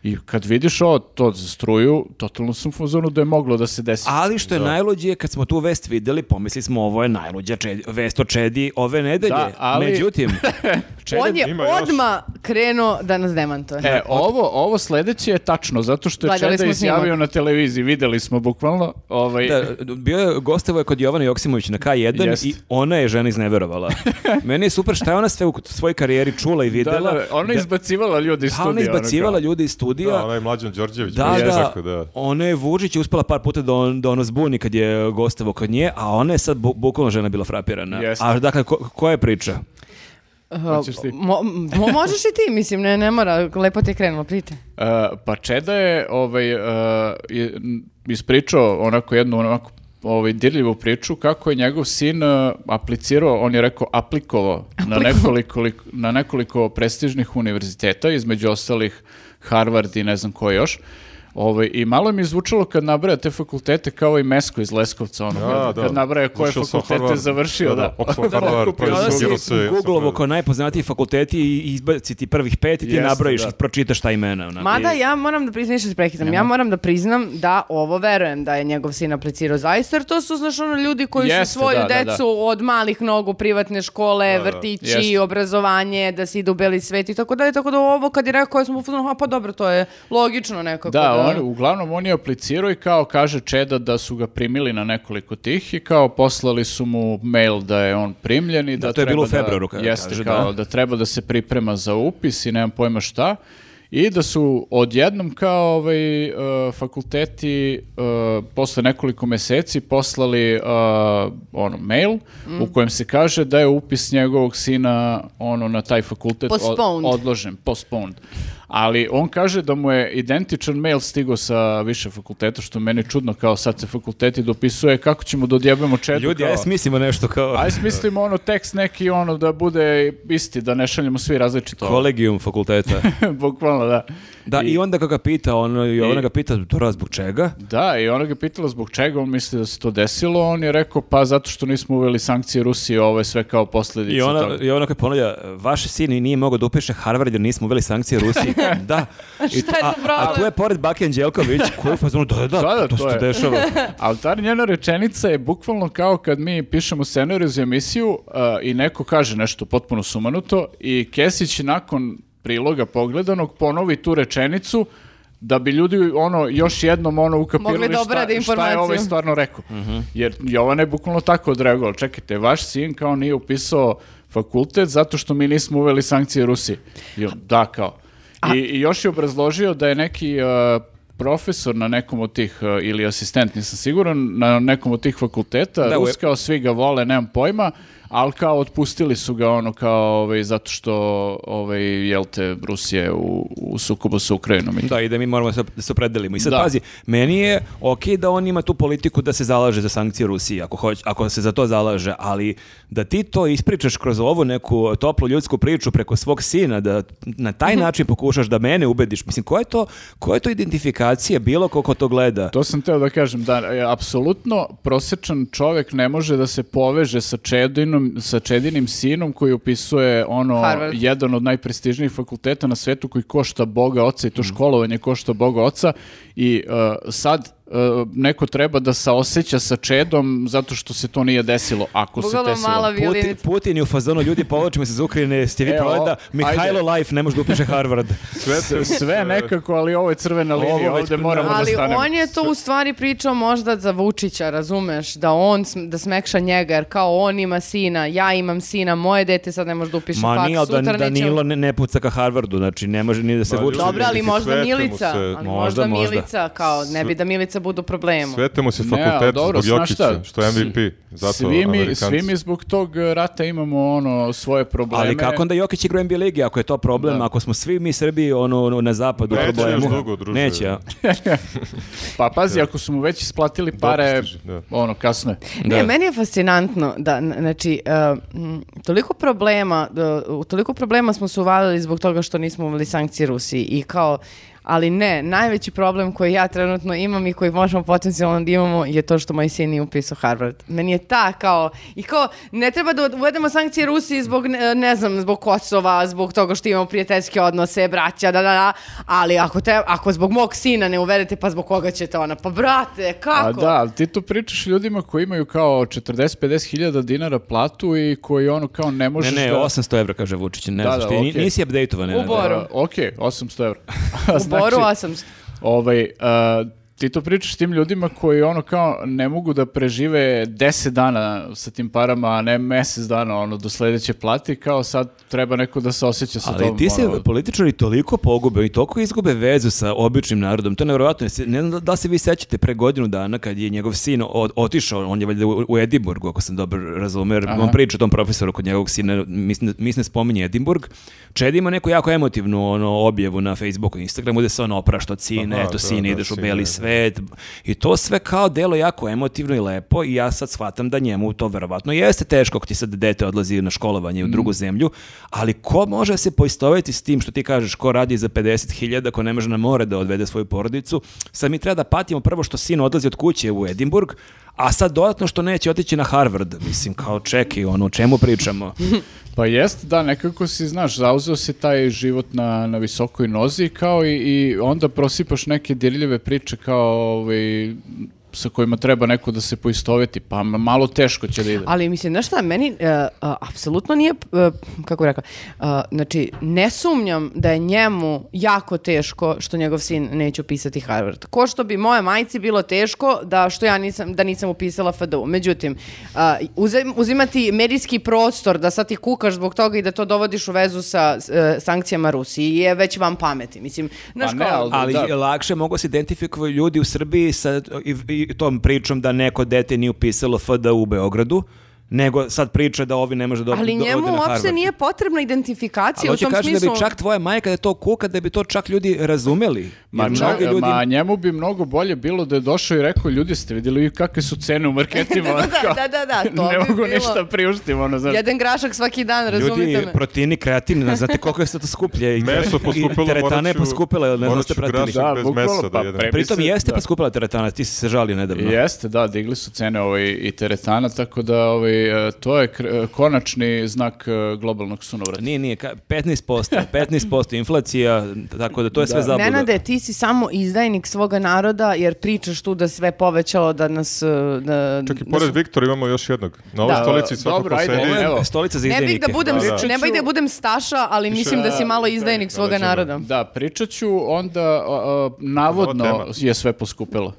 S2: I kad vidiš ovo, to za struju, totalno sam u fazonu da je moglo da se desi.
S1: Ali što je najluđe, kad smo tu vest videli, pomislili smo ovo je najluđa čedi, vest o Čedi ove nedelje.
S2: Da, ali- <laughs>
S1: Međutim,
S2: Čedan-
S3: On je
S4: ima još.
S3: odma krenuo da nas demantuje.
S2: E, ovo, ovo sledeće je tačno, zato što je
S3: Gledali
S2: Čeda
S3: smo
S2: izjavio
S3: snimak.
S2: na televiziji, videli smo bukvalno. <laughs> Ovaj,
S1: da, bio je gostevo je kod Jovana Joksimović na K1
S2: Jeste.
S1: i ona je žena
S2: <laughs>
S1: izneverovala. Meni je super šta je ona sve u svojoj karijeri čula i
S2: da,
S1: videla.
S2: da, ona je izbacivala ljudi iz
S1: Pa
S2: studija.
S1: ona je
S2: ono
S1: izbacivala
S2: kao.
S1: ljudi iz studija.
S4: Da, ona je mlađan Đorđević.
S1: Da,
S4: baš
S1: da,
S4: tako da.
S1: Ona je Vučić uspela par puta da, on, da ono zbuni kad je gostevo kod nje, a ona je sad bu, bukvalno žena bila frapirana.
S2: Jeste.
S1: A dakle, ko, koja je priča?
S3: Uh,
S2: hoćeš ti?
S3: mo- mo- možeš i ti, mislim, ne, ne mora, lepo ti je krenulo, priča.
S2: E, pa Čeda je ovaj, e, je- n- ispričao onako jednu onako ovaj, dirljivu priču kako je njegov sin e, aplicirao, on je rekao aplikovao na nekoliko, lik- na nekoliko prestižnih univerziteta, između ostalih Harvard i ne znam ko još. Ovaj, I malo mi je zvučalo kad nabraja te fakultete kao i Mesko iz Leskovca, ono,
S4: Da,
S2: kad,
S4: da.
S2: kad nabraja koje
S4: Završio sam
S2: fakultete
S4: Harvard.
S2: završio.
S4: Da, da,
S2: <laughs> Da,
S4: Oxford, Harvard,
S2: kupio
S4: pa
S1: Onda
S2: drugi.
S1: si
S4: Zbirao se,
S1: Googleovo
S4: sam
S1: kao najpoznatiji fakulteti i izbaci ti prvih pet i ti
S2: Jeste,
S1: nabrojiš,
S2: da.
S1: i pročitaš ta imena. onako.
S3: Mada ja moram da priznam, nešto se prekitam, ja moram da priznam da ovo verujem da je njegov sin aplicirao zaista, jer to su, znaš, ono, ljudi koji
S2: Jeste,
S3: su svoju
S2: da, da,
S3: decu od malih nogu, privatne škole,
S4: Da, da.
S3: vrtići,
S2: Jeste.
S3: obrazovanje, da se ide u beli svet i tako dalje, tako da ovo kad je rekao, ja sam u fazonu, "A, pa dobro, to je logično nekako.
S2: Da, on, uglavnom on je aplicirao i kao kaže Čeda da su ga primili na nekoliko tih i kao poslali su mu mail da je on primljen i da,
S1: Da, to je
S2: treba
S1: bilo u
S2: da-
S1: februaru, kada
S2: jeste,
S1: kaže, da.
S2: kao da treba da se priprema za upis i nemam pojma šta. I da su odjednom kao ovaj, e, fakulteti e, posle nekoliko meseci poslali e, ono, mail
S3: Mm.
S2: u kojem se kaže da je upis njegovog sina ono, na taj fakultet od-
S3: Postponed.
S2: odložen, postponed. Ali on kaže da mu je identičan mail stigao sa više fakulteta, što meni je čudno, kao sad se fakulteti dopisuje, kako ćemo da odjebemo četu.
S1: Ljudi,
S2: kao,
S1: ja smislimo nešto kao
S2: Ajde smislimo ono tekst neki ono da bude isti, da ne šaljemo svi različito.
S1: kolegijum fakulteta.
S2: <laughs> Bukvalno, da.
S1: Da, i, onda kako ga pita, ono, i ona ga pita, to zbog čega?
S2: Da, i ona ga pitala zbog čega on misli da se to desilo, on je rekao pa zato što nismo uveli sankcije Rusije, ovo je sve kao posljedica
S1: I ona,
S2: toga.
S1: i ona kao ponavlja, vaš sin i nije mogao da upiše Harvard jer nismo uveli sankcije
S3: <laughs>
S1: Rusiji. da. I,
S3: Šta je
S1: a,
S3: to
S1: a tu
S3: problem?
S1: je pored Bake
S3: <laughs>
S1: Anđelković koji je u fazonu, da, da, da,
S2: Da, da,
S1: to,
S2: to
S1: se
S2: je.
S1: dešava.
S2: <laughs> Ali ta njena rečenica je bukvalno kao kad mi pišemo scenariju za emisiju uh, i neko kaže nešto potpuno sumanuto i Kesić nakon priloga pogledanog ponovi tu rečenicu da bi ljudi ono još jednom ono ukapirali
S3: Mogli da obrade
S2: šta, šta je
S3: informaciju.
S2: ovaj stvarno rekao. Jer Jovan je bukvalno tako odreagovao. Čekajte, vaš sin kao nije upisao fakultet zato što mi nismo uveli sankcije Rusiji. I on, da, kao. I, I još je obrazložio da je neki uh, profesor na nekom od tih, uh, ili asistent, nisam siguran, na nekom od tih fakulteta,
S1: Da, u- E-
S2: Rus kao svi ga vole, nemam pojma, ali kao otpustili su ga ono kao ovaj, zato što ovaj, jel te, Rusije u, u sukobu sa Ukrajinom. i to.
S1: Da, i da mi moramo se- da se opredelimo. I sad
S2: Da.
S1: pazi, meni je okej da on ima tu politiku da se zalaže za sankcije Rusije, ako, hoć, ako se za to zalaže, ali da ti to ispričaš kroz ovu neku toplu ljudsku priču preko svog sina, da na taj
S3: Mhm.
S1: način pokušaš da mene ubediš. Mislim, koja je to, koja je to identifikacija bilo ko ko to gleda?
S2: To sam teo da kažem, da, e, apsolutno prosječan čovek ne može da se poveže sa Čedinom, sa Čedinim sinom koji upisuje ono,
S3: Harvard.
S2: jedan od najprestižnijih fakulteta na svetu koji košta Boga oca i to školovanje košta Boga oca i e, sad e, neko treba da saoseća sa Čedom zato što se to nije desilo, ako se
S3: Bukvalno
S2: desilo.
S3: mala
S1: Putin,
S3: violinica.
S1: Putin je u fazonu ljudi povlačimo se iz Ukrajine, ste vi
S2: Evo,
S1: proveda,
S2: ajde.
S1: Mihajlo Life ne može da upiše Harvard.
S4: Sve,
S2: S- Sve nekako, ali ovo je crvena linija,
S1: već-
S2: ovde moramo da
S3: Ali
S2: stanemo.
S3: on je to u stvari pričao možda za Vučića, razumeš, da on sm- da smekša njega, jer kao on ima sina, ja imam sina, moje dete sad ne može da upiše
S1: Ma
S3: faks,
S1: nije, ali da,
S3: sutra neće-
S1: Danilo ne, ne puca ka Harvardu, znači ne može ni da se
S4: Ma,
S1: vuče.
S4: ljudi,
S3: Dobro, ali
S4: Mislim,
S3: možda
S4: svete mu
S3: Milica,
S4: se-
S3: ali
S1: Možda,
S3: možda,
S1: možda.
S3: Milica, kao ne bi da Milica bude u problemu.
S4: Svete mu se
S2: Ne,
S4: fakultet
S2: ali dobro,
S4: zbog
S2: znaš šta,
S4: Jokića, što je MVP. Zato
S2: svi, mi,
S4: Amerikanci.
S2: svi mi zbog tog rata imamo ono svoje probleme.
S1: Ali kako onda Jokić igra u NBA ligi ako je to problem,
S2: Da.
S1: ako smo svi mi Srbi ono, ono, na zapadu u
S4: Neće
S1: problemu?
S4: još dugo, druže.
S1: Neće, a?
S2: Pa pazi, ako su mu već isplatili pare,
S4: Dopustiš, da.
S2: ono, kasno je.
S1: Da.
S3: Ne, meni je fascinantno da, n- znači, uh, m, toliko e, problema, uh, u toliko problema smo se uvalili zbog toga što nismo uveli sankcije Rusiji i kao, ali ne, najveći problem koji ja trenutno imam i koji možemo potencijalno da imamo je to što moj sin nije upisao Harvard. Meni je ta kao, i kao, ne treba da uvedemo sankcije Rusiji zbog, ne, ne znam, zbog Kosova, zbog toga što imamo prijateljske odnose, braća, da, da, da, ali ako, te, ako zbog mog sina ne uvedete, pa zbog koga ćete ona? Pa brate, kako?
S2: A da, ali ti tu pričaš ljudima koji imaju kao 40-50 hiljada dinara platu i koji ono kao ne
S1: Ne,
S2: možeš
S1: ne,
S2: da...
S1: 800 evra, kaže Vučić. Ne
S2: Da,
S1: znaš,
S2: da,
S1: ti ni-
S2: okej.
S1: nisi update-ovan.
S3: U
S1: Nenade.
S3: Boru.
S2: A, Ok, 800 evra. <laughs> Znači,
S3: U Boru 800.
S2: Ovaj, a, ti to pričaš tim ljudima koji ono kao ne mogu da prežive 10 dana sa tim parama, a ne mesec dana ono do sledeće plati, kao sad treba neko da se osjeća sa
S1: Ali
S2: tom.
S1: ti se
S2: ono,
S1: političari toliko pogube i toliko izgube vezu sa običnim narodom. To je nevjerojatno. Jesi- Ne znam da- da se vi sećate pre godinu dana kad je njegov sin od- otišao, on je valjda u, u Edimburgu, ako sam dobro razumio, jer on priča o tom profesoru kod njegovog sina, mislim, da- mislim da spominje Edimburg. Čed ima neku jako emotivnu ono, objavu na Facebooku i Instagramu gde se on oprašta od sine,
S4: Aha,
S1: eto
S4: da, da,
S1: sine, ideš u
S4: sine,
S1: beli
S4: da.
S1: svet. I to sve kao delo jako emotivno i lepo i ja sad shvatam da njemu to verovatno jeste teško ako ti sad dete odlazi na školovanje u
S4: Mm.
S1: drugu zemlju, ali ko može se poistoveti s tim što ti kažeš ko radi za 50.000, ko ne može na more da odvede svoju porodicu, sad mi treba da patimo prvo što sin odlazi od kuće u Edimburg, a sad dodatno što neće otići na Harvard, mislim kao čeki, ono o čemu
S4: <laughs>
S1: pričamo.
S2: Pa jest, da, nekako si, znaš, zauzeo si taj život na, na visokoj nozi kao i, i onda prosipaš neke dirljive priče kao ovaj, sa kojima treba neko da se poistoveti, pa ma- malo teško će da ide.
S3: Ali mislim, znaš šta, meni e, a, apsolutno nije, e, kako bih rekla, a, znači, ne sumnjam da je njemu jako teško što njegov sin neće upisati Harvard. Ko što bi moje majci bilo teško da što ja nisam, da nisam upisala FDU. Međutim, a, uzem- uzimati medijski prostor da sad ti kukaš zbog toga i da to dovodiš u vezu sa s- e, sankcijama Rusiji je već vam pameti. Mislim, znaš
S2: Pa ne,
S3: kao-
S2: ali-
S1: Ali
S2: Da.
S1: je lakše mogu se identifikovati ljudi u Srbiji sa i, i tom pričom da neko dete nije upisalo FD u Beogradu, nego sad priča da ovi ne može da
S3: ali
S1: da ode
S3: njemu
S1: na
S3: uopšte
S1: Harvard.
S3: nije potrebna
S1: Ali
S3: identifikacija u
S1: hoće
S3: tom
S1: kažem
S3: smislu.
S1: da bi čak tvoja majka da je to kuka, da bi to čak ljudi razumeli.
S2: Ma,
S1: Jer
S2: čak-
S1: mnogi ljudi...
S2: ma njemu bi mnogo bolje bilo da je došao i rekao, ljudi ste vidjeli vi kakve su cene u marketima.
S3: <laughs> Da, da,
S2: Kao,
S3: da, da, da, to
S2: <laughs> ne
S3: bi
S2: mogu
S3: bilo-
S2: ništa priuštiti, ono, znaš.
S3: Jedan grašak svaki dan, razumite
S1: Ljudi,
S3: me.
S1: proteini, kreatin, ne znate koliko je sad to skuplje. I,
S4: <laughs> Meso je poskupilo,
S1: i teretana je
S4: morat ću-
S1: poskupila, ne znam
S4: morat
S1: ste
S4: ću
S1: pratili.
S4: grašak bez
S2: bukvalno,
S4: mesa da
S2: pa
S4: jedem.
S2: pre-
S1: Pritom
S2: Mislim,
S1: jeste
S2: da.
S1: poskupila teretana, ti si se žalio nedavno.
S2: Jeste, da, digli su cene ovaj, i teretana, tako da ovaj, e, to je kr- e, konačni znak e, globalnog sunovrata.
S1: Nije, nije, ka- 15%, 15% inflacija, tako da to je sve zabluda.
S3: Nenade, ti si samo izdajnik svoga naroda jer pričaš tu da sve povećalo da nas... e, Da,
S4: Čak i
S3: da
S4: pored
S3: su-
S4: Viktora imamo još jednog. Na ovoj
S2: Da.
S4: stolici
S2: Dobro,
S4: svako ko
S2: ajde,
S4: sedi.
S1: Ovo je
S2: Evo.
S1: stolica za
S3: Ne bih
S1: izdajnike.
S3: da budem,
S4: Da, da.
S3: ne bih da budem staša, ali mislim da si malo izdajnik
S4: da,
S3: svoga
S4: leđa, da.
S3: naroda.
S2: Da, pričat ću onda, a, a,
S4: Nova
S2: navodno
S4: tema.
S2: je sve poskupilo.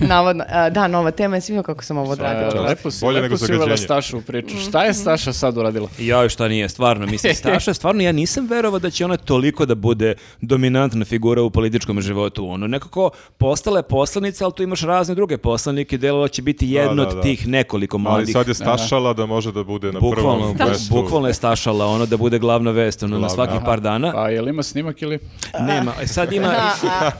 S3: Navodno. e, Da, nova tema je svima kako sam ovo
S2: E,
S3: odradila.
S2: lepo si,
S4: Bolje
S2: lepo
S4: nego
S2: si uvela
S4: zagađenje.
S2: Stašu u
S3: Mhm.
S2: priču. Šta je Staša sad uradila?
S1: Joj, šta nije, stvarno,
S2: <laughs>
S1: mislim, Staša, stvarno ja nisam verovao da će ona toliko da bude dominantna figura u političkom životu. Ono, nekako postala je poslanica, ali tu imaš razne druge poslanike, delovalo će biti jedno
S4: da,
S1: od
S4: da.
S1: tih nekoliko
S4: Ali
S1: mladih.
S4: sad je stašala da može da bude na
S1: Bukvalno,
S4: prvom mestu.
S1: bukvalno je stašala ono da bude glavna vest ono, na
S4: Glavna,
S1: svakih
S4: aha.
S1: par dana.
S2: Pa, jel ima snimak ili?
S1: Nema, e, sad ima...
S3: A,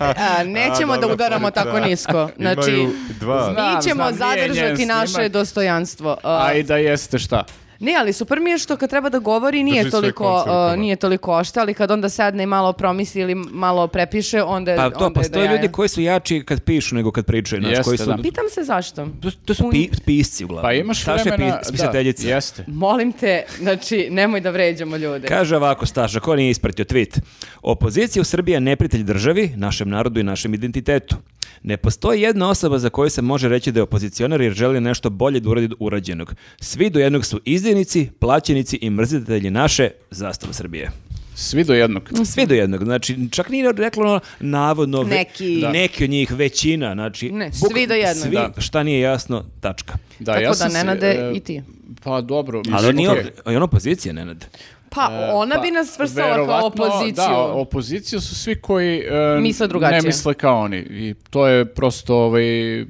S3: a,
S4: <laughs>
S3: a, nećemo
S4: A,
S3: da
S4: dobra
S3: udaramo
S4: poruka,
S3: tako
S4: da.
S3: nisko. Znači,
S4: Imaju dva.
S2: Zna- Znam,
S3: mi ćemo
S2: znam, nije njen
S3: zadržati
S2: snimak.
S3: naše dostojanstvo. E,
S2: A i da jeste šta?
S3: Ne, ali super mi je što kad treba da govori nije
S4: Drži sve
S3: toliko
S4: konce rukama.
S3: uh, nije toliko ošta, ali kad onda sadne i malo promisli ili malo prepiše, onda je-
S1: Pa to,
S3: onda je do
S1: postoje
S3: jaja.
S1: ljudi koji su jači kad pišu nego kad pričaju. znaš,
S2: Jeste,
S1: koji su,
S2: da.
S3: Pitam se zašto.
S1: To, to su pi- pisci uglavnom.
S2: Pa imaš
S1: Staša je
S2: vremena...
S1: pis-
S2: da,
S1: pisateljica.
S2: jeste.
S3: Molim te, znači nemoj da vređamo ljude.
S1: Kaže ovako Staša, ko nije ispratio tweet. Opozicija u Srbiji je neprijatelj državi, našem narodu i našem identitetu. Ne postoji jedna osoba za koju se može reći da je opozicionar jer želi nešto bolje da uradi od urađenog. Svi do jednog su izdajnici, plaćenici i mrzitelji naše zastava Srbije.
S2: Svi do jednog.
S3: Mhm.
S1: Svi do jednog. Znači, čak nije reklo ono, navodno ve-
S3: Neki. Da.
S1: neki od njih, većina. Znači,
S3: Ne,
S1: buk-
S3: svi do jednog.
S1: svi,
S2: Da.
S1: šta nije jasno, tačka.
S2: Da,
S3: Tako
S2: ja
S3: da,
S2: sam se,
S3: Nenade,
S2: e,
S3: i ti.
S2: Pa dobro.
S1: Ali on
S2: mislim,
S1: nije
S2: okej.
S1: od- on je opozicija, Nenad.
S3: Pa ona
S2: Pa,
S3: bi nas svrstala kao
S2: verovatno,
S3: opoziciju.
S2: Da, opozicija su svi koji e,
S3: Misle drugačije.
S2: ne misle kao oni. I to je prosto, ovaj, e,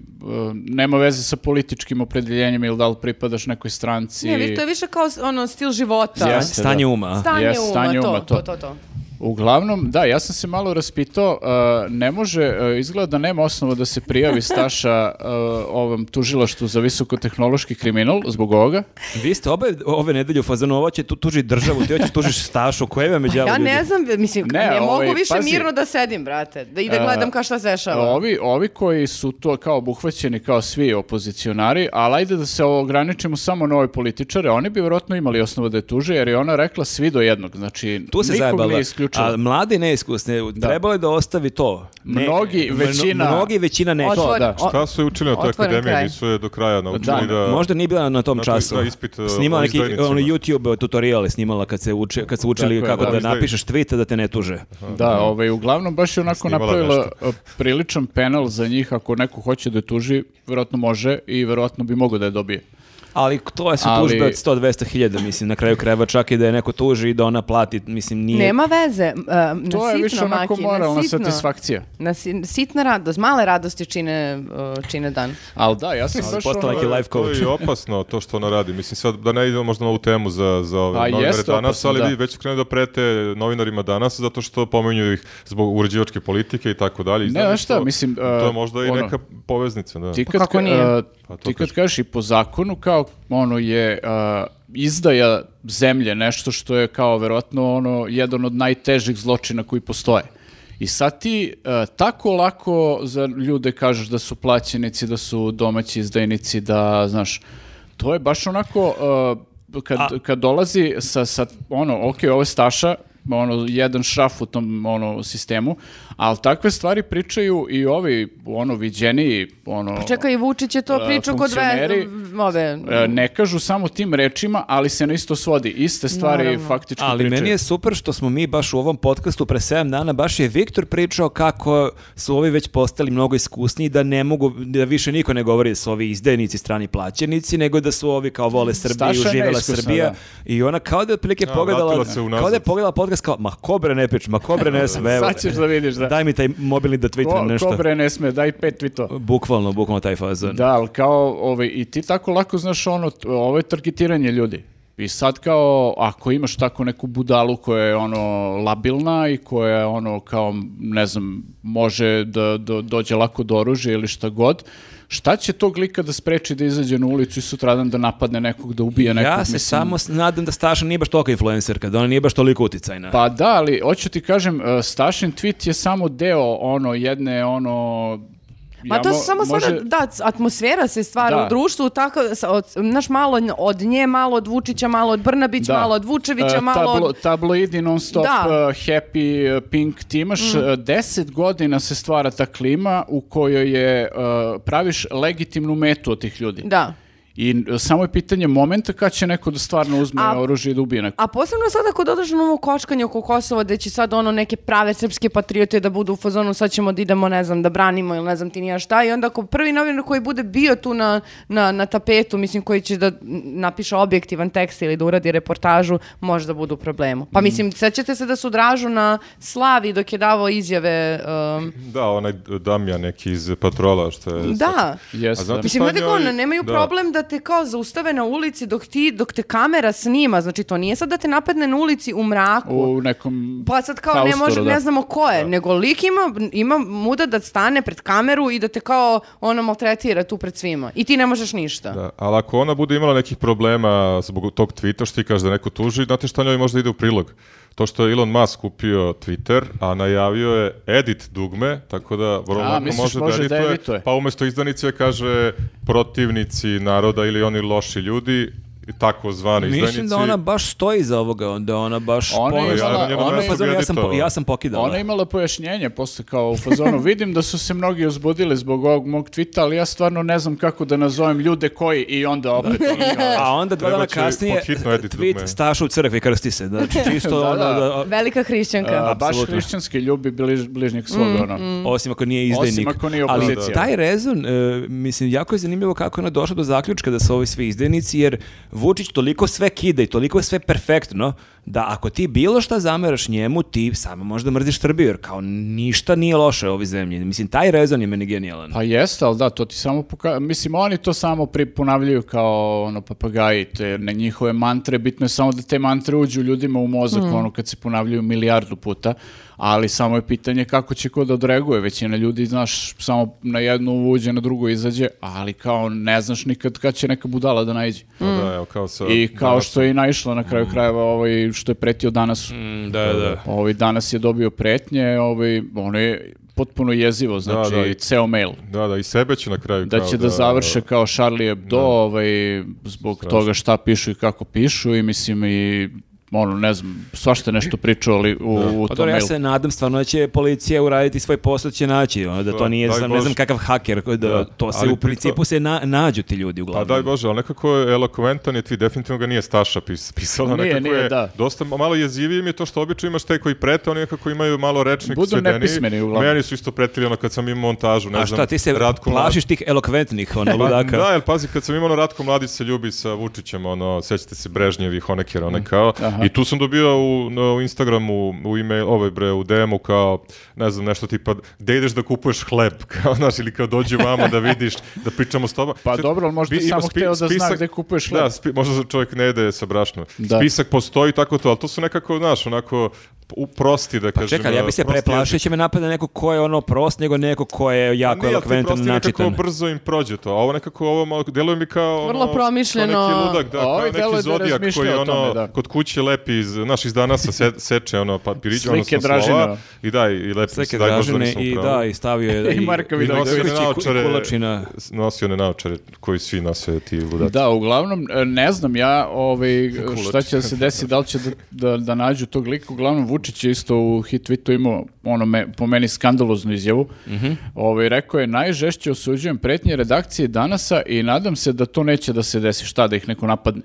S2: nema veze sa političkim opredeljenjem ili da li pripadaš nekoj stranci.
S3: Ne, vi- to je više kao s- ono stil života.
S2: Jeste,
S1: Stanje uma. a?
S3: Stanje
S2: Jes,
S3: uma,
S2: stanje
S3: to,
S2: uma,
S3: to,
S2: to.
S3: to, to.
S2: Uglavnom, da, ja sam se malo raspitao, uh, ne može, uh, izgleda da nema osnova da se prijavi Staša uh, ovom tužilaštu za visokotehnološki kriminal zbog ovoga.
S1: Vi ste obe, ove nedelje u fazonu, ovo će tu tuži državu, ti hoćeš tužiš Stašu, koje vam je đavo
S3: Ja
S1: ljudi?
S3: ne znam, mislim, ne,
S2: Ne, ovaj,
S3: mogu više
S2: pazi. E,
S3: mirno da sedim, brate, da i da gledam kao šta se dešava.
S2: Ovi, ovi koji su to kao obuhvaćeni kao svi opozicionari, ali ajde da se ograničimo samo na ove političare, oni bi vjerojatno imali osnova da je tuže, jer je ona rekla svi do jednog, znači
S1: Tu se
S2: nikog
S1: zajebala.
S2: nije isključila.
S1: A mlade i neiskusne, trebalo je da ostavi to.
S2: Mnogi,
S1: mno-
S2: većina-
S1: Mnogi većina ne.
S3: Otvor-
S1: To, da.
S3: o-
S4: Šta su učili na toj
S3: Otvoren kraj.
S4: akademiji? Nisu je do kraja
S1: Znači,
S4: naučili
S2: Da,
S4: da...
S1: Možda nije bila na tom
S4: Na to-
S1: času.
S4: da, ispit, uh,
S1: Snimala
S4: o
S1: neki
S4: izdajnicima.
S1: ono, YouTube tutoriale snimala kad se uče, kad su učili
S2: Tako je,
S1: kako
S2: da,
S1: da,
S4: izdaj-
S1: napišeš tweet da te ne tuže.
S2: Da, ovaj, uglavnom baš je onako
S4: Snimala
S2: napravila
S4: nešto.
S2: e, priličan penal za njih, ako neko hoće da je tuži, vjerojatno može i vjerojatno bi mogao da je dobije.
S1: Ali to su
S2: Ali-
S1: tužbe od 100-200 hiljada, mislim, na kraju krajeva čak i da je neko tuži i da ona plati, mislim, nije...
S3: Nema veze, m, e, na
S2: To je
S3: sitno,
S2: više onako ono,
S3: Maki, na
S2: moralna
S3: sitno.
S2: satisfakcija.
S3: Na si- sitna radost, male radosti čine, e, čine dan.
S2: Ali da, ja sam baš
S1: postala
S2: ono-
S1: neki life
S4: To je
S1: coach.
S4: i opasno to što ona radi. Mislim sad da ne idemo možda na ovu temu za, za ove
S2: Pa
S4: novinare
S2: jeste
S4: danas,
S2: opasno,
S4: ali
S2: da.
S4: vidi, već su krenuli da prete novinarima danas zato što pominju ih zbog uređivačke politike i tako dalje. I
S2: Ne,
S4: znaš
S2: znaš šta,
S4: što,
S2: mislim,
S4: to
S2: e,
S4: je možda i
S2: ono-
S4: neka poveznica. Da.
S2: Ti
S3: Pa
S2: kad,
S3: kako
S2: ka-
S3: nije?
S2: e,
S4: Pa to
S2: ti kad kažeš i po zakonu kao ono je e, izdaja zemlje nešto što je kao verovatno ono jedan od najtežih zločina koji postoje. I sad ti e, tako lako za ljude kažeš da su plaćenici, da su domaći izdajnici, da znaš, to je baš onako e, kad, kad dolazi sa, sa ono, ok, ovo je Staša, ono, jedan šraf u tom ono, sistemu, ali takve stvari pričaju i ovi, ono, viđeniji, ono...
S3: Pa Čekaj, i Vučić je to
S2: E,
S3: pričao kod dve,
S2: funkcioneri,
S3: m, ove,
S2: E, ne kažu samo tim rečima, ali se na isto svodi. Iste stvari
S3: Naravno.
S2: faktički
S1: Ali
S2: pričaju.
S1: meni je super što smo mi baš u ovom podcastu pre 7 dana, baš je Viktor pričao kako su ovi već postali mnogo iskusniji, da ne mogu, da više niko ne govori da su ovi izdajnici, strani plaćenici, nego da su ovi kao vole Srbiju,
S2: Staša je
S1: živela
S2: neiskusna,
S1: Srbija.
S2: da.
S1: I ona kao da je otprilike
S4: Da,
S1: pogledala,
S4: vratila se unazad.
S1: kao da je pogledala podcast kao, ma ko bre ne priča, ma ko bre
S2: <laughs>
S1: ne sme, evo.
S2: Sad ćeš da vidiš da.
S1: Daj mi taj mobilni da
S2: Ko,
S1: twitteram nešto.
S2: ko bre ne sme, daj pet vi to.
S1: Bukvalno, bukvalno taj fazon.
S2: Da, ali kao, ovaj, i ti tako lako znaš ono, t- ovo je targetiranje ljudi. I sad kao, ako imaš tako neku budalu koja je ono labilna i koja je ono kao, ne znam, može da, da dođe lako do oružja ili šta god, šta će tog lika da spreči da izađe na ulicu i sutradan da napadne nekog, da ubije nekog?
S1: Ja se
S2: mislim?
S1: samo s- nadam da Staša nije baš toliko influencerka, da ona nije baš toliko uticajna.
S2: Pa da, ali hoću ti kažem, e, Stašin tweet je samo deo ono jedne ono...
S3: Ma
S2: ja
S3: Pa to
S2: mo-
S3: su samo
S2: može-
S3: sada, da, c- atmosfera se stvara
S2: Da.
S3: u društvu, tako, sa- od, znaš, malo n- od nje, malo od Vučića, malo od Brnabić,
S2: da.
S3: malo od Vučevića,
S2: E,
S3: malo
S2: tablo-
S3: od...
S2: tabloidi non stop,
S3: Da. Mm.
S2: happy, e, pink, ti imaš e, 10 godina se stvara ta klima u kojoj je, e, praviš legitimnu metu od tih ljudi.
S3: Da.
S2: I e, samo je pitanje momenta kad će neko da stvarno uzme
S3: A-
S2: oružje i da ubije nekog.
S3: A posebno sada kod održano ovo kočkanje oko Kosova, da će sad ono neke prave srpske patriote da budu u fazonu, sad ćemo da idemo, ne znam, da branimo ili ne znam ti nija šta. I onda ako prvi novinar koji bude bio tu na, na, na tapetu, mislim, koji će da n- napiše objektivan tekst ili da uradi reportažu, može da budu u problemu.
S2: Mhm.
S3: Pa mislim, sećate se da su dražu na Slavi dok je davao izjave... um,
S4: Da, onaj Damjan neki iz patrola što je...
S3: da.
S2: Jeste.
S4: A zato-
S3: Mislim,
S4: Šta
S3: ljudi kao,
S4: njoj-
S3: ono, nemaju
S4: da.
S3: problem da te kao zaustave na ulici dok, ti, dok te kamera snima. Znači, to nije sad da te napadne na ulici u mraku.
S2: U nekom...
S3: Pa sad kao ne
S2: haustoru,
S3: može,
S2: da.
S3: ne znamo ko je, nego lik ima, ima muda da stane pred kameru i da te kao ono maltretira tu pred svima. I ti ne možeš ništa.
S4: Da, ali ako ona bude imala nekih problema zbog tog tvita što ti kaže da neko tuži, znate šta njoj možda ide u prilog? To što je Elon Musk kupio Twitter, a najavio je edit dugme, tako da vrlo
S2: A,
S4: lako
S2: misliš,
S4: može,
S2: može da
S4: da edituje,
S2: edituje?
S4: pa umjesto izdanice kaže protivnici naroda ili oni loši ljudi, i tako
S1: Pa
S4: zvani izdanici.
S1: Mislim da ona baš stoji za ovoga, da ona baš
S2: Ona je
S1: ponovo-
S2: imala-
S1: Ona je
S2: ona je-
S1: u fazonu, ja sam, po- ja sam pokidala.
S2: Ona je imala pojašnjenje posle kao u fazonu. Vidim da su se mnogi uzbudili zbog ovog mog tvita, ali ja stvarno ne znam kako da nazovem ljude koji i onda opet.
S1: A onda dva
S4: Treba
S1: dana
S4: će
S1: kasnije
S4: pod hitno edit
S1: tweet
S4: dugme.
S1: Staša u crkvi krsti se.
S2: <laughs>
S1: Znači, čisto
S2: Da,
S1: ono
S2: da.
S1: da-
S3: Velika <laughs> hrišćanka.
S2: ono, A, baš
S1: Apsolutno.
S2: hrišćanski ljubi bliž, bližnjeg svoga. ono.
S1: Osim ako nije izdajnik.
S2: Osim ako nije
S1: Ali
S2: opozicija.
S1: taj rezon, e, mislim, jako je zanimljivo kako je ona došla do zaključka da su ovi svi izdajnici, jer Vučić toliko sve kida i toliko je sve perfektno da ako ti bilo šta zameraš njemu, ti samo možda mrziš Srbiju, jer kao ništa nije loše u ovoj zemlji. Mislim, taj rezon je meni genijalan.
S2: Pa jeste, ali da, to ti samo poka... Mislim, oni to samo pri- ponavljaju kao ono, papagaji, te na njihove mantre, bitno je samo da te mantre uđu ljudima u mozak, ono, kad se ponavljaju milijardu puta, ali samo je pitanje kako će ko da odreaguje, većina ljudi, znaš, samo na jednu uđe, na drugu izađe, ali kao ne znaš nikad kad će neka budala da naiđe.
S4: Pa da, evo, kao sa...
S2: I kao
S4: danas-
S2: što je i naišla na
S4: Hmm.
S2: kraju krajeva ovaj, što je pretio danas
S1: Mm, da, da.
S2: Ovaj danas je dobio pretnje, ovaj ono je potpuno jezivo, znači
S4: da, i-
S2: ceo mail.
S4: Da, da, i sebe će na kraju
S2: Da
S4: kao
S2: će da, završe kao Charlie Hebdo, ovaj zbog toga šta pišu i kako pišu i mislim i ono ne znam, svašta je nešto pričao ali u, u
S1: Pa
S2: tom
S1: dobro, ja
S2: mailu.
S1: se nadam stvarno da će policija uraditi svoj posao, da će naći, ono, da to
S4: Da,
S1: nije,
S4: daj
S1: znam, ne znam
S4: Bože.
S1: kakav haker, da,
S4: Da,
S1: to se
S4: ali
S1: u
S4: pri
S1: principu
S4: to-
S1: se na, nađu ti ljudi
S4: Pa
S1: uglavnom.
S4: daj Bože, ali nekako je elokventan je ti, definitivno ga nije Staša pis, pisala,
S2: Nije,
S4: nekako
S2: nije,
S4: je
S2: da.
S4: dosta, ma- malo jezivije mi je to što obično imaš te koji prete, oni nekako imaju malo rečnik
S2: Budu
S4: svedeniji.
S2: nepismeni uglavnom.
S4: Meni su isto pretili ono kad sam imao montažu, ne
S1: A
S4: znam,
S1: šta, ti se
S4: Ratko Mladić-
S1: plašiš tih elokventnih, ono,
S4: Pa,
S1: ludaka?
S4: Da, jer pazi, kad sam imao ono Ratko Mladić se ljubi sa Vučićem, ono, sećate se Brežnjevih, Honecker,
S2: Mm.
S4: one kao, i tu sam dobio u, na- u Instagramu, u email, ovaj bre, u DM-u kao, ne znam, nešto tipa, gde ideš da kupuješ hleb, <laughs> kao, znaš, ili kao dođi vama da vidiš, da pričamo s tobom.
S2: Pa
S4: Sve-
S2: dobro, ali možda
S4: bi-
S2: je
S4: ima
S2: samo hteo da zna gde kupuješ hleb.
S4: Da, spi- možda čovjek ne ide sa brašnom.
S2: Da.
S4: Spisak postoji, tako to, ali to su nekako, znaš, onako, u prosti,
S2: Pa
S4: da kažem.
S1: Čekaj, ali ja bi se
S4: prosti
S1: preplašio, će me napada neko ko je ono prost, nego neko ko je
S4: Pa
S1: jako
S4: nije, ali ti
S1: elokventan,
S4: prosto nekako
S1: načitan.
S4: brzo im prođe to. A ovo nekako, ovo malo, deluje mi kao...
S3: Vrlo
S4: ono,
S3: promišljeno.
S4: kao Neki ludak, da,
S2: A ovaj
S4: kao
S2: deluje da
S4: neki zodijak
S2: razmišlja
S4: koji
S2: o
S4: ono,
S2: tome, da.
S4: kod kuće lepi, iz, znaš, iz dana sa se, <laughs> seče ono papirić,
S2: Slike
S4: odnosno
S2: Dražina.
S4: slova. I da, i lepi
S1: Slike
S4: se, daj Bože da
S1: Dražene
S4: nisam
S1: i
S4: upravo.
S1: da, i stavio je...
S2: <laughs> I Marka
S4: I
S2: Vidović.
S1: i
S4: nosio
S1: Vidović
S4: one
S1: i ku- i
S4: naočare,
S1: Kulačina.
S4: s- nosio one naočare koji svi nose ti ludaci.
S2: Da, uglavnom, e, ne znam ja ovaj, šta će da se desi, da li će da, da, da nađu tog lika. Uglavnom, Vučić je isto u hitvitu imao, ono, me, po meni, skandaloznu izjavu. ovaj, rekao je, najžešće osuđujem pretnje redakcije danasa i nadam se da to neće da se desi. Šta, da ih neko napadne?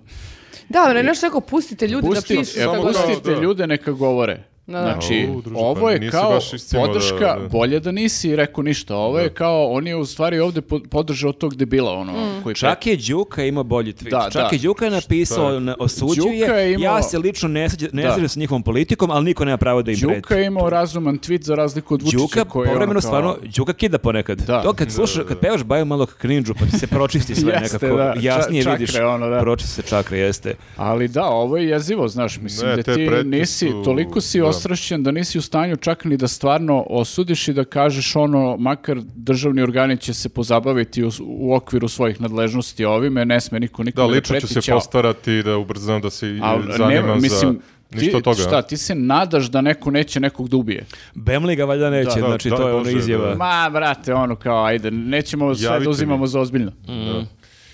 S3: Da, ali nešto rekao, pustite ljudi
S2: Pusti-
S3: da pišu.
S2: e,
S4: samo
S3: kako
S4: kao-
S3: hoće.
S2: pustite
S4: da.
S2: ljude neka govore.
S3: Da, da.
S2: Znači,
S4: Au, druže,
S2: ovo
S4: pa
S2: je
S4: nisi
S2: kao
S4: baš iscimao da-
S2: podrška,
S4: da.
S2: bolje da nisi rekao ništa, ovo je kao, on je u stvari ovdje po- podržao tog debila, ono,
S3: Mm.
S2: koji
S1: Čak je Đuka imao bolji tweet.
S2: Da,
S1: Čak
S2: da.
S1: je Đuka je napisao, na- osuđuje,
S2: Đuka je imao-
S1: ja se lično ne slažem ne
S2: Da.
S1: slažem sa njihovom politikom, ali niko nema pravo da im
S2: Đuka
S1: preti.
S2: je imao razuman tweet za razliku od Vučića
S1: Đuka
S2: koji je ono
S1: povremeno
S2: kao-
S1: stvarno Đuka kida ponekad.
S2: Da.
S1: To kad slušaš, kad pevaš baju malo krinđu, pa ti se pročisti sve
S2: Jeste,
S1: nekako.
S2: da. Ča-
S1: Jasnije
S2: čakre,
S1: vidiš.
S2: ono, da.
S1: Pročisti se čakre, jeste.
S2: Ali da, ovo je jezivo, znaš, mislim
S4: Ne,
S2: da
S4: te
S2: ti
S4: pretnje
S2: nisi,
S4: su-
S2: toliko si
S4: da.
S2: ostrašćen da nisi u stanju čak ni da stvarno osudiš i da kažeš ono, makar državni organi će se pozabaviti u, u okviru svojih nadležnosti ovime, ne sme niko
S4: Da,
S2: nikome da,
S4: lično ću
S2: preti,
S4: se
S2: ćao.
S4: postarati da ubrzam da se i
S2: Al,
S4: zanimam
S2: ne, mislim,
S4: za ništa
S2: ti,
S4: od toga.
S2: Šta, ti se nadaš da neko neće nekog da ubije?
S1: Bemli ga valjda neće,
S4: Da,
S1: znači
S4: da,
S1: to je ono
S4: Bože, da.
S1: izjava.
S2: Ma, brate, ono kao, ajde, nećemo sve
S4: Javite
S2: da
S4: mi.
S2: uzimamo za ozbiljno.
S3: Mm.
S4: Da.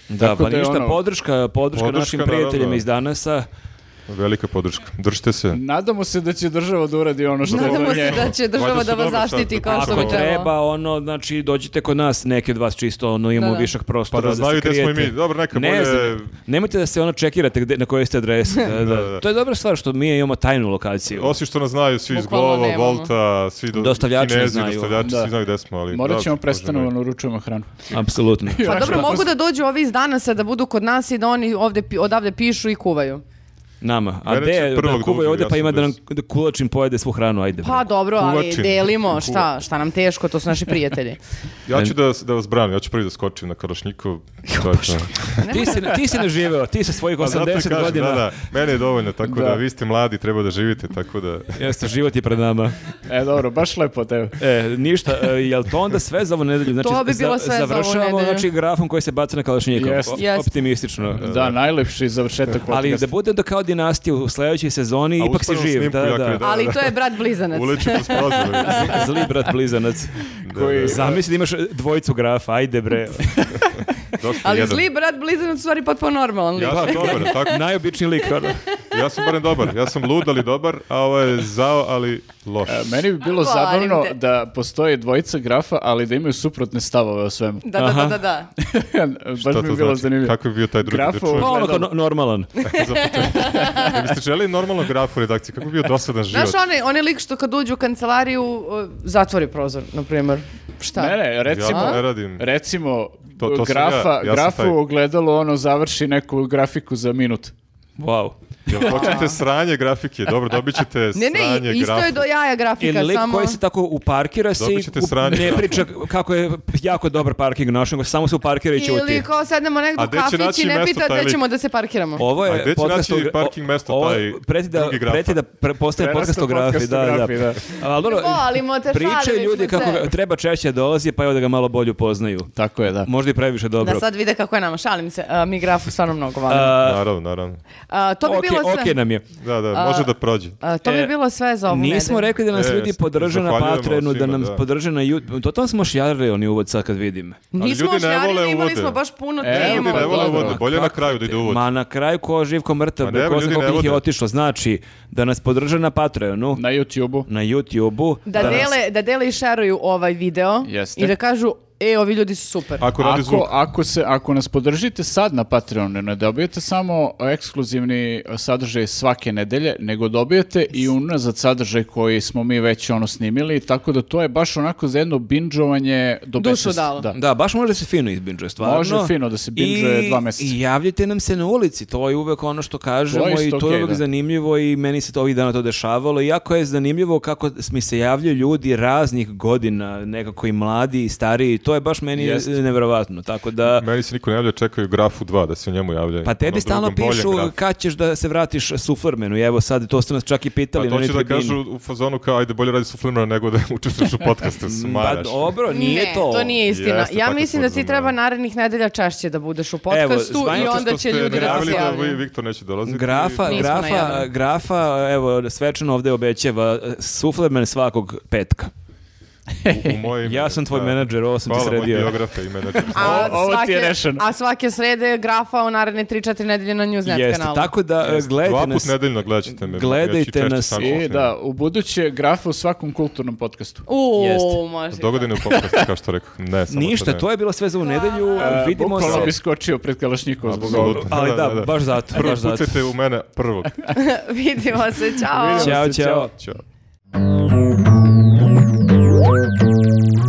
S1: Da,
S2: Tako
S1: pa
S2: da je
S1: ništa,
S2: ono-
S1: podrška, podrška
S4: Podrška,
S1: našim
S4: naravno.
S1: prijateljima iz danasa.
S4: Velika podrška. Držite se.
S2: Nadamo se da će država da uradi ono što
S3: Nadamo
S2: je.
S3: se da će država
S4: Valjda su
S3: da vas
S4: dobro sad
S3: zaštiti
S4: da
S3: kao što
S1: Ako
S3: bi trebalo.
S1: treba, ono, znači, dođite kod nas, neki od vas čisto, ono, imamo
S3: Da, da.
S1: višak prostora
S4: Pa da
S1: se
S4: znaju gde smo i
S1: krijete.
S4: mi. Dobro, neka
S1: ne
S4: bolje-
S1: znam, nemojte da se ono čekirate gde, na kojoj ste adresi. Da, da.
S4: da.
S1: To je dobra stvar što mi imamo tajnu lokaciju.
S4: Osim što nas znaju svi iz
S3: Bukvalno
S4: Glova,
S3: nemamo.
S4: Volta, svi do,
S1: Dostavljači nas
S4: kinezi,
S1: znaju.
S4: dostavljači,
S2: Da.
S4: svi znaju gde smo, ali...
S2: Morat
S4: da,
S2: ćemo ono-
S4: Bože moj.
S2: prestanu, naručujemo hranu.
S1: Apsolutno.
S3: Pa
S2: Šta-
S3: dobro,
S2: šta-
S3: mogu da dođu ovi iz danasa da budu kod nas i da oni ovde, pi- odavde pišu i kuvaju.
S1: Nama. A
S4: Mene će
S1: gde, da
S4: prvog
S1: kuvaju
S4: da
S1: ovde, pa
S4: uzmu,
S1: ima da nam
S4: jasno
S1: da kulačim pojede svu hranu, ajde. bre.
S3: Pa dobro, ali
S4: Kuvačin.
S3: delimo,
S4: Kuva-
S3: šta, šta nam teško, to su naši
S4: <laughs>
S3: prijatelji.
S4: Ja ću da, da vas branim, ja ću prvi da skočim na <laughs> Kalašnikov. To je to.
S1: Ti si, ti si naživeo, ti sa svojih
S4: <laughs> Pa zato i
S1: 80
S4: kažem,
S1: godina.
S4: Da, da, mene je dovoljno, tako da.
S2: Da.
S4: vi ste mladi, treba da živite, tako da...
S1: Jeste, život je pred nama.
S2: E, dobro, baš lepo od tebe.
S1: E, ništa, e, jel to onda sve za ovu nedelju? Znači,
S3: To bi bilo sve za ovu
S1: Završavamo
S3: nedelju.
S1: znači, grafom koji se baca na kalašnjikom.
S2: Jest.
S1: O-
S3: Jest.
S4: E,
S1: Optimistično.
S2: Da, najlepši završetak
S1: Ali da
S2: podcasta.
S1: bude da kao dinastija u sledećoj sezoni,
S4: A
S1: ipak si
S4: uspeo
S1: živ.
S4: snimku
S1: Da, da.
S4: jako je dobro.
S3: Ali to je brat blizanac.
S4: Uleću kroz
S3: <laughs>
S4: prozor.
S1: Zli brat blizanac.
S2: Koji-
S4: Da,
S1: Zamisli da imaš dvojicu grafa,
S4: <laughs>
S1: ajde bre.
S4: da, dok je
S3: Ali
S4: jedan.
S3: zli brat blizanac u stvari potpuno normalan lik.
S4: Ja sam dobar, tako,
S1: Najobičniji lik. ono.
S4: ja sam barem dobar. Ja sam lud, ali dobar, a ovo je zao, ali loš.
S2: E, Meni bi bilo
S3: Volim
S2: zabavno
S3: te.
S2: da postoje dvojica grafa, ali da imaju suprotne stavove o
S4: <laughs>
S2: svemu.
S3: Da, da, da, da, da.
S2: baš
S4: Šta
S2: bi
S4: to
S2: bilo
S4: znači?
S2: zanimljivo.
S4: Kako je bio taj drugi
S2: Grafo-
S4: da čujem?
S1: Pa ono kao
S2: Gledam.
S1: no- normalan.
S4: za početak.
S3: <laughs>
S4: Da biste želi normalno graf u redakciji, kako bi bio dosadan život?
S3: Znaš ono, onaj, onaj lik što kad uđe u kancelariju uh, zatvori prozor, na primjer. Šta?
S2: Ne, ne, recimo,
S4: Ja to ne radim.
S2: recimo
S4: Mm. To, to sam
S2: grafa,
S4: ja, ja sam
S2: grafu
S4: taj.
S2: ogledalo, ono završi neku grafiku za minut.
S1: Wow.
S4: Jel hoćete sranje grafike? Dobro, dobit ćete
S3: Ne,
S4: sranje
S3: ne, isto
S4: grafu.
S3: je do jaja grafika,
S1: Ili lik
S3: samo...
S1: koji se tako uparkira se i
S4: Dobit ćete
S1: u-
S4: sranje
S1: ne
S4: grafike.
S1: priča kako je jako dobar parking naš, nego samo se uparkira i
S3: Ili
S1: ćuti.
S3: kao sednemo negdje
S4: A
S3: u
S4: gde će
S3: kafić i
S4: naći
S3: ne
S4: mesto
S3: pita
S4: taj
S3: gde
S4: lik?
S3: ćemo da se parkiramo.
S1: Ovo
S4: A
S1: je
S4: gde će
S1: podcast
S4: naći
S1: o gra-
S4: parking mesto
S1: ovo-
S4: taj
S1: preti da,
S4: drugi grafa?
S1: preti da pre- postane
S2: Prerasta
S1: podcast o grafi, da, da.
S2: podcastografiji, da.
S1: Ali dobro,
S3: Volimo te,
S1: pričaju
S3: šalili
S1: ljudi
S3: smo
S1: kako
S3: se.
S1: ga- treba češće da dolazi, pa evo da ga malo bolje upoznaju.
S2: Tako je, da.
S1: Možda i previše dobro.
S3: Da sad vide kako je nama, šalim se, a, mi grafu stvarno mnogo volimo.
S1: A,
S4: Naravno, naravno.
S3: A, to bi
S1: ok,
S3: bilo sve.
S1: ok nam je.
S4: Da, da, može da prođe.
S3: A, to bi
S1: E,
S3: bilo sve za ovu
S1: Nismo
S3: nedelju.
S1: rekli da nas
S4: E,
S1: ljudi
S4: s-
S1: podrže na
S4: zahvaljujemo
S1: Patreonu, da
S4: svima,
S1: nam
S4: da.
S1: podrže na YouTube. To tamo smo šjarili oni uvod sad kad vidim.
S4: Ali
S3: Nismo
S4: ljudi ne
S3: ožnjarili,
S4: vole
S3: imali
S4: uvode.
S3: smo baš puno
S2: E,
S3: tema.
S4: Ljudi ne
S2: dobro.
S4: vole uvode, bolje na
S1: Kako
S4: kraju da ide uvod.
S1: E, Ma na kraju ko živko mrtav,
S4: Ma
S1: bre,
S4: ne,
S1: ko
S4: ljudi
S1: zna
S4: ne
S1: koliko ih je
S4: vode.
S1: otišlo. Znači, da nas podrže na Patreonu,
S2: Na YouTube-u.
S1: na YouTube-u.
S3: Da,
S1: nas-
S3: dele, da dele i šeruju ovaj video
S2: Jeste.
S3: i da kažu, e, ovi ljudi su super.
S4: Ako radi zvuk.
S2: Ako, ako, se, ako nas podržite sad na Patreonu, ne dobijete samo ekskluzivni sadržaj svake nedelje, nego dobijete i unazad sadržaj koji smo mi već ono snimili, tako da to je baš onako za jedno binđovanje do
S3: Dušu
S2: besvesti.
S3: dalo.
S2: Da.
S1: Da, baš može da se fino izbinđuje, stvarno.
S2: Može fino da se binđuje
S1: I-
S2: dva meseca.
S1: I javljajte nam se na ulici, to je uvek ono što kažemo
S2: To je
S1: i
S2: isto
S1: to je
S2: okej,
S1: uvek
S2: da.
S1: zanimljivo i meni se to ovih dana to dešavalo. I jako je zanimljivo kako s- mi se javljaju ljudi raznih godina, nekako i mladi i stariji, to je baš meni
S2: Jeste.
S1: nevjerojatno. neverovatno. Tako
S4: <laughs>
S1: da,
S4: Meni se niko ne javlja, čekaju grafu 2 da se Ono, u njemu javljaju.
S1: pa tebi
S4: Onom
S1: stalno
S4: drugom, boljem
S1: pišu
S4: grafu.
S1: kad ćeš da se vratiš Sufermenu i evo sad, to ste nas čak i
S4: Pa
S1: pitali. na
S4: to
S1: onoj
S4: će da
S1: tribini.
S4: kažu u fazonu kao, ajde, bolje radi su filmera nego da učestvuješ u
S1: <laughs>
S4: podcastu,
S1: Pa
S4: smaraš.
S1: dobro, nije
S3: ne,
S1: to.
S3: nije istina.
S4: Jeste,
S3: ja
S4: tako
S3: mislim da
S4: smo
S3: ti treba
S4: razumeli.
S3: narednih nedelja čašće da budeš u podcastu i
S1: zvanično
S3: onda će ljudi da se
S4: najavili da vi,
S3: javljaju.
S4: Viktor neće dolaziti.
S1: Grafa,
S3: Nismo
S1: grafa,
S3: najavili.
S1: grafa, evo, svečano ovde obećava e, Suflerman svakog petka.
S4: u,
S1: <laughs>
S4: u moj ime.
S1: Ja sam tvoj
S4: Da.
S1: menadžer, ovo sam ti
S4: Hvala,
S1: sredio.
S4: moj biografa i menadžer.
S3: A
S2: O- ovo ti je
S3: svake-
S2: rešeno.
S3: A svake srede je grafa u naredne 3-4 nedelje na Newsnet
S1: Jeste,
S3: kanalu.
S1: tako da e,
S4: Dva
S1: gledajte
S4: put
S1: nas.
S4: nedeljno gledajte me.
S1: Gledajte
S4: ja ću i češće
S1: nas e,
S4: sam
S2: I
S4: gostujem.
S2: da, u buduće grafa u svakom kulturnom podcastu.
S3: Uuu,
S1: Jeste.
S3: može.
S4: Dogodine u podcastu, kao što rekao. Ne, samo
S1: Ništa, to je bilo sve za ovu nedelju.
S2: E,
S1: Vidimo se.
S2: Bukvalno bi skočio pred Kalašnjikova zbog ovoga.
S4: Apsolutno.
S1: Ali da, baš zato,
S4: Prvo
S1: baš zato.
S4: pucajte u mene
S1: <laughs>
S4: prvog.
S3: <laughs> Vidimo se, čao.
S1: Ćao,
S2: Ćao.
S1: ćao.
S4: Ćao.